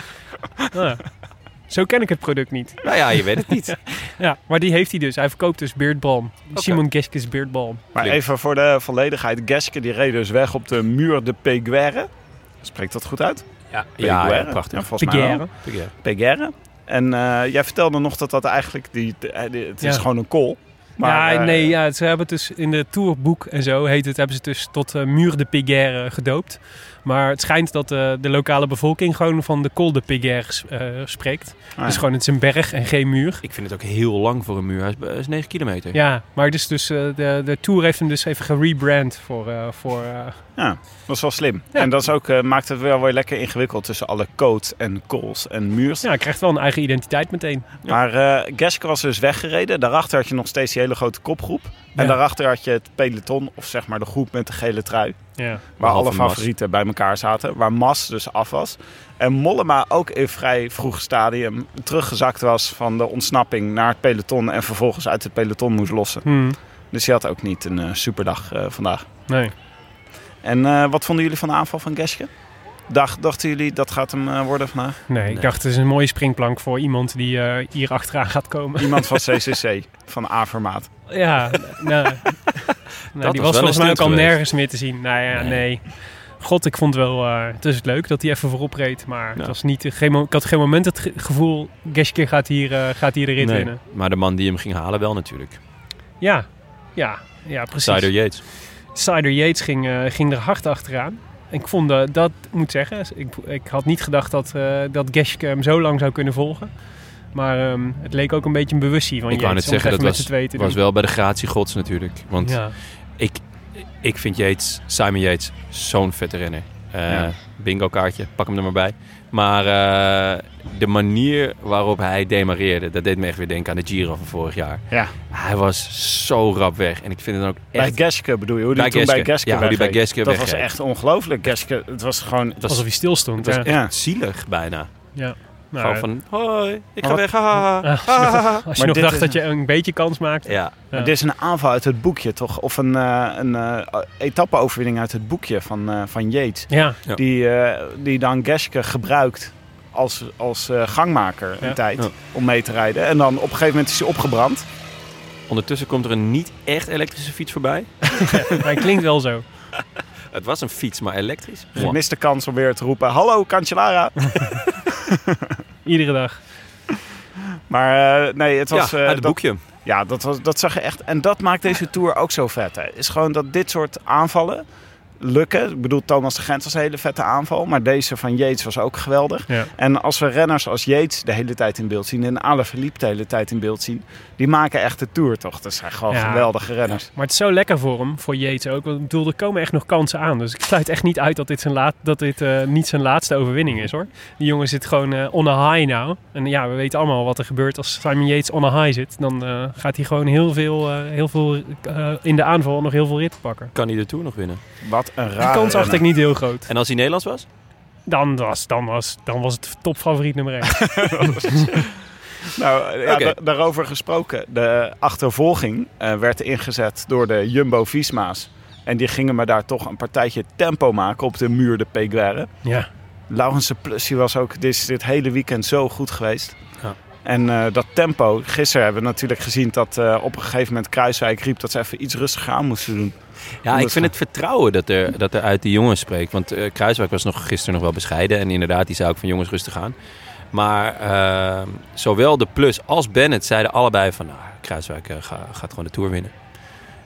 Speaker 3: Ja. Zo ken ik het product niet.
Speaker 2: Nou ja, je weet het niet.
Speaker 3: Ja, maar die heeft hij dus. Hij verkoopt dus beardbalm. Simon Geske's beardbalm.
Speaker 7: Maar
Speaker 2: Klinkt.
Speaker 7: even voor de volledigheid. Geske die reed dus weg op de Muur de Peguerre. Spreekt dat goed uit?
Speaker 2: Ja, ja,
Speaker 7: Peguère.
Speaker 2: prachtig.
Speaker 7: Ja, volgens mij wel.
Speaker 3: Peguère.
Speaker 2: Peguère.
Speaker 7: Peguerre. En eh, jij vertelde nog dat dat eigenlijk... Die, de- eh, die- het is
Speaker 3: Ja.
Speaker 7: gewoon een kool. Maar,
Speaker 3: ja,
Speaker 7: eh,
Speaker 3: nee, ja, ze hebben het dus in de tourboek en zo heet het, hebben ze het dus tot eh Muur de Piguerre gedoopt. Maar het schijnt dat eh, de lokale bevolking gewoon van de Col de Piguerre eh, spreekt.
Speaker 7: Ah, ja.
Speaker 3: Dus gewoon het is een berg en geen muur.
Speaker 2: Ik vind het ook heel lang voor een muur. Hij is, hij is 9 kilometer.
Speaker 3: Ja, maar dus, dus eh, de, de tour heeft hem dus even gerebrand voor, eh, voor eh,
Speaker 7: Dat is wel slim.
Speaker 3: Ja.
Speaker 7: En dat is ook, eh, maakt het wel weer lekker ingewikkeld tussen alle codes en calls en muurs.
Speaker 3: ja, hij krijgt wel een eigen identiteit meteen.
Speaker 7: Maar eh Geske was dus weggereden. Daarachter had je nog steeds die hele grote kopgroep. En
Speaker 3: Ja.
Speaker 7: daarachter had je het peloton, of zeg maar de groep met de gele trui.
Speaker 3: Ja.
Speaker 7: Waar
Speaker 2: Behalve
Speaker 7: alle
Speaker 2: Mas.
Speaker 7: favorieten bij elkaar zaten. Waar Mas dus af was. En Mollema ook in vrij vroeg stadium teruggezakt was van de ontsnapping naar het peloton. En vervolgens uit het peloton moest lossen.
Speaker 3: Hmm,
Speaker 7: Dus die had ook niet een eh, superdag eh, vandaag.
Speaker 3: nee.
Speaker 7: En eh, wat vonden jullie van de aanval van Geske? Dacht, dachten jullie dat gaat hem eh, worden vandaag?
Speaker 3: nee, ik dacht het is een mooie springplank voor iemand die eh, hier achteraan gaat komen.
Speaker 7: Iemand van CCC, van A-formaat.
Speaker 3: Ja, nou, nou, die
Speaker 2: wel
Speaker 3: was volgens
Speaker 2: een
Speaker 3: mij ook
Speaker 2: stunt
Speaker 3: al
Speaker 2: geweest.
Speaker 3: nergens meer te zien. Nou ja, nee. God, ik vond wel, eh, het is leuk dat hij even voorop reed, maar
Speaker 2: Ja.
Speaker 3: het was niet, geen, mo- ik had geen moment het ge- gevoel, Geske gaat hier, eh, gaat hier de rit
Speaker 2: Nee.
Speaker 3: winnen.
Speaker 2: Maar de man die hem ging halen wel natuurlijk.
Speaker 3: Ja, ja, ja, precies.
Speaker 2: Sider Yates.
Speaker 3: Oh, Sider Yates ging, eh, ging er hard achteraan. Ik vond eh, dat, moet zeggen, ik, ik had niet gedacht dat, eh dat Geske hem zo lang zou kunnen volgen. Maar ehm, het leek ook een beetje een bewustzijn van
Speaker 2: Ik wou net
Speaker 3: Yates om het
Speaker 2: zeggen, dat
Speaker 3: even met
Speaker 2: was,
Speaker 3: z'n tweeën te
Speaker 2: was
Speaker 3: doen.
Speaker 2: wel bij de gratie gods natuurlijk. Want
Speaker 3: Ja.
Speaker 2: ik, ik vind Yates, Simon Yates zo'n vette renner. Eh,
Speaker 7: Ja.
Speaker 2: Bingo kaartje, pak hem er maar bij. Maar eh, de manier waarop hij demareerde, dat deed me echt weer denken aan de Giro van vorig jaar.
Speaker 7: Ja.
Speaker 2: Hij was zo rap weg. En ik vind het dan ook
Speaker 7: Bij
Speaker 2: echt...
Speaker 7: Geske bedoel je, hoe die
Speaker 2: Bij
Speaker 7: toen bij
Speaker 2: Geske.
Speaker 7: Geske
Speaker 2: Ja, hoe die bij
Speaker 7: wegreed.
Speaker 2: Geske
Speaker 7: Dat was
Speaker 2: wegreed.
Speaker 7: echt ongelooflijk. Geske, het was gewoon...
Speaker 2: Het was,
Speaker 3: Alsof hij stilstond.
Speaker 2: het
Speaker 3: ja.
Speaker 2: was
Speaker 7: ja.
Speaker 2: echt zielig bijna.
Speaker 3: Nou,
Speaker 2: Gewoon van, hoi, ik ga
Speaker 7: Wat?
Speaker 2: weg. ha, ha, ha.
Speaker 3: Als je nog- als je nog
Speaker 7: dit
Speaker 3: dacht
Speaker 7: is-
Speaker 3: dat je een beetje kans maakt.
Speaker 2: Ja,
Speaker 7: Maar dit is een aanval uit het boekje, toch? Of een, eh een eh, etappe-overwinning uit het boekje van, eh van Yates.
Speaker 3: Ja,
Speaker 2: Ja.
Speaker 7: Die, eh, die dan Geske gebruikt als, als eh, gangmaker een
Speaker 3: Ja.
Speaker 7: tijd
Speaker 2: Ja.
Speaker 7: om mee te rijden. En dan op een gegeven moment is hij opgebrand.
Speaker 2: ondertussen komt er een niet echt elektrische fiets voorbij.
Speaker 3: maar hij klinkt wel zo.
Speaker 2: Het was een fiets, maar elektrisch.
Speaker 7: Dus ik mis de kans om weer te roepen, hallo Cancellara.
Speaker 3: Iedere dag.
Speaker 7: maar eh, nee, het
Speaker 2: Ja,
Speaker 7: was... eh,
Speaker 2: uit het
Speaker 7: dat-
Speaker 2: boekje.
Speaker 7: Ja, dat, was, dat zag je echt. En dat maakt deze Tour ook zo vet. Hè. Is gewoon dat dit soort aanvallen lukken. Ik bedoel, Thomas de Gent was een hele vette aanval. Maar deze van Yates was ook geweldig.
Speaker 3: Ja.
Speaker 7: En als we renners als Yates de hele tijd in beeld zien... en Alaphilippe de hele tijd in beeld zien... die maken echt de Tour, toch? Dat zijn gewoon
Speaker 3: Ja.
Speaker 7: geweldige renners.
Speaker 3: Maar het is zo lekker voor hem, voor Yates ook. Want ik bedoel, er komen echt nog kansen aan. Dus ik sluit echt niet uit dat dit, zijn laat, dat dit eh, niet zijn laatste overwinning is, hoor. Die jongen zit gewoon eh, on a high nou. En ja, we weten allemaal wat er gebeurt als Simon Yates on a high zit. Dan eh, gaat hij gewoon heel veel, eh, heel veel eh, in de aanval nog heel veel ritten pakken.
Speaker 2: Kan hij de Tour nog winnen?
Speaker 7: Wat een
Speaker 3: De
Speaker 7: raar.
Speaker 3: kans acht ik niet heel groot.
Speaker 2: En als hij Nederlands was?
Speaker 3: Dan was, dan was, dan was het topfavoriet nummer 1.
Speaker 7: Nou, ja,
Speaker 2: Oké.
Speaker 7: da- daarover gesproken. De achtervolging eh, werd ingezet door de Jumbo-Visma's. En die gingen maar daar toch een partijtje tempo maken op de muur de Peguerre.
Speaker 3: Ja.
Speaker 7: Laurensen Plus die was ook dit, is dit hele weekend zo goed geweest.
Speaker 2: Ja.
Speaker 7: En eh, dat tempo, gisteren hebben we natuurlijk gezien dat eh, op een gegeven moment Kruiswijk riep dat ze even iets rustiger aan moesten doen.
Speaker 2: Ja, ik vind het vertrouwen dat er, dat er uit die jongens spreekt. Want eh, Kruiswijk was nog gisteren nog wel bescheiden. En inderdaad, die zou ook van jongens rustig aan. Maar eh, zowel de Plus als Bennett zeiden allebei van... Nou, Kruiswijk eh, ga- gaat gewoon de Tour winnen.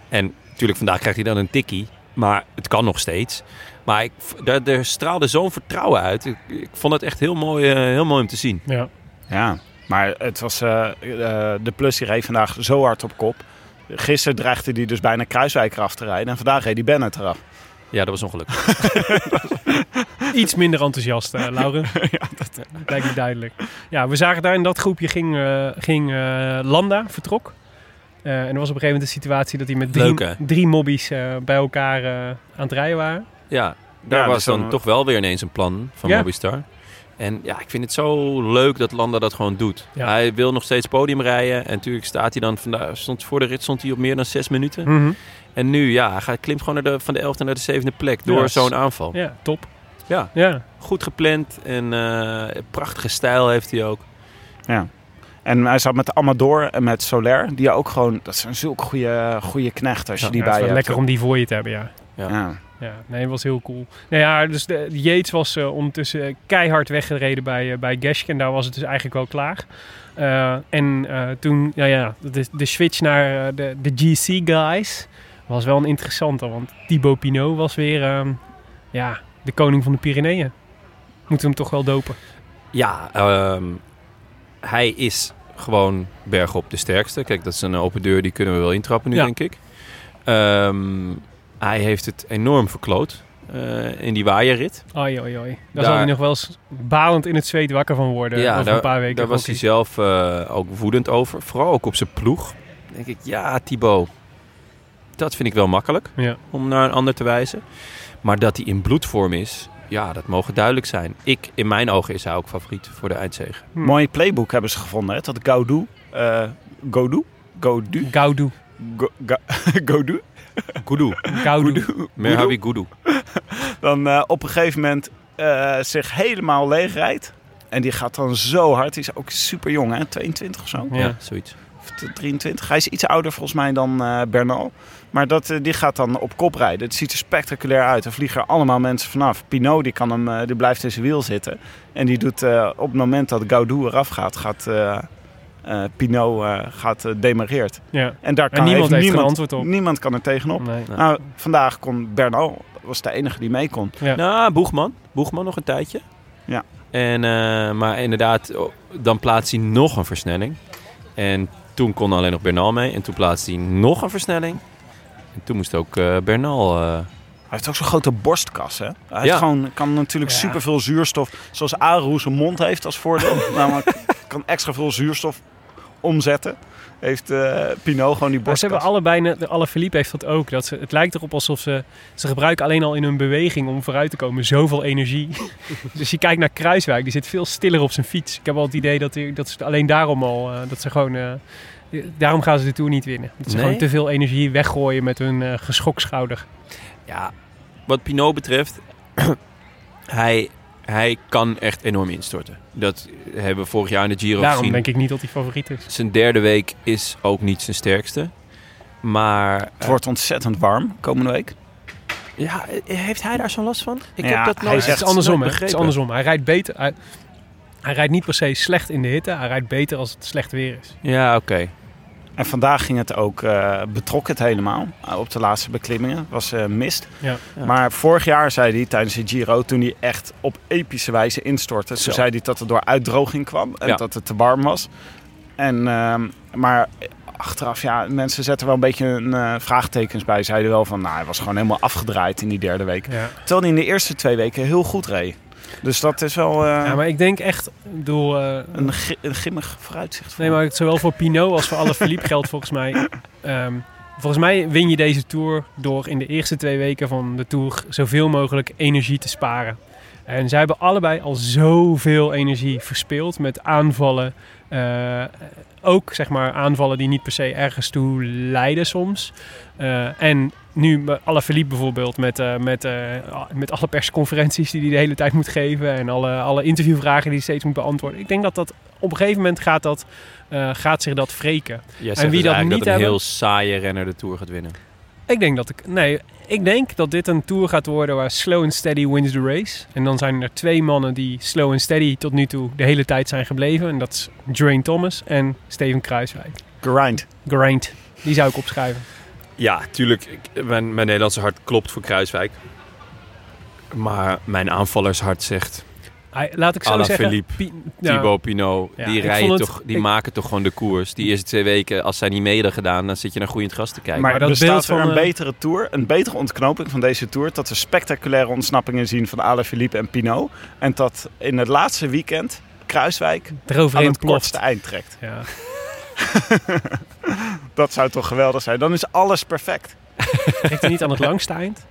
Speaker 2: En natuurlijk, vandaag krijgt hij dan een tikkie. Maar het kan nog steeds. Maar ik, v- daar, er straalde zo'n vertrouwen uit. Ik, ik vond het echt heel mooi, eh, heel mooi om te zien.
Speaker 3: Ja.
Speaker 7: Ja, maar het was, eh, eh, de Plus die reed vandaag zo hard op kop. Gisteren dreigde hij dus bijna Kruiswijk eraf te rijden. En vandaag reed hij Bennett eraf.
Speaker 2: Ja, dat was ongelukkig.
Speaker 3: Iets minder enthousiast, eh Lauren. Lijkt me duidelijk. Ja, we zagen daar in dat groepje ging, eh, ging eh, Landa, vertrok. Eh, en er was op een gegeven moment de situatie dat hij met drie,
Speaker 2: Leuk, hè?
Speaker 3: drie mobbies eh, bij elkaar eh, aan het rijden waren.
Speaker 2: Ja, daar
Speaker 7: Ja,
Speaker 2: was
Speaker 7: dus
Speaker 2: dan,
Speaker 7: dan-
Speaker 2: toch wel weer ineens een plan van
Speaker 3: Ja.
Speaker 2: Mobistar. En ja, ik vind het zo leuk dat Landa dat gewoon doet.
Speaker 3: Ja.
Speaker 2: Hij wil nog steeds podium rijden. En natuurlijk staat hij dan vandaag, stond voor de rit stond hij op meer dan zes minuten.
Speaker 3: Hm.
Speaker 2: En nu, ja, hij gaat- klimt gewoon naar de, van de elfde naar de zevende plek door
Speaker 3: Ja, s-
Speaker 2: zo'n aanval.
Speaker 3: Ja, top.
Speaker 2: Ja.
Speaker 3: ja.
Speaker 2: Goed gepland en eh, prachtige stijl heeft hij ook.
Speaker 7: En eh, hij zat met Amador en met Soler. Die ook gewoon... Dat zijn zulke goede, goede knechten als je
Speaker 2: Ja,
Speaker 7: die
Speaker 3: Ja, het is
Speaker 7: bij
Speaker 3: wel
Speaker 7: je
Speaker 3: lekker
Speaker 7: hebt.
Speaker 3: om die voor je te hebben, ja.
Speaker 7: Ja.
Speaker 3: Ja, nee, was heel cool. Nou ja, dus de, Yates was eh, ondertussen eh, keihard weggereden bij, eh, bij Geschke. En daar was het dus eigenlijk wel klaar. Eh, en eh, toen, nou ja, de, de switch naar eh, de, de GC guys was wel een interessante. Want Thibaut Pinot was weer ehm, ja, de koning van de Pyreneeën. Moeten we hem toch wel dopen.
Speaker 2: Ja, ehm, hij is gewoon bergop de sterkste. Kijk, dat is een open deur, die kunnen we wel intrappen nu,
Speaker 3: Ja.
Speaker 2: denk ik. Ehm, hij heeft het enorm verkloot eh, in die waaierrit.
Speaker 3: Oi, oi, oi. Daar,
Speaker 2: Daar-
Speaker 3: zal hij nog wel eens balend in het zweet wakker van worden.
Speaker 2: Ja,
Speaker 3: over
Speaker 2: daar-
Speaker 3: een paar weken.
Speaker 2: Daar was hij
Speaker 3: hockey.
Speaker 2: zelf eh, ook woedend over. Vooral ook op zijn ploeg. Dan denk ik, ja, Thibaut, dat vind ik wel makkelijk
Speaker 3: Ja.
Speaker 2: om naar een ander te wijzen. Maar dat hij in bloedvorm is, ja, dat mogen duidelijk zijn. Ik, in mijn ogen is hij ook favoriet voor de eindzege.
Speaker 3: Hm.
Speaker 7: Mooi playbook hebben ze gevonden. Hè? Dat Gaudu... eh Godu? Godu?
Speaker 3: Gaudu.
Speaker 7: Go- Ga- Godu?
Speaker 2: Kudu,
Speaker 3: Gaudu.
Speaker 2: Merhabi Kudu.
Speaker 7: dan eh, op een gegeven moment eh, zich helemaal leeg rijdt. En die gaat dan zo hard. Die is ook super jong, hè? 22 of zo.
Speaker 3: Ja.
Speaker 2: Ja, zoiets.
Speaker 7: Of t- 23. Hij is iets ouder volgens mij dan eh, Bernal. Maar dat, eh, die gaat dan op kop rijden. Het ziet er spectaculair uit. Er vliegen er allemaal mensen vanaf. Pinot die kan hem, eh, die blijft in zijn wiel zitten. En die doet eh, op het moment dat Gaudu eraf gaat, gaat eh, eh, Pinot eh, gaat, eh, demareert.
Speaker 3: Ja.
Speaker 7: En daar kan
Speaker 3: En niemand heeft er
Speaker 7: niemand,
Speaker 3: antwoord op.
Speaker 7: niemand kan er tegenop.
Speaker 3: Nee.
Speaker 2: Nee.
Speaker 7: Nou, vandaag kon Bernal, dat was de enige die mee kon.
Speaker 2: Nou, Boegman. Boegman nog een tijdje.
Speaker 7: Ja.
Speaker 2: En, eh, maar inderdaad, oh, dan plaatst hij nog een versnelling. En toen kon alleen nog Bernal mee. En toen plaatste hij nog een versnelling. En toen moest ook eh, Bernal... eh,
Speaker 7: Hij heeft ook zo'n grote borstkas, hè? Hij heeft
Speaker 2: Ja.
Speaker 7: gewoon, kan natuurlijk
Speaker 3: Ja.
Speaker 7: superveel zuurstof, zoals Aru zijn mond heeft als voordeel. Namelijk kan extra veel zuurstof omzetten. Heeft eh Pinot gewoon die
Speaker 3: Maar ze
Speaker 7: borstkas.
Speaker 3: hebben allebei, net- alle Philippe heeft dat ook. Dat ze, het lijkt erop alsof ze, ze gebruiken alleen al in hun beweging om vooruit te komen zoveel energie. dus je kijkt naar Kruiswijk, die zit veel stiller op zijn fiets. Ik heb al het idee dat, die- dat ze alleen daarom al, eh, dat ze gewoon, eh, daarom gaan ze de Tour niet winnen. Dat ze
Speaker 2: Nee?
Speaker 3: gewoon te veel energie weggooien met hun eh geschokschouder.
Speaker 2: ja, wat Pinot betreft... hij, hij kan echt enorm instorten. Dat hebben we vorig jaar in de Giro
Speaker 3: Daarom
Speaker 2: gezien.
Speaker 3: denk ik niet dat hij favoriet is.
Speaker 2: Zijn derde week is ook niet zijn sterkste. Maar... eh,
Speaker 7: Het wordt ontzettend warm komende week.
Speaker 2: Ja, heeft hij daar zo'n last van? Ik
Speaker 7: Ja,
Speaker 2: heb dat
Speaker 7: Oh, hij
Speaker 2: nooit
Speaker 3: Het is
Speaker 7: zegt-
Speaker 3: andersom, hè?
Speaker 2: nooit
Speaker 3: Het is
Speaker 2: begrepen.
Speaker 3: andersom. Hij rijdt beter. Hij, hij rijdt niet per se slecht in de hitte. Hij rijdt beter als het slecht weer is.
Speaker 2: Ja, oké.
Speaker 7: En vandaag ging het ook, eh betrok het helemaal eh, op de laatste beklimmingen. Was eh, mist.
Speaker 3: Ja.
Speaker 2: Ja.
Speaker 7: Maar vorig jaar zei hij tijdens de Giro, toen hij echt op epische wijze instortte.
Speaker 2: Zo.
Speaker 7: Toen zei hij dat het door uitdroging kwam en
Speaker 2: Ja.
Speaker 7: dat het te warm was. En, ehm, maar achteraf, ja, mensen zetten wel een beetje een eh, vraagtekens bij. Zeiden wel van, nou, hij was gewoon helemaal afgedraaid in die derde week.
Speaker 3: Ja.
Speaker 7: Terwijl hij in de eerste twee weken heel goed reed. Dus dat is wel eh,
Speaker 3: Ja, maar ik denk echt, ik bedoel, eh,
Speaker 7: een, gi- een gimmig vooruitzicht. voor
Speaker 3: Nee, maar zowel voor Pinot als voor alle Philippe geldt volgens mij. ehm, volgens mij win je deze Tour door in de eerste twee weken van de Tour zoveel mogelijk energie te sparen. En zij hebben allebei al zoveel energie verspeeld met aanvallen. eh, ook zeg maar aanvallen die niet per se ergens toe leiden soms. Eh, en nu alle Philippe bijvoorbeeld met, eh, met, eh, a- met alle persconferenties die hij de hele tijd moet geven. En alle, alle interviewvragen die hij steeds moet beantwoorden. Ik denk dat dat op een gegeven moment gaat, dat, eh, gaat zich dat wreken.
Speaker 2: Jij
Speaker 3: zegt wie dus dat eigenlijk
Speaker 2: dat
Speaker 3: niet dat een
Speaker 2: een
Speaker 3: hebben- heel
Speaker 2: heel saaie renner de Tour gaat winnen.
Speaker 3: Ik denk dat ik. Nee, ik denk dat dit een tour gaat worden waar slow and steady wins the race. En dan zijn er twee mannen die slow and steady tot nu toe de hele tijd zijn gebleven. En dat is Drain Thomas en Steven Kruiswijk.
Speaker 7: Grind.
Speaker 3: Grind. Die zou ik opschrijven.
Speaker 2: Ja, tuurlijk. ik- mijn, mijn Nederlandse hart klopt voor Kruiswijk. Maar mijn aanvallershart zegt...
Speaker 3: Hij- laat ik zo
Speaker 2: À la
Speaker 3: zeggen.
Speaker 2: Philippe,
Speaker 3: Pi- ja,
Speaker 2: Thibaut Pinot,
Speaker 3: Ja,
Speaker 2: die,
Speaker 3: ik
Speaker 2: rijden
Speaker 3: vond het-
Speaker 2: toch, die
Speaker 3: ik-
Speaker 2: maken toch gewoon de koers. Die eerste twee weken, als zij niet mee hadden gedaan... dan zit je naar groeiend gras te kijken.
Speaker 7: Maar,
Speaker 3: Maar dat
Speaker 7: bestaat
Speaker 3: beeld
Speaker 7: er
Speaker 3: van,
Speaker 7: een
Speaker 3: eh,
Speaker 7: betere tour, een betere ontknoping van deze tour, dat we spectaculaire ontsnappingen zien van Alaphilippe en Pinot, en dat in het laatste weekend Kruiswijk aan
Speaker 3: Eroverheen
Speaker 7: het kortste
Speaker 3: ploft.
Speaker 7: eind trekt.
Speaker 3: Ja.
Speaker 7: Dat zou toch geweldig zijn? Dan is alles perfect.
Speaker 3: Trekt hij niet aan het langste eind?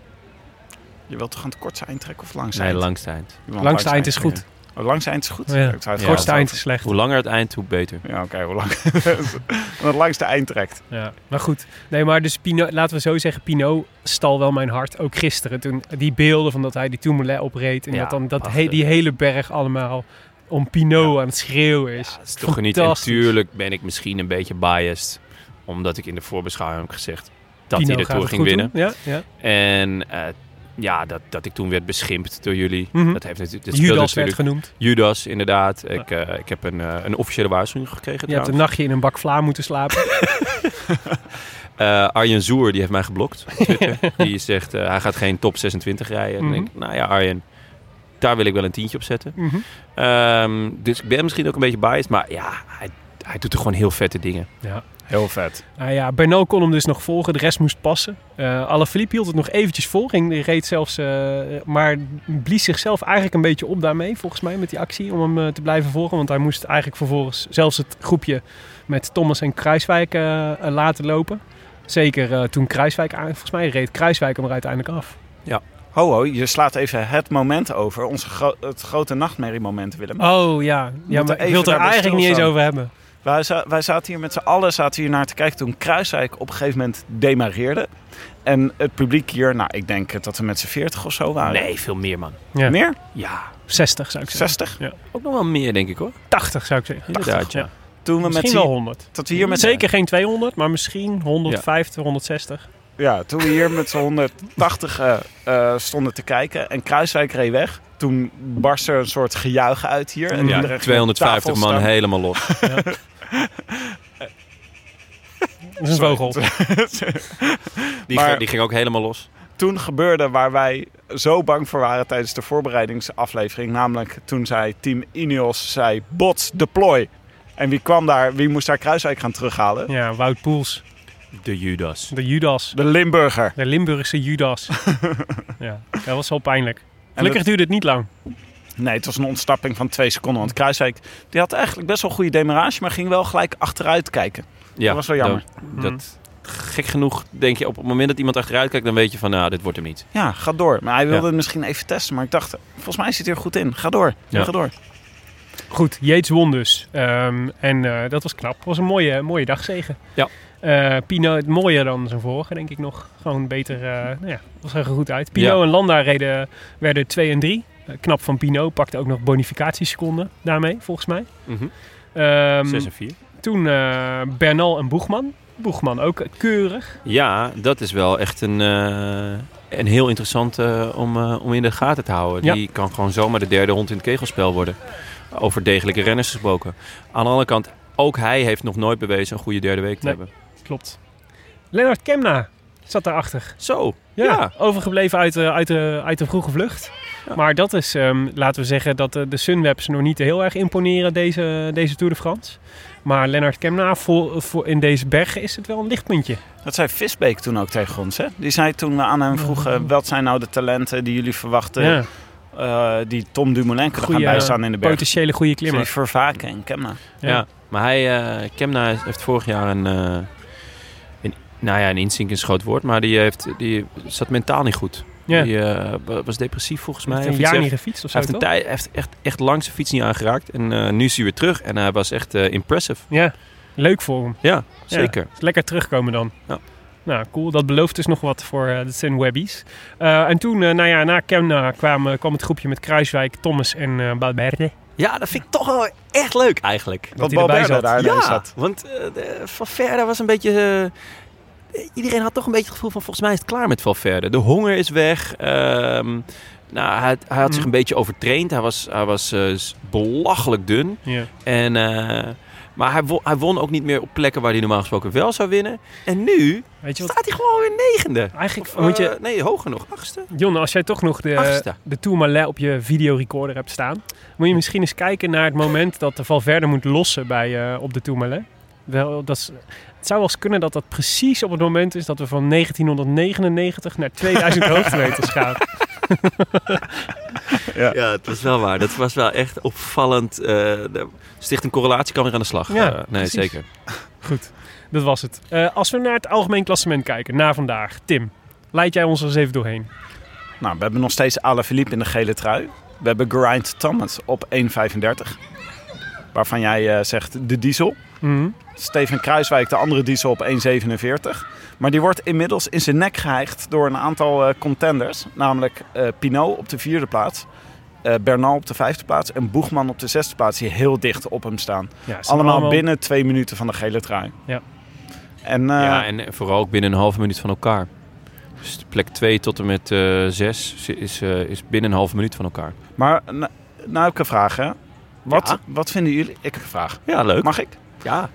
Speaker 7: Je wilt toch aan het kortste eind trekken of langs
Speaker 2: Nee,
Speaker 7: eind?
Speaker 2: langs het eind.
Speaker 7: Je wilt
Speaker 3: langste eind is goed.
Speaker 7: Oh, langs eind is goed.
Speaker 3: Ja.
Speaker 7: Ik zou
Speaker 3: Het
Speaker 7: het
Speaker 2: Ja.
Speaker 3: kortste
Speaker 7: gewoon-
Speaker 3: eind is slecht.
Speaker 2: Hoe langer het eind, hoe beter.
Speaker 7: Ja, oké, hoe lang? Aan het langste eind trekt.
Speaker 3: Ja, maar goed. Nee, maar dus Pino, laten we zo zeggen, Pino stal wel mijn hart. Ook gisteren, toen die beelden van dat hij die Tourmalet opreed. En
Speaker 2: Ja,
Speaker 3: dat dan dat he-
Speaker 2: prachtig.
Speaker 3: die hele berg allemaal om Pinot aan het schreeuwen is.
Speaker 2: Dat is toch geniet. En
Speaker 3: Fantastisch.
Speaker 2: tuurlijk ben ik misschien een beetje biased. Omdat ik in de voorbeschouwing heb gezegd dat
Speaker 3: Pinot
Speaker 2: hij de
Speaker 3: gaat
Speaker 2: Tour
Speaker 3: het
Speaker 2: ging
Speaker 3: goed
Speaker 2: winnen.
Speaker 3: doen. Ja, ja.
Speaker 2: En eh, ja, dat, dat ik toen werd beschimpt door jullie.
Speaker 3: Mhm.
Speaker 2: Dat heeft natuurlijk... dat speelt
Speaker 3: Judas werd
Speaker 2: natuurlijk-
Speaker 3: genoemd.
Speaker 2: Judas, inderdaad. Ik, eh, ik heb een, eh, een officiële waarschuwing gekregen
Speaker 3: Je hebt een
Speaker 2: trouwens.
Speaker 3: nachtje in een bak vla moeten slapen.
Speaker 2: Eh, Arjen Zoer, die heeft mij geblokt. op Twitter. die zegt, eh, hij gaat geen top 26 rijden. En dan denk ik, nou ja, Arjen, daar wil ik wel een tientje op zetten.
Speaker 3: Mhm.
Speaker 2: Ehm, dus ik ben misschien ook een beetje biased. Maar ja, hij, hij doet er gewoon heel vette dingen.
Speaker 3: ja.
Speaker 7: Heel vet.
Speaker 3: Nou ja, Bernal kon hem dus nog volgen, de rest moest passen. Eh Alaphilippe hield het nog eventjes vol, ging, die reed zelfs, eh, maar blies zichzelf eigenlijk een beetje op daarmee, volgens mij, met die actie, om hem eh, te blijven volgen. Want hij moest eigenlijk vervolgens zelfs het groepje met Thomas en Kruiswijk eh, eh, laten lopen. Zeker eh, toen Kruiswijk, aan, volgens mij reed Kruiswijk hem er uiteindelijk af.
Speaker 7: Ho, ho, je slaat even het moment over. Onze gro- het grote nachtmerriemoment, Willem.
Speaker 3: Oh ja, ja
Speaker 7: moeten
Speaker 3: maar ik
Speaker 7: even
Speaker 3: wil het er
Speaker 7: daarbij
Speaker 3: eigenlijk niet eens
Speaker 7: stilstaan.
Speaker 3: over hebben.
Speaker 7: Wij, za- wij zaten hier met z'n allen zaten hier naar te kijken toen Kruiswijk op een gegeven moment demareerde. En het publiek hier, nou, ik denk dat we met z'n 40 of zo waren.
Speaker 2: Nee, veel meer, man.
Speaker 3: Ja.
Speaker 7: Meer?
Speaker 2: Ja,
Speaker 3: 60 zou ik zeggen.
Speaker 7: 60?
Speaker 2: ook nog wel meer, denk ik, hoor.
Speaker 3: 80 zou ik zeggen.
Speaker 2: Inderdaad, ja.
Speaker 7: Toen we
Speaker 3: Misschien
Speaker 7: met
Speaker 3: wel
Speaker 7: z'n-
Speaker 3: 100.
Speaker 7: dat we hier met z'n-
Speaker 3: Zeker geen 200, maar misschien 150, 160.
Speaker 7: Ja, toen we hier met z'n 180 eh, eh, stonden te kijken en Kruiswijk reed weg. Toen barstte er een soort gejuich uit hier. En iedereen ging
Speaker 2: Ja,
Speaker 7: op
Speaker 2: 250
Speaker 7: tafel
Speaker 2: man
Speaker 7: staan.
Speaker 2: helemaal los.
Speaker 3: Dat is een vogel.
Speaker 2: Die,
Speaker 7: Maar-
Speaker 2: ging, die ging ook helemaal los.
Speaker 7: toen gebeurde waar wij zo bang voor waren tijdens de voorbereidingsaflevering. Namelijk toen zei Team Ineos, zei bots deploy. En wie kwam daar, wie moest daar Kruiswijk gaan terughalen?
Speaker 3: Ja, Wout Poels.
Speaker 2: De Judas.
Speaker 3: De Judas.
Speaker 7: De Limburger.
Speaker 3: De Limburgse Judas. ja, dat was wel pijnlijk. Gelukkig
Speaker 7: dat-
Speaker 3: duurde het niet lang.
Speaker 7: Nee, het was een ontstapping van twee seconden. Want Kruiswijk die had eigenlijk best wel goede demarage, maar ging wel gelijk achteruit kijken.
Speaker 2: Ja,
Speaker 7: Dat was wel jammer.
Speaker 2: Dat, dat- gek genoeg denk je, op het moment dat iemand achteruit kijkt, dan weet je van, nou, dit wordt hem niet.
Speaker 7: Ja, ga door. Maar hij wilde
Speaker 2: Ja.
Speaker 7: het misschien even testen. Maar ik dacht, volgens mij zit hij er goed in. Ga door.
Speaker 2: Ja.
Speaker 7: Ga door.
Speaker 3: Goed, Yates won dus. Ehm, en eh, dat was knap. Het was een mooie, mooie dagzegen.
Speaker 2: Ja.
Speaker 3: Eh, Pino, het mooier dan zijn vorige, denk ik nog. Gewoon beter, eh nou ja, was er goed uit. Pino
Speaker 2: Ja.
Speaker 3: en Landa reden, werden 2 en 3. knap van Pino, pakte ook nog bonificatieseconden daarmee, volgens mij.
Speaker 2: Mhm.
Speaker 3: Ehm,
Speaker 2: 6 en 4.
Speaker 3: toen eh, Bernal en Boegman. Boegman ook keurig.
Speaker 2: Ja, dat is wel echt een, eh, een heel interessant eh, om, eh, om in de gaten te houden.
Speaker 3: Ja.
Speaker 2: Die kan gewoon zomaar de derde hond in het kegelspel worden. Over degelijke renners gesproken. Aan de andere kant, ook hij heeft nog nooit bewezen een goede derde week te
Speaker 3: Nee.
Speaker 2: hebben.
Speaker 3: Klopt. Lennart Kemna zat daarachter.
Speaker 2: Zo,
Speaker 3: Ja,
Speaker 2: Ja.
Speaker 3: overgebleven uit, eh, uit, de, uit de vroege vlucht.
Speaker 2: Ja.
Speaker 3: Maar dat is, ehm, laten we zeggen, dat eh, de Sunwebs nog niet heel erg imponeren deze, deze Tour de France. Maar Lennart Kemna, voor, voor in deze bergen is het wel een lichtpuntje.
Speaker 7: Dat zei Visbeek toen ook tegen ons. Hè? Die zei toen we aan hem vroegen, wat zijn nou de talenten die jullie verwachten...
Speaker 3: ja,
Speaker 7: eh, die Tom Dumoulin kunnen gaan
Speaker 3: Goeie,
Speaker 7: bijstaan in de berg.
Speaker 3: potentiële goede
Speaker 7: Die
Speaker 3: klimmer.
Speaker 7: voor Vaken en Kemna.
Speaker 3: Ja.
Speaker 2: Ja. maar hij, eh Kemna heeft vorig jaar een, eh, een nou ja, een insink is een groot woord, maar die, heeft, die zat mentaal niet goed.
Speaker 3: Ja.
Speaker 2: Die eh, wa- was depressief volgens mij.
Speaker 3: Heeft
Speaker 2: of
Speaker 3: een
Speaker 2: iets
Speaker 3: jaar
Speaker 2: dergelijks.
Speaker 3: niet gefietst of zo,
Speaker 2: hij heeft, een
Speaker 3: toch?
Speaker 2: tijd, hij heeft echt, echt lang zijn fiets niet aangeraakt en eh, nu is hij weer terug en hij was echt eh, impressive.
Speaker 3: Ja, leuk voor hem.
Speaker 2: Ja, zeker.
Speaker 3: Is Lekker terugkomen dan.
Speaker 2: Ja.
Speaker 3: Nou, cool. Dat belooft dus nog wat voor eh, de Sunwebbies. Eh, en toen, eh, nou ja, na Kemna kwam, kwam het groepje met Kruiswijk, Thomas en eh Valverde.
Speaker 2: Ja, dat vind ik toch wel echt leuk eigenlijk.
Speaker 7: Dat
Speaker 3: hij erbij
Speaker 7: Balberde
Speaker 3: zat.
Speaker 7: daar ineens zat.
Speaker 2: want eh, de- Valverde was een beetje... eh, iedereen had toch een beetje het gevoel van... volgens mij is het klaar met Valverde. De honger is weg. Ehm, nou, hij, hij had zich een beetje overtraind. Hij was, hij was eh, s- belachelijk dun.
Speaker 3: Ja.
Speaker 2: En, eh, maar hij won, hij won ook niet meer op plekken... waar hij normaal gesproken wel zou winnen. En nu
Speaker 3: Weet je wat?
Speaker 2: staat hij gewoon weer negende.
Speaker 3: Eigenlijk
Speaker 2: Of,
Speaker 3: moet
Speaker 2: eh,
Speaker 3: je...
Speaker 2: nee, hoger nog. Achtste.
Speaker 3: Jonne, als jij toch nog de,
Speaker 2: Achtste.
Speaker 3: de Tourmalet op je videorecorder hebt staan... moet je misschien eens kijken naar het moment dat de Valverde moet lossen bij, eh, op de Tourmalet. Wel, dat is, het zou wel eens kunnen dat dat precies op het moment is... dat we van 1999 naar 2000 hoogtemeters gaan.
Speaker 2: Ja, dat was wel waar. Dat was wel echt opvallend. eh, de- sticht een correlatie, kan weer aan de slag.
Speaker 3: Ja,
Speaker 2: Eh, nee,
Speaker 3: precies.
Speaker 2: zeker.
Speaker 3: Goed, dat was het. Eh, als we naar het algemeen klassement kijken, na vandaag. Tim, leid jij ons er eens even doorheen.
Speaker 7: Nou, we hebben nog steeds Alaphilippe in de gele trui. We hebben Geraint Thomas op 1,35. Waarvan jij eh, zegt de diesel.
Speaker 3: Mhm.
Speaker 7: Steven Kruiswijk, de andere diesel, op 1,47. Maar die wordt inmiddels in zijn nek geheigd door een aantal eh, contenders. Namelijk eh Pinot op de vierde plaats. eh, Bernal op de vijfde plaats en Boegman op de zesde plaats, die heel dicht op hem staan.
Speaker 3: Ja, ze
Speaker 7: Allemaal binnen twee minuten van de gele trui.
Speaker 3: Ja.
Speaker 7: En, eh,
Speaker 2: ja, en vooral ook binnen een halve minuut van elkaar. Dus de plek 2 tot en met 6 is, eh, is binnen een halve minuut van elkaar.
Speaker 7: Maar na- nou heb ik een vraag, hè. Wat,
Speaker 2: Ja.
Speaker 7: wat vinden jullie... Ik heb een vraag.
Speaker 2: Ja, leuk.
Speaker 7: Mag ik?
Speaker 2: ja.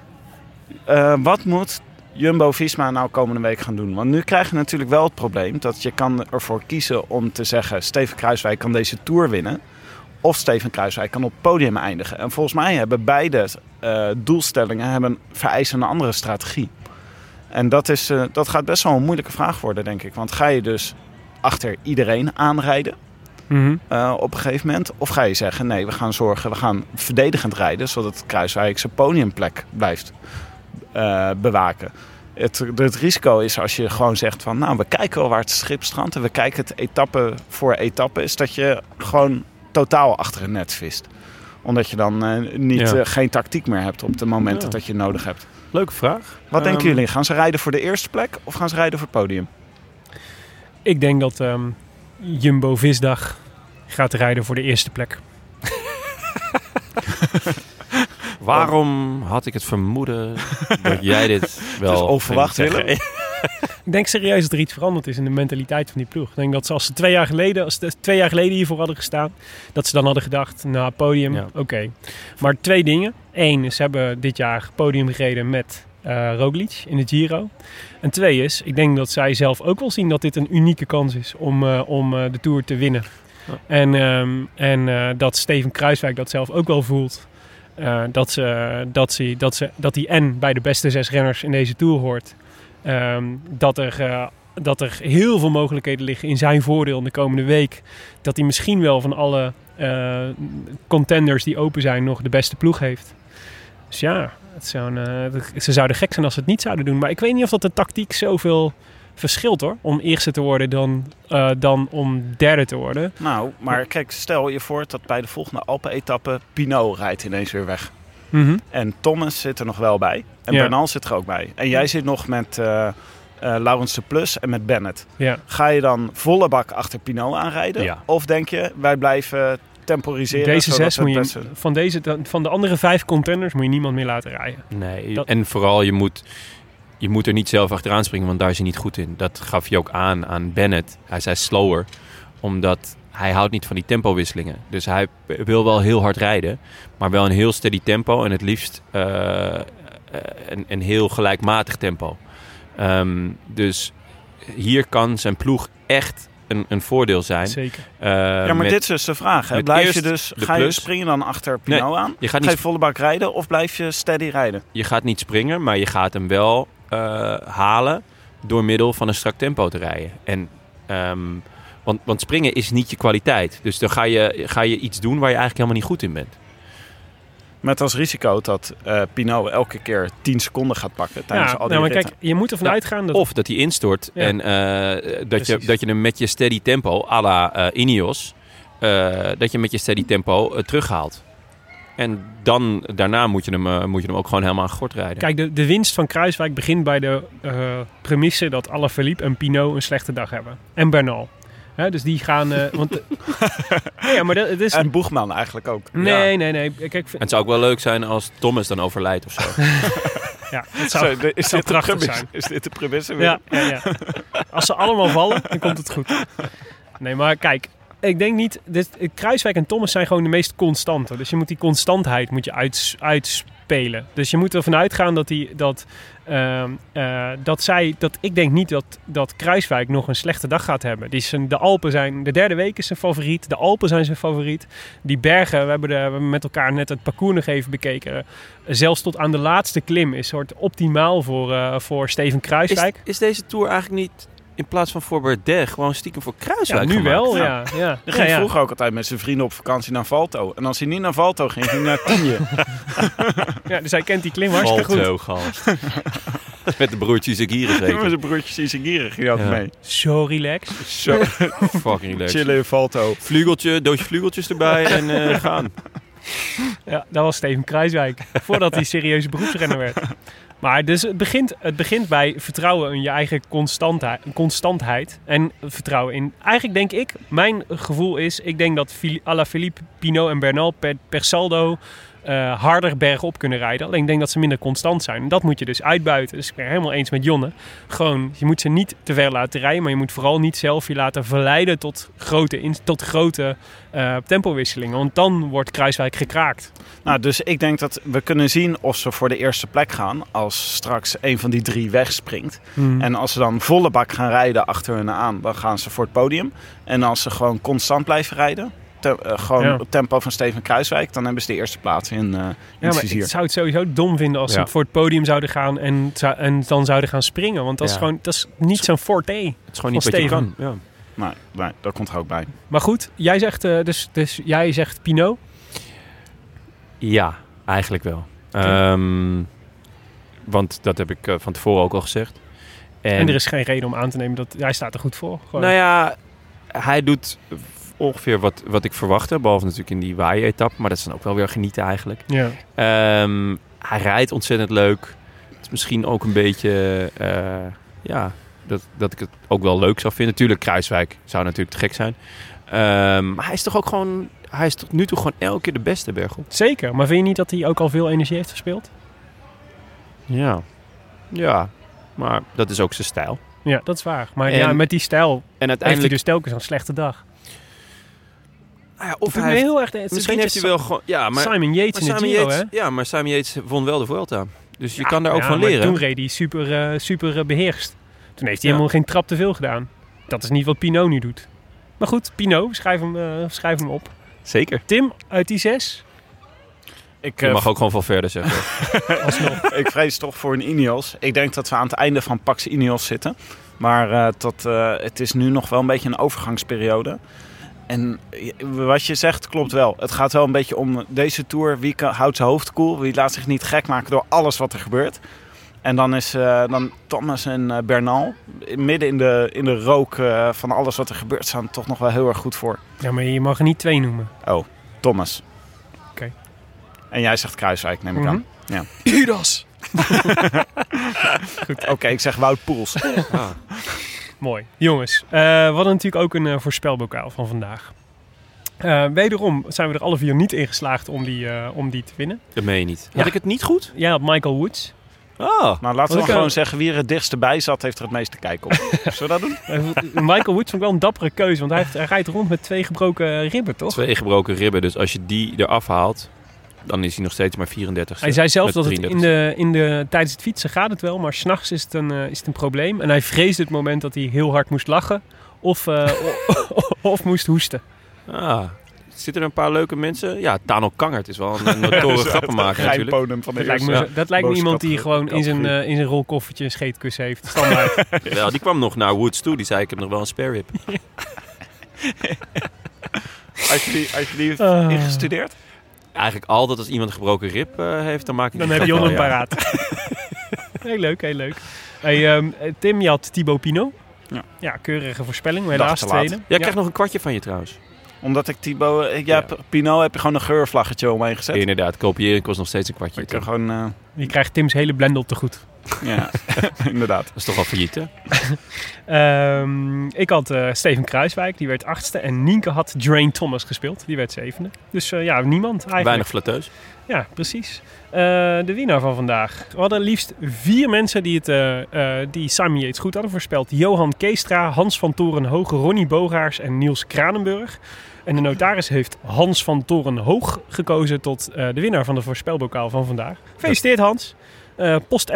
Speaker 7: Eh, wat moet Jumbo-Visma nou komende week gaan doen? Want nu krijg je natuurlijk wel het probleem dat je kan ervoor kiezen om te zeggen... Steven Kruiswijk kan deze Tour winnen. Of Steven Kruiswijk kan op het podium eindigen. En volgens mij hebben beide eh, doelstellingen hebben, vereisen een andere strategie. En dat, is, eh, dat gaat best wel een moeilijke vraag worden, denk ik. Want ga je dus achter iedereen aanrijden?
Speaker 3: Mhm.
Speaker 7: eh, op een gegeven moment? Of ga je zeggen, nee, we gaan zorgen, we gaan verdedigend rijden... zodat Kruiswijk zijn podiumplek blijft eh, bewaken. Het, het risico is als je gewoon zegt van... nou, we kijken wel waar het schip strandt... en we kijken het etappe voor etappe... is dat je gewoon totaal achter het net vist. Omdat je dan eh, niet,
Speaker 2: Ja.
Speaker 7: eh, geen tactiek meer hebt op de momenten
Speaker 2: Ja.
Speaker 7: dat je het nodig hebt.
Speaker 2: Leuke vraag.
Speaker 7: Wat denken
Speaker 2: Ehm,
Speaker 7: jullie? Gaan ze rijden voor de eerste plek of gaan ze rijden voor het podium?
Speaker 3: Ik denk dat ehm, Jumbo Visdag gaat rijden voor de eerste plek.
Speaker 2: Waarom had ik het vermoeden dat jij dit wel...
Speaker 7: Het is onverwacht,
Speaker 2: ging zeggen?
Speaker 7: Willem.
Speaker 3: Ik denk serieus dat er iets veranderd is in de mentaliteit van die ploeg. Ik denk dat ze als ze twee jaar geleden, als ze twee jaar geleden hiervoor hadden gestaan, dat ze dan hadden gedacht, nou, podium,
Speaker 2: Ja.
Speaker 3: oké. Maar twee dingen. Eén, ze hebben dit jaar podium gereden met eh Roglic in de Giro. En twee is, ik denk dat zij zelf ook wel zien dat dit een unieke kans is om, eh, om eh, de Tour te winnen.
Speaker 2: Ja.
Speaker 3: En, ehm, en eh, dat Steven Kruiswijk dat zelf ook wel voelt. Eh, dat, ze, dat, ze, dat, ze, dat hij en bij de beste zes renners in deze Tour hoort. Ehm, dat, er, eh, dat er heel veel mogelijkheden liggen in zijn voordeel in de komende week. Dat hij misschien wel van alle eh, contenders die open zijn nog de beste ploeg heeft. Dus ja, het zou een, eh, ze zouden gek zijn als ze het niet zouden doen. Maar ik weet niet of dat de tactiek zoveel verschilt hoor. Om eerste te worden dan, eh, dan om derde te worden.
Speaker 7: Nou, maar kijk, stel je voor dat bij de volgende Alpen-etappe... Pinot rijdt ineens weer weg. En Thomas zit er nog wel bij. En
Speaker 3: Ja.
Speaker 7: Bernal zit er ook bij. En jij zit nog met eh eh, Laurens de Plus en met Bennett.
Speaker 3: Ja.
Speaker 7: Ga je dan volle bak achter Pinot aanrijden?
Speaker 2: Ja.
Speaker 7: Of denk je, wij blijven temporiseren?
Speaker 3: Deze
Speaker 7: zodat
Speaker 3: zes
Speaker 7: we het
Speaker 3: moet je,
Speaker 7: beste-
Speaker 3: van, deze, van de andere vijf contenders moet je niemand meer laten rijden.
Speaker 2: Nee,
Speaker 3: Dat-
Speaker 2: en vooral je moet, je moet er niet zelf achteraan springen, want daar is hij niet goed in. Dat gaf je ook aan aan Bennett. Hij zei slower, omdat hij houdt niet van die tempowisselingen. Dus hij p- wil wel heel hard rijden, maar wel een heel steady tempo en het liefst eh, eh, een, een heel gelijkmatig tempo. Ehm, dus hier kan zijn ploeg echt een, een voordeel zijn.
Speaker 3: Zeker.
Speaker 2: Eh,
Speaker 7: Ja, maar
Speaker 2: met-
Speaker 7: dit is dus de vraag. Hè?
Speaker 2: met
Speaker 7: Blijf je
Speaker 2: eerst
Speaker 7: dus,
Speaker 2: de
Speaker 7: ga je
Speaker 2: Plus.
Speaker 7: springen dan achter Pinot aan?
Speaker 2: je gaat
Speaker 7: Ga
Speaker 2: niet
Speaker 7: je volle bak rijden of blijf je steady rijden?
Speaker 2: je gaat niet springen, maar je gaat hem wel eh, halen door middel van een strak tempo te rijden. En, ehm, want, want springen is niet je kwaliteit. Dus dan ga je, ga je iets doen waar je eigenlijk helemaal niet goed in bent.
Speaker 7: Met als risico dat eh Pinot elke keer 10 seconden gaat pakken tijdens
Speaker 3: Ja,
Speaker 7: al die
Speaker 3: nou, maar
Speaker 7: ritten.
Speaker 3: kijk, je moet ervan
Speaker 2: Ja.
Speaker 3: uitgaan dat...
Speaker 2: Of dat hij instort
Speaker 3: Ja.
Speaker 2: en eh, dat, je,
Speaker 3: Precies.
Speaker 2: dat je hem met je steady tempo, à la eh, Ineos, eh, dat je met je steady tempo eh, terughaalt. En dan, daarna moet je, hem, eh, moet je hem ook gewoon helemaal aan gort rijden.
Speaker 3: Kijk, de, de winst van Kruiswijk begint bij de eh, premisse dat Alaphilippe en Pinot een slechte dag hebben. En Bernal. Hè, dus die gaan... eh, want, nee, ja, maar dat, het is...
Speaker 7: En Boegman eigenlijk ook.
Speaker 3: Eh, nee, nee, nee. Kijk,
Speaker 2: En het zou ook wel leuk zijn als Thomas dan overlijdt of zo.
Speaker 3: ja, het
Speaker 7: Zo,
Speaker 3: zou,
Speaker 7: is,
Speaker 3: zou
Speaker 7: dit de
Speaker 3: prachtig
Speaker 7: premisse?
Speaker 3: zijn.
Speaker 7: is dit de premisse? weer?
Speaker 3: Ja, ja, ja. Als ze allemaal vallen, dan komt het goed. Nee, maar kijk, ik denk niet. Dit, Kruiswijk en Thomas zijn gewoon de meest constante. Dus je moet die constantheid moet je uits, uitspelen. Dus je moet ervan uitgaan dat, die, dat, ehm, eh, dat zij. Dat, ik denk niet dat, dat Kruiswijk nog een slechte dag gaat hebben. Die zijn, de Alpen zijn. De derde week is zijn favoriet. De Alpen zijn zijn favoriet. Die bergen, we hebben, de, we hebben met elkaar net het parcours nog even bekeken. Zelfs tot aan de laatste klim is soort optimaal voor, eh, voor Steven
Speaker 2: Is,
Speaker 3: Kruiswijk.
Speaker 2: is deze tour eigenlijk niet in plaats van voor Bardet gewoon stiekem voor
Speaker 3: Ja,
Speaker 2: Kruiswijk
Speaker 3: nu
Speaker 2: gemaakt?
Speaker 3: wel, ja. ja.
Speaker 7: Dan ging
Speaker 3: Ja, ja.
Speaker 7: vroeger ook altijd met zijn vrienden op vakantie naar Valto. En als hij niet naar Valto ging, ging hij naar Tienje.
Speaker 3: Ja, dus hij kent die klim hartstikke goed.
Speaker 2: Valt zo, gast. Met de broertjes Aguirre
Speaker 7: Met
Speaker 2: zeker.
Speaker 7: zijn broertjes Isagiri ging hij altijd
Speaker 2: Ja.
Speaker 7: mee.
Speaker 3: Zo relaxed.
Speaker 7: Zo,
Speaker 2: Fucking leuk.
Speaker 7: chillen in Valto.
Speaker 2: Vlugeltje, doosje vlugeltjes erbij en eh, gaan.
Speaker 3: Ja, dat was Steven Kruiswijk. Voordat hij serieuze beroepsrenner werd. Maar dus het, begint, het begint bij vertrouwen in je eigen constantheid, constantheid. En vertrouwen in... Eigenlijk denk ik, mijn gevoel is... Ik denk dat Fili- Alaphilippe, Pinot en Bernal per, per saldo... eh, harder bergop kunnen rijden. Alleen ik denk dat ze minder constant zijn. En dat moet je dus uitbuiten. Dus ik ben helemaal eens met Jonne. Gewoon, je moet ze niet te ver laten rijden. Maar je moet vooral niet zelf je laten verleiden tot grote, in- tot grote eh, tempowisselingen. Want dan wordt Kruiswijk gekraakt.
Speaker 7: Nou, dus ik denk dat we kunnen zien of ze voor de eerste plek gaan als straks een van die drie wegspringt.
Speaker 3: Mm.
Speaker 7: En als ze dan volle bak gaan rijden achter hun aan, dan gaan ze voor het podium. En als ze gewoon constant blijven rijden, te- eh, gewoon
Speaker 3: Ja.
Speaker 7: op tempo van Steven Kruiswijk, dan hebben ze de eerste plaats in, eh, in
Speaker 3: Ja,
Speaker 7: het
Speaker 3: maar
Speaker 7: vizier.
Speaker 3: ik zou het sowieso dom vinden als
Speaker 2: Ja.
Speaker 3: ze voor het podium zouden gaan en, zou- en dan zouden gaan springen. Want dat is
Speaker 2: Ja.
Speaker 3: gewoon dat is niet zo'n forte.
Speaker 2: Het is gewoon niet
Speaker 3: Van
Speaker 2: wat je kan.
Speaker 3: Steven.
Speaker 2: Ja.
Speaker 7: Maar, maar dat komt er ook bij.
Speaker 3: Maar goed, jij zegt, eh, dus, dus jij zegt Pinot.
Speaker 2: Ja, eigenlijk wel. Ehm, want dat heb ik eh, van tevoren ook al gezegd.
Speaker 3: En, er is geen reden om aan te nemen dat hij staat er goed voor. Gewoon.
Speaker 2: Nou ja, hij doet ongeveer wat, wat ik verwachtte. Behalve natuurlijk in die waaien-etappe. Maar dat is dan ook wel weer genieten eigenlijk.
Speaker 3: ja.
Speaker 2: Ehm, hij rijdt ontzettend leuk. Het is misschien ook een beetje... eh, ja, dat, dat ik het ook wel leuk zou vinden. Natuurlijk, Kruiswijk zou natuurlijk te gek zijn. Ehm, maar hij is toch ook gewoon... Hij is tot nu toe gewoon elke keer de beste bergop.
Speaker 3: Zeker, maar vind je niet dat hij ook al veel energie heeft verspeeld?
Speaker 2: Ja. Ja, maar dat is ook zijn stijl.
Speaker 3: Ja, dat is waar. Maar
Speaker 2: En
Speaker 3: ja, met die stijl
Speaker 2: En
Speaker 3: heeft hij
Speaker 2: uiteindelijk...
Speaker 3: dus telkens een slechte dag.
Speaker 2: Nou ja, of
Speaker 3: Doet
Speaker 2: hij
Speaker 3: me
Speaker 2: heeft-
Speaker 3: heel erg, het is een
Speaker 2: misschien heeft
Speaker 3: beetje
Speaker 2: hij wel gewoon... Ja,
Speaker 3: Sa-
Speaker 2: maar,
Speaker 3: Simon Yates
Speaker 2: maar
Speaker 3: in de
Speaker 2: Simon
Speaker 3: Giro,
Speaker 2: Yates,
Speaker 3: hè?
Speaker 2: ja, maar Simon Yates won wel de Vuelta. Dus je
Speaker 3: Ja,
Speaker 2: kan daar ook
Speaker 3: ja,
Speaker 2: van
Speaker 3: maar
Speaker 2: leren.
Speaker 3: Toen reed hij super, eh, super eh, beheerst. Toen heeft hij
Speaker 2: Ja.
Speaker 3: helemaal geen trap te veel gedaan. Dat is niet wat Pinot nu doet. Maar goed, Pinot, schrijf hem, eh, schrijf hem op.
Speaker 2: Zeker.
Speaker 3: Tim, uit die zes.
Speaker 7: Ik,
Speaker 2: Je
Speaker 7: eh,
Speaker 2: mag ook gewoon van verder zeggen.
Speaker 7: ik vrees toch voor een Ineos. Ik denk dat we aan het einde van Pax Ineos zitten. Maar eh, tot, eh, het is nu nog wel een beetje een overgangsperiode. En je- wat je zegt klopt wel. Het gaat wel een beetje om deze Tour. Wie kan- houdt zijn hoofd koel? Wie laat zich niet gek maken door alles wat er gebeurt? En dan is eh, dan Thomas en eh, Bernal midden in de, in de rook eh, van alles wat er gebeurt... staan toch nog wel heel erg goed voor.
Speaker 3: Ja, maar je mag er niet twee noemen.
Speaker 7: Thomas.
Speaker 3: Oké.
Speaker 7: En jij zegt Kruiswijk, neem ik aan.
Speaker 1: Judas!
Speaker 7: Oké, ik zeg Wout Poels.
Speaker 3: Mooi. Jongens, eh, we hadden natuurlijk ook een eh, voorspelbokaal van vandaag. Eh, wederom zijn we er alle vier niet in geslaagd om die, eh, om die te winnen.
Speaker 2: Dat meen je niet. Had
Speaker 3: Ja.
Speaker 2: ik het niet goed?
Speaker 3: Jij had Michael Woods.
Speaker 2: Oh.
Speaker 7: Nou, laten we
Speaker 3: Want
Speaker 7: dan
Speaker 3: ik,
Speaker 7: gewoon
Speaker 3: eh,
Speaker 7: zeggen wie er het dichtst bij zat, heeft er het meeste kijk op. Zullen we dat doen?
Speaker 3: Eh, Michael Woods vond ik wel een dappere keuze, want hij, heeft, hij rijdt rond met twee gebroken ribben, toch?
Speaker 2: Twee gebroken ribben, dus als je die eraf haalt, dan is hij nog steeds maar 34.
Speaker 3: Hij zei zelf
Speaker 2: Met
Speaker 3: dat het in
Speaker 2: 33.
Speaker 3: de, in de, tijdens het fietsen gaat het wel, maar s'nachts is, het een, eh, is het een probleem. En hij vreesde het moment dat hij heel hard moest lachen of, eh, o- of moest hoesten.
Speaker 2: Ah. Zitten er een paar leuke mensen? Ja, Tano Kangert is wel een- een notoren grappenmaker natuurlijk.
Speaker 7: Geinpodem van de
Speaker 3: Dat lijkt me,
Speaker 7: eerste.
Speaker 3: zo- dat lijkt me
Speaker 7: boze
Speaker 3: iemand die
Speaker 7: categorie-
Speaker 3: gewoon in zijn,
Speaker 7: categorie.
Speaker 3: eh, in zijn rolkoffertje een scheetkussen heeft. Standaard.
Speaker 2: Wel, die kwam nog naar Woods toe. Die zei, ik heb nog wel een spare rib.
Speaker 7: Had je die, had je die
Speaker 3: Ah.
Speaker 7: ingestudeerd?
Speaker 2: Eigenlijk altijd als iemand een gebroken rib eh, heeft, dan maak ik
Speaker 3: Dan
Speaker 2: die
Speaker 3: heb je
Speaker 2: grap
Speaker 3: al een
Speaker 2: wel, ja.
Speaker 3: paraat. heel leuk, heel leuk. Hey, ehm, Tim, je had Thibaut Pinot.
Speaker 7: Ja.
Speaker 3: keurige voorspelling. maar
Speaker 7: Dag
Speaker 3: Helaas
Speaker 7: te laat.
Speaker 3: tweede.
Speaker 2: Jij krijgt nog een kwartje van je trouwens.
Speaker 7: Omdat ik Thibaut... eh, jij
Speaker 2: Ja.
Speaker 7: hebt- Pinot heb je gewoon een geurvlaggetje omheen gezet.
Speaker 2: Inderdaad, kopiëren kost nog steeds een kwartje.
Speaker 7: Ik heb
Speaker 2: toch?
Speaker 7: gewoon... eh,
Speaker 3: Je krijgt Tim's hele blendel te goed.
Speaker 7: ja, inderdaad.
Speaker 2: Dat is toch al failliet, hè?
Speaker 3: Ehm, ik had eh, Steven Kruiswijk, die werd achtste. En Nienke had Drain Thomas gespeeld, die werd zevende. Dus eh, ja, niemand eigenlijk.
Speaker 2: Weinig flatteus.
Speaker 3: Ja, precies. Eh, de winnaar van vandaag. We hadden liefst vier mensen die, het, eh, eh, die Simon Yates goed hadden voorspeld. Johan Keestra, Hans van Toren Hoog, Ronnie Bogaars en Niels Kranenburg. En de notaris heeft Hans van Toren Hoog gekozen tot eh, de winnaar van de voorspelbokaal van vandaag. Gefeliciteerd Hans. Eh post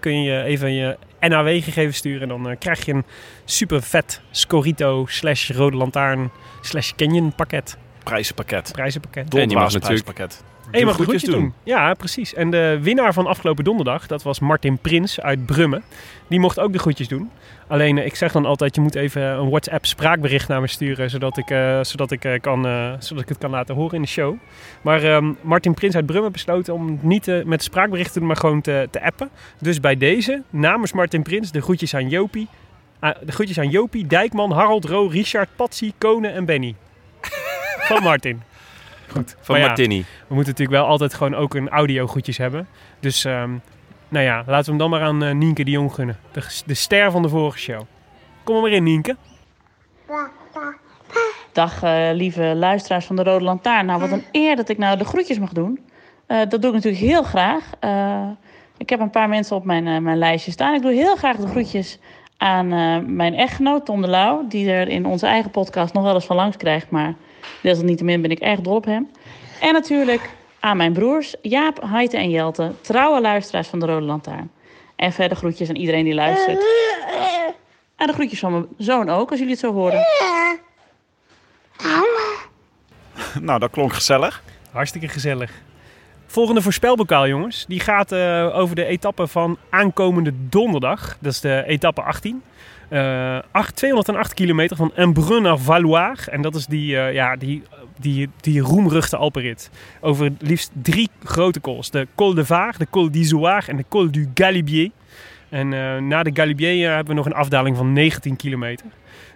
Speaker 3: kun je even je NAW-gegevens sturen. En dan eh, krijg je een super vet Scorito slash Rode Lantaarn slash Canyon pakket.
Speaker 7: Prijzenpakket.
Speaker 3: Prijzenpakket.
Speaker 2: En je mag
Speaker 7: Dolbaas
Speaker 2: natuurlijk-
Speaker 7: prijzenpakket.
Speaker 3: Hey, je mag een
Speaker 2: Doe
Speaker 3: groetje
Speaker 2: groetjes
Speaker 3: doen. Ja, precies. En de winnaar van afgelopen donderdag, dat was Martin Prins uit Brummen. Die mocht ook de groetjes doen. Alleen eh, ik zeg dan altijd, je moet even een WhatsApp spraakbericht naar me sturen, zodat ik, eh, zodat ik, eh, kan, eh, zodat ik het kan laten horen in de show. Maar ehm, Martin Prins uit Brummen besloot om niet eh, met spraakberichten te doen, maar gewoon te, te appen. Dus bij deze, namens Martin Prins, de groetjes aan Jopie. ah, de groetjes aan Jopie, Dijkman, Harold, Ro, Richard, Patsy, Kone en Benny. Van Martin. Goed.
Speaker 2: Van
Speaker 3: Maar ja,
Speaker 2: Martini.
Speaker 3: we moeten natuurlijk wel altijd gewoon ook een audio goedjes hebben. Dus ehm, nou ja, laten we hem dan maar aan eh, Nienke de Jong gunnen. De, de ster van de vorige show. Kom er maar in, Nienke.
Speaker 8: Dag eh, lieve luisteraars van de Rode Lantaarn. Nou, wat een eer dat ik nou de groetjes mag doen. Eh, dat doe ik natuurlijk heel graag. Eh, ik heb een paar mensen op mijn, eh, mijn lijstje staan. Ik doe heel graag de groetjes aan eh, mijn echtgenoot Tom de Lauw. Die er in onze eigen podcast nog wel eens van langs krijgt. Maar desalniettemin ben ik erg dol op hem. En natuurlijk aan mijn broers Jaap, Heite en Jelte. Trouwe luisteraars van de Rode Lantaarn. En verder groetjes aan iedereen die luistert. En de groetjes van mijn zoon ook, als jullie het zo horen.
Speaker 7: Nou, dat klonk gezellig.
Speaker 3: Hartstikke gezellig. Volgende voorspelbokaal, jongens. Die gaat eh, over de etappe van aankomende donderdag. Dat is de etappe 18. Eh, acht- 208 kilometer van Embrun naar Valoir. En dat is die, eh, ja, die, die, die roemruchte Alperit. Over liefst drie grote cols. De Col de Vaar, de Col d'Izoard en de Col du Galibier. En eh, na de Galibier eh, hebben we nog een afdaling van 19 kilometer.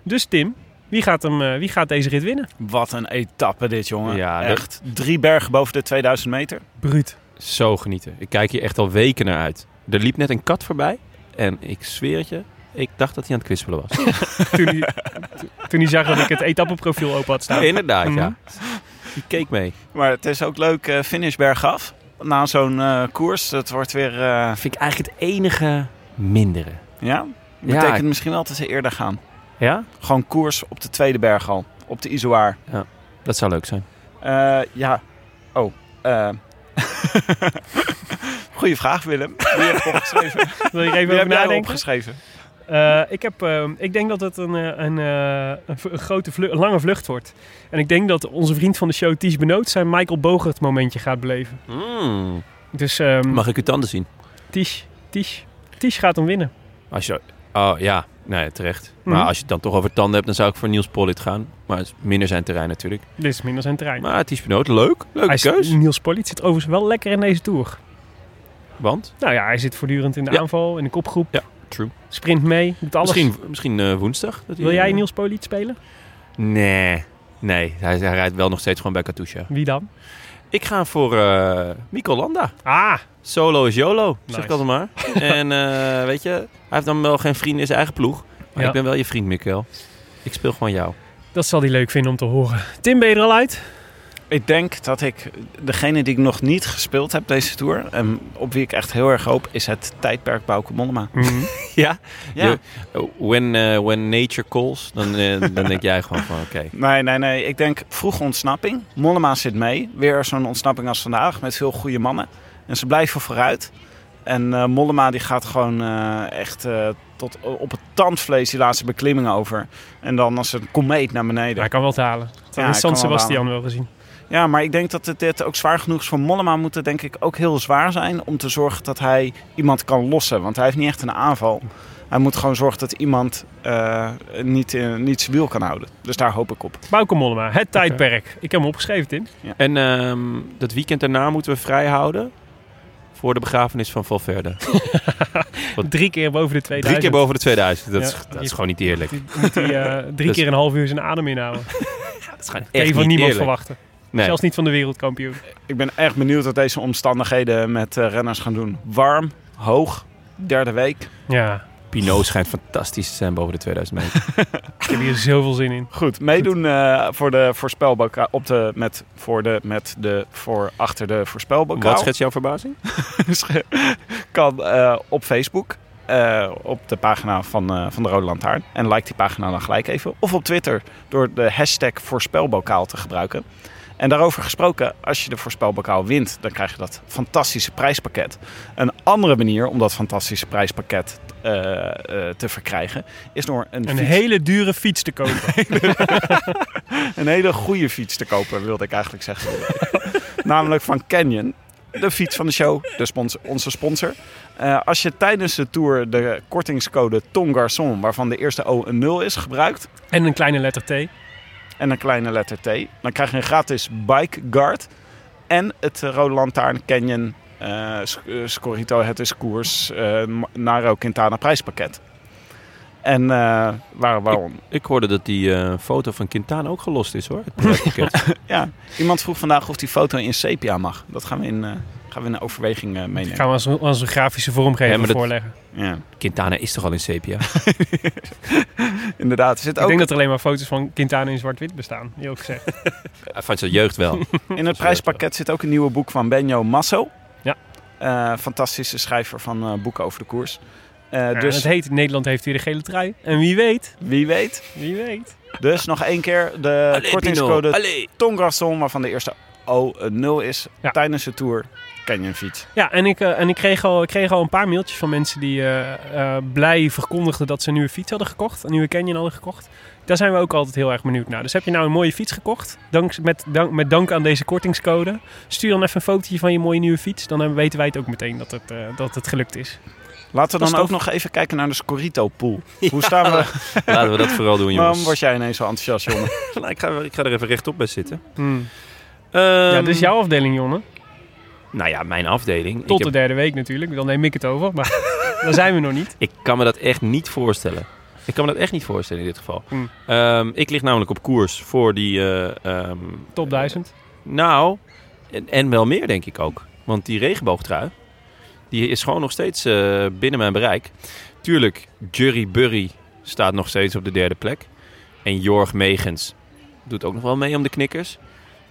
Speaker 3: Dus Tim, wie gaat, hem, eh, wie gaat deze rit winnen?
Speaker 7: Wat een etappe dit, jongen.
Speaker 2: Ja, dat-
Speaker 7: Echt. Drie bergen boven de 2000 meter.
Speaker 3: Bruut.
Speaker 2: Zo genieten. Ik kijk hier echt al weken naar uit. Er liep net een kat voorbij. En ik zweer het je, ik dacht dat hij aan het kwispelen was.
Speaker 3: toen, hij, toen hij zag dat ik het etappeprofiel open had staan.
Speaker 2: Inderdaad, ja.
Speaker 3: Mhm.
Speaker 2: Die keek mee.
Speaker 7: Maar het is ook leuk, eh finish bergaf. Na zo'n eh, koers, dat wordt weer... eh,
Speaker 2: Dat vind ik eigenlijk het enige mindere.
Speaker 7: ja,
Speaker 2: Ja,
Speaker 7: betekent
Speaker 2: ik-
Speaker 7: misschien wel dat ze eerder gaan.
Speaker 2: Ja?
Speaker 7: Gewoon koers op de tweede berg al. Op de Izoar.
Speaker 2: Dat zou leuk zijn.
Speaker 7: Eh, ja. Oh. eh. Goeie vraag, Willem. Wie heb je opgeschreven?
Speaker 3: Wil je er even
Speaker 7: Wie
Speaker 3: over
Speaker 7: heb jij
Speaker 3: nadenken?
Speaker 7: opgeschreven?
Speaker 3: Eh, ik, heb, eh, ik denk dat het een, eh, een, eh, een, v- een grote vlu- een lange vlucht wordt. En ik denk dat onze vriend van de show, Ties Benoot, zijn Michael Bogert momentje gaat beleven. Dus ehm
Speaker 2: Mm. Mag ik uw tanden zien?
Speaker 3: Ties, Ties, Ties gaat hem winnen.
Speaker 2: Als je... Oh ja, nee, terecht. Maar
Speaker 3: Mhm.
Speaker 2: als je het dan toch over tanden hebt, dan zou ik voor Niels Pollitt gaan. Maar het is minder zijn terrein natuurlijk.
Speaker 3: Dit is minder zijn terrein.
Speaker 2: Maar het is benoot, leuk. Leuke
Speaker 3: Hij is-
Speaker 2: keus.
Speaker 3: Niels Polliet zit overigens wel lekker in deze tour.
Speaker 2: Want?
Speaker 3: Nou ja, hij zit voortdurend in de
Speaker 2: Ja.
Speaker 3: aanval, in de kopgroep.
Speaker 2: Ja, true.
Speaker 3: Sprint mee, doet alles.
Speaker 2: Misschien, misschien eh, woensdag. dat hij-
Speaker 3: Wil jij Niels Poliet spelen?
Speaker 2: Nee. Nee, hij, hij rijdt wel nog steeds gewoon bij Katusha.
Speaker 3: Wie dan?
Speaker 2: Ik ga voor eh Mikko Landa.
Speaker 3: Ah,
Speaker 2: Solo is YOLO, zeg
Speaker 3: Nice.
Speaker 2: ik altijd maar. en eh, weet je, hij heeft dan wel geen vrienden in zijn eigen ploeg. Maar
Speaker 3: Ja.
Speaker 2: ik ben wel je vriend, Mikkel. Ik speel gewoon jou.
Speaker 3: dat zal hij leuk vinden om te horen. Tim, ben je er al uit?
Speaker 7: Ik denk dat ik degene die ik nog niet gespeeld heb deze tour, en op wie ik echt heel erg hoop, is het tijdperk Bouke Mollema.
Speaker 2: Ja?
Speaker 7: Ja.
Speaker 2: Je- When, eh, when nature calls, dan, eh, dan denk jij gewoon van oké.
Speaker 7: Nee, nee, nee. Ik denk vroege ontsnapping. Mollema zit mee. Weer zo'n ontsnapping als vandaag met veel goede mannen. En ze blijven vooruit. En eh, Mollema die gaat gewoon eh, echt eh, tot op het tandvlees die laatste beklimming over. En dan als een komeet naar beneden.
Speaker 3: Hij kan wel talen. Dat
Speaker 7: Ja,
Speaker 3: hebben
Speaker 7: hij kan
Speaker 3: San
Speaker 7: wel
Speaker 3: Sebastian wel gezien.
Speaker 7: Ja, maar ik denk dat het dit ook zwaar genoeg is voor Mollema. Moet het denk ik ook heel zwaar zijn om te zorgen dat hij iemand kan lossen. Want hij heeft niet echt een aanval. Hij moet gewoon zorgen dat iemand eh, niet, eh, niet zijn wiel kan houden. Dus daar hoop ik op.
Speaker 3: Bouke Mollema, het tijdperk. Ik heb hem opgeschreven, Tim.
Speaker 2: En ehm, dat weekend daarna moeten we vrij houden voor de begrafenis van Valverde.
Speaker 3: Drie keer boven de 2000.
Speaker 2: Drie keer boven de 2000. Dat,
Speaker 3: Ja.
Speaker 2: is, dat is gewoon niet eerlijk.
Speaker 3: Die Moet hij eh, drie
Speaker 2: Dus-
Speaker 3: keer een half uur zijn adem inhouden.
Speaker 2: Dat is gewoon
Speaker 3: Kan
Speaker 2: echt
Speaker 3: je van
Speaker 2: niet
Speaker 3: niemand
Speaker 2: eerlijk.
Speaker 3: verwachten.
Speaker 2: Nee.
Speaker 3: Zelfs niet van de wereldkampioen.
Speaker 7: Ik ben echt benieuwd wat deze omstandigheden met eh, renners gaan doen. Warm, hoog, derde week.
Speaker 3: Ja,
Speaker 2: Pinot schijnt fantastisch te zijn boven de 2000 meter.
Speaker 3: ik heb hier zoveel zin in.
Speaker 7: Goed, meedoen eh, voor de voorspelbokaal. Op de, met, voor de, met de, voor achter de voorspelbokaal.
Speaker 2: Wat schetst jouw verbazing?
Speaker 7: kan eh, op Facebook. eh, op de pagina van, eh, van de Rode Lantaarn. En like die pagina dan gelijk even. Of op Twitter door de hashtag voorspelbokaal te gebruiken. En daarover gesproken, als je de voorspelbokaal wint, dan krijg je dat fantastische prijspakket. Een andere manier om dat fantastische prijspakket eh, eh, te verkrijgen is door een,
Speaker 3: Een
Speaker 7: fiets-
Speaker 3: hele dure fiets te kopen.
Speaker 7: een hele goede fiets te kopen, wilde ik eigenlijk zeggen. Namelijk van Canyon. De fiets van de show, de sponsor, onze sponsor. Eh, als je tijdens de tour de kortingscode TONGARSON, waarvan de eerste O een 0 is, gebruikt
Speaker 3: en een kleine letter T.
Speaker 7: en een kleine letter T, dan krijg je een gratis bike guard en het eh, Rode Lantaarn Canyon eh, Sc- eh, Scorito Het is Koers eh, Ma- Naro Quintana prijspakket. En eh, waar, waarom?
Speaker 2: Ik hoorde dat die eh, foto van Quintana ook gelost is hoor. Het prijspakket.
Speaker 7: Ja, iemand vroeg vandaag of die foto in sepia mag. Dat gaan we in, eh, gaan we in overweging eh, meenemen.
Speaker 3: Gaan we als, een- als een grafische
Speaker 2: Ja,
Speaker 3: vormgever
Speaker 2: maar dat-
Speaker 3: voorleggen.
Speaker 7: Ja.
Speaker 2: Quintana is toch al in sepia?
Speaker 7: Inderdaad, er zit
Speaker 3: Ik
Speaker 7: ook
Speaker 3: denk dat er alleen maar foto's van Quintana in zwart-wit bestaan. Heel gezegd.
Speaker 2: Van zijn jeugd wel.
Speaker 7: in het prijspakket zit ook een nieuwe boek van Benjo Masso.
Speaker 3: Ja.
Speaker 7: Eh, fantastische schrijver van eh, boeken over de koers. Eh,
Speaker 3: Ja,
Speaker 7: dus
Speaker 3: Het heet Nederland heeft hier de gele trui. En wie weet,
Speaker 7: wie weet.
Speaker 3: wie weet.
Speaker 7: Dus nog één keer de
Speaker 2: Allee, Pino,
Speaker 7: kortingscode
Speaker 2: allee.
Speaker 7: Tongrasson, waarvan de eerste O een 0 is.
Speaker 3: Ja.
Speaker 7: Tijdens de Tour kan je een fiets.
Speaker 3: Ja, en ik, eh, en ik, kreeg, al, ik kreeg al een paar mailtjes van mensen die eh, eh, blij verkondigden dat ze een nieuwe fiets hadden gekocht. Een nieuwe Canyon hadden gekocht. Daar zijn we ook altijd heel erg benieuwd naar. Dus heb je nou een mooie fiets gekocht? Dank, met, dank, met dank aan deze kortingscode. Stuur dan even een fotootje van je mooie nieuwe fiets. Dan eh, weten wij het ook meteen dat het, eh, dat het gelukt is.
Speaker 7: Laten we
Speaker 3: Dat is
Speaker 7: dan ook
Speaker 3: tof.
Speaker 7: nog even kijken naar de Scorito pool. Hoe staan we?
Speaker 2: Laten we dat vooral doen jongens.
Speaker 7: Waarom word jij ineens zo enthousiast, jongen?
Speaker 2: Nou, ik, ga, ik ga er even rechtop bij zitten.
Speaker 3: ja,
Speaker 2: Hmm. Ehm,
Speaker 3: dit is jouw afdeling, Jonne.
Speaker 2: Nou ja, mijn afdeling.
Speaker 3: Tot
Speaker 2: ik,
Speaker 3: de
Speaker 2: heb-
Speaker 3: derde week natuurlijk. Dan neem ik het over. Maar daar zijn we nog niet.
Speaker 2: ik kan me dat echt niet voorstellen. Ik kan me dat echt niet voorstellen in dit geval.
Speaker 3: Hmm.
Speaker 2: Ehm, ik lig namelijk op koers voor die... eh, ehm,
Speaker 3: Top 1000.
Speaker 2: Nou, en, en wel meer denk ik ook. Want die regenboogtrui, die is gewoon nog steeds eh, binnen mijn bereik. Tuurlijk, Jury Burry staat nog steeds op de derde plek. En Jorg Megens doet ook nog wel mee om de knikkers.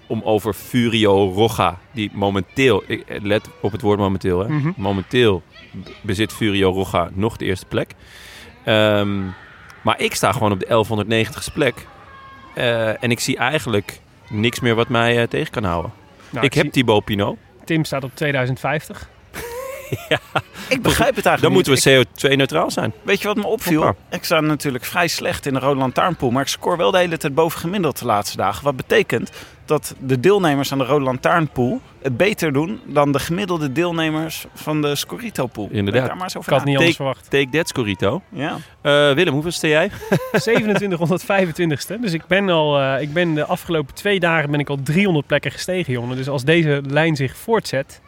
Speaker 2: Om over Furio Rocha, die momenteel, ik- eh, let op het woord momenteel, hè.
Speaker 3: Mhm.
Speaker 2: momenteel b- bezit Furio Rocha nog de eerste plek. Ehm, maar ik sta gewoon op de 1190ste plek. Eh, en ik zie eigenlijk niks meer wat mij eh, tegen kan houden.
Speaker 3: Nou,
Speaker 2: ik heb Thibaut Pinot.
Speaker 3: zie- Tim staat op 2050.
Speaker 7: Ik begrijp het eigenlijk
Speaker 2: Dan
Speaker 7: niet.
Speaker 2: moeten we CO2-neutraal zijn.
Speaker 7: Weet je wat me opviel?
Speaker 2: Hoppa.
Speaker 7: Ik sta natuurlijk vrij slecht in de Rode Lantaarnpool. Maar ik scoor wel de hele tijd bovengemiddeld de laatste dagen. Wat betekent dat de deelnemers aan de Rode Lantaarnpool het beter doen dan de gemiddelde deelnemers van de Scorito-pool.
Speaker 2: Inderdaad.
Speaker 7: Denk daar maar eens over
Speaker 3: Ik
Speaker 2: Nou,
Speaker 3: had het niet
Speaker 7: na.
Speaker 3: anders verwacht.
Speaker 2: Take that, Scorito.
Speaker 7: Ja.
Speaker 2: Eh, Willem, hoeveel sta jij?
Speaker 3: 2725ste. Dus ik ben al, eh, ik ben de afgelopen twee dagen ben ik al 300 plekken gestegen, jongen. Dus als deze lijn zich voortzet,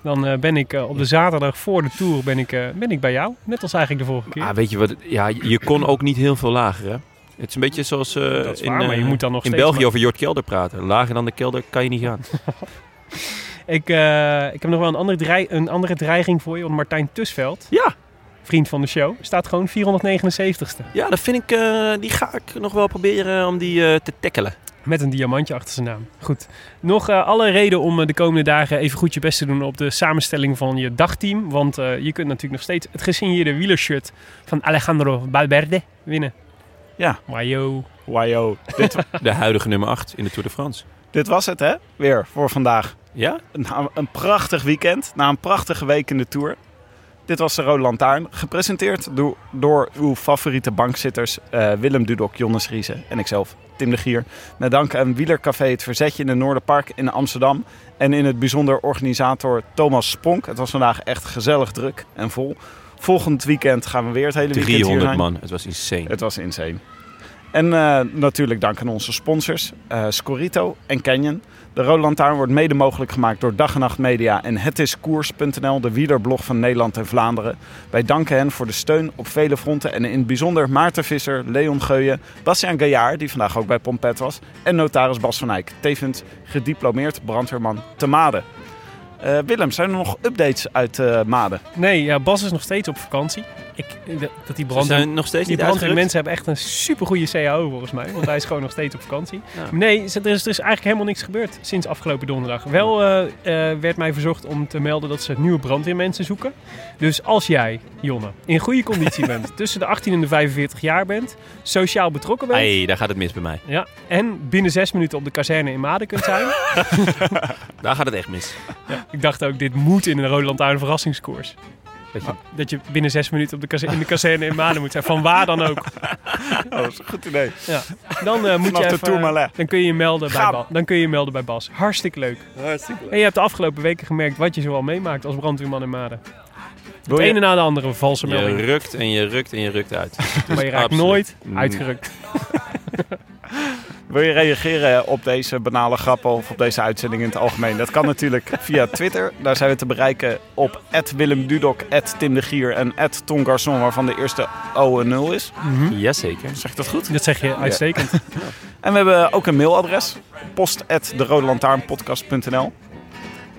Speaker 3: dan eh, ben ik eh, op de zaterdag voor de tour ben ik, eh, ben ik bij jou. Net als eigenlijk de vorige keer.
Speaker 2: Ah, weet je wat? het- Ja, je je kon ook niet heel veel lager, hè? Het is een beetje zoals eh,
Speaker 3: Dat is
Speaker 2: in,
Speaker 3: waar, maar je
Speaker 2: eh,
Speaker 3: moet dan nog
Speaker 2: in
Speaker 3: steeds
Speaker 2: België
Speaker 3: maar-
Speaker 2: over Jort Kelder praten. Lager dan de kelder kan je niet gaan.
Speaker 3: ik, eh, ik heb nog wel een andere, drei- een andere dreiging voor je. Want Martijn Tusveld,
Speaker 2: Ja.
Speaker 3: vriend van de show, staat gewoon 479ste.
Speaker 2: Ja, dat vind ik, eh, die ga ik nog wel proberen om die eh, te tackelen.
Speaker 3: Met een diamantje achter zijn naam. Goed. Nog eh, alle reden om eh, de komende dagen even goed je best te doen op de samenstelling van je dagteam. Want eh, je kunt natuurlijk nog steeds het gesigneerde wielershirt van Alejandro Valverde winnen.
Speaker 7: Ja.
Speaker 3: Maar yo.
Speaker 7: Wajo. dit,
Speaker 2: De huidige nummer 8 in de Tour de France.
Speaker 7: dit was het, hè? Weer voor vandaag.
Speaker 2: Ja?
Speaker 7: Na een prachtig weekend. Na een prachtige week in de Tour. Dit was de Rode Lantaarn. Gepresenteerd door, door uw favoriete bankzitters eh, Willem Dudok, Jonas Riese en ikzelf, Tim de Gier. Met dank aan Wielercafé Het Verzetje in het Noorderpark in Amsterdam. En in het bijzonder organisator Thomas Spronk. Het was vandaag echt gezellig druk en vol. Volgend weekend gaan we weer het hele weekend hier
Speaker 2: 300
Speaker 7: zijn.
Speaker 2: man. Het was insane.
Speaker 7: Het was insane. En eh, natuurlijk dank aan onze sponsors, eh Scorito en Canyon. De Roland Lantaarn wordt mede mogelijk gemaakt door Dag en Nacht Media en hetiskoers.nl, de wielerblog van Nederland en Vlaanderen. Wij danken hen voor de steun op vele fronten en in het bijzonder Maarten Visser, Leon Geuyen, Bastiaan Gaillard, die vandaag ook bij Pompet was, en notaris Bas van Eyck, tevens gediplomeerd brandweerman te Maden. Eh, Willem, zijn er nog updates uit eh Maden?
Speaker 3: Nee, ja, Bas is nog steeds op vakantie. Ik, eh, dat die
Speaker 2: Ze
Speaker 3: brand
Speaker 2: zijn nog steeds
Speaker 3: Die
Speaker 2: niet
Speaker 3: brandweer
Speaker 2: uitgerukt.
Speaker 3: mensen hebben echt een supergoeie CAO volgens mij. Want hij is gewoon nog steeds op vakantie.
Speaker 2: Ja.
Speaker 3: Nee, ze- er is, er is eigenlijk helemaal niks gebeurd sinds afgelopen donderdag. Wel eh, eh, werd mij verzocht om te melden dat ze nieuwe brandweermensen zoeken. Dus als jij, Jonne, in goede conditie bent. Tussen de 18 en de 45 jaar bent. Sociaal betrokken bent.
Speaker 2: Hey, daar gaat het mis bij mij.
Speaker 3: Ja, en binnen zes minuten op de kazerne in Maden kunt zijn.
Speaker 2: Daar gaat het echt mis.
Speaker 3: Ik dacht ook, dit moet in een Rode Lantaarn verrassingskoers.
Speaker 2: Dat je-
Speaker 3: Dat je binnen zes minuten op de kaze- in de kazerne in Maden moet zijn. Van waar dan ook.
Speaker 7: Oh, dat is een goed idee.
Speaker 3: Ja. Dan eh, moet
Speaker 7: Vanaf
Speaker 3: je
Speaker 7: de
Speaker 3: even,
Speaker 7: Tourmalet.
Speaker 3: Dan kun je je melden bij
Speaker 7: Gaan.
Speaker 3: Bas. Dan kun je je melden bij Bas. Hartstikke leuk. En je hebt de afgelopen weken gemerkt wat je zoal meemaakt als brandweerman in Maden.
Speaker 7: Wil
Speaker 3: De
Speaker 7: je-
Speaker 3: ene na de andere valse
Speaker 2: Je
Speaker 3: melding.
Speaker 2: rukt en je rukt en je rukt uit.
Speaker 3: Maar je raakt
Speaker 2: absoluut
Speaker 3: nooit
Speaker 2: n-
Speaker 3: uitgerukt.
Speaker 7: Wil je reageren op deze banale grappen of op deze uitzending in het algemeen? Dat kan natuurlijk via Twitter. Daar zijn we te bereiken op Willem Dudok, Tim de Gier en Ton Garçon, waarvan de eerste O een 0 is.
Speaker 2: Jazeker.
Speaker 7: Zeg ik dat goed?
Speaker 3: Dat zeg je uitstekend.
Speaker 7: En we hebben ook een mailadres: post@derodelantaarnpodcast.nl.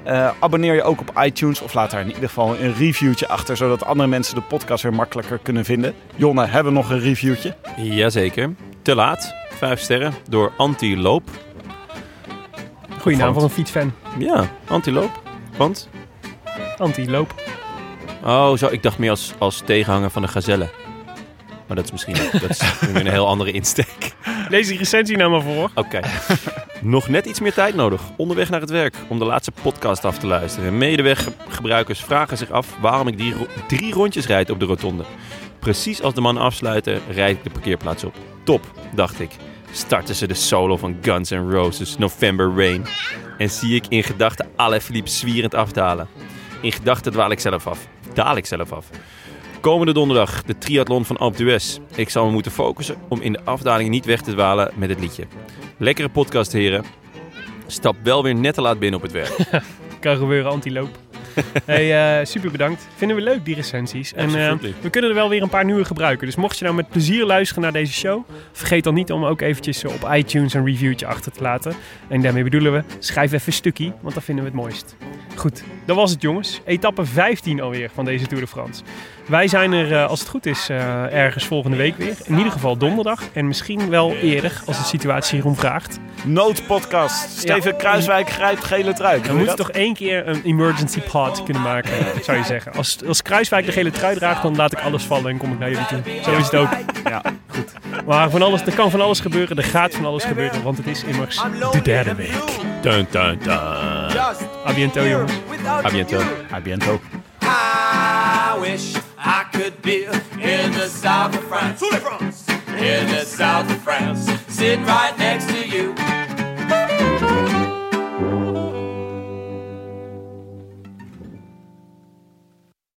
Speaker 7: Eh, abonneer je ook op iTunes of laat daar in ieder geval een reviewtje achter, zodat andere mensen de podcast weer makkelijker kunnen vinden. Jonne, hebben we nog een reviewtje?
Speaker 2: Jazeker. Te laat. Vijf sterren door Antiloop.
Speaker 3: Goeie naam voor een fietsfan.
Speaker 2: Ja, Antiloop. Want?
Speaker 3: Anti-loop.
Speaker 2: Oh, zo. Ik dacht meer als, als tegenhanger van de gazelle. Maar dat is misschien dat is weer een heel andere insteek.
Speaker 3: Lees die recensie nou maar voor.
Speaker 2: Oké. Nog net iets meer tijd nodig onderweg naar het werk om de laatste podcast af te luisteren. Medeweggebruikers vragen zich af waarom ik die ro- drie rondjes rijd op de rotonde. Precies als de man afsluiten, rijd ik de parkeerplaats op. Top, dacht ik. Starten ze de solo van Guns N' Roses November Rain. En zie ik in gedachten alle Philippe zwierend afdalen. In gedachten dwaal ik zelf af. Daal ik zelf af. Komende donderdag de triathlon van Alpe d'Huez. Ik zal me moeten focussen om in de afdaling niet weg te dwalen met het liedje. Lekkere podcast, heren. Stap wel weer net te laat binnen op het werk.
Speaker 3: Kan gebeuren, antiloop. hey, eh, super bedankt. Vinden we leuk, die recensies. En eh,
Speaker 2: Absolutely.
Speaker 3: we kunnen er wel weer een paar nieuwe gebruiken. Dus mocht je nou met plezier luisteren naar deze show... vergeet dan niet om ook eventjes eh, op iTunes een reviewtje achter te laten. En daarmee bedoelen we, schrijf even een stukje, want dat vinden we het mooist. Goed, dat was het jongens. Etappe 15 alweer van deze Tour de France. Wij zijn er, eh, als het goed is, eh, ergens volgende week weer. In ieder geval donderdag. En misschien wel eerder, als de situatie hierom vraagt.
Speaker 7: Noodpodcast. Steven Kruiswijk grijpt gele trui.
Speaker 3: Dan moet je toch één keer een emergency pod kunnen maken, zou je zeggen. Als, als Kruiswijk de gele trui draagt, dan laat ik alles vallen en kom ik naar jullie toe. Zo is het ook.
Speaker 7: Ja.
Speaker 3: Maar van alles, er kan van alles gebeuren, er gaat van alles gebeuren, want het is immers de derde week.
Speaker 2: Dun, dun, dun.
Speaker 6: Just
Speaker 3: A bientôt,
Speaker 6: here
Speaker 3: jongens.
Speaker 6: without
Speaker 2: A bientôt.
Speaker 6: you.
Speaker 7: A bientôt.
Speaker 6: I wish I could be in the south of France. In the south of France. Sit right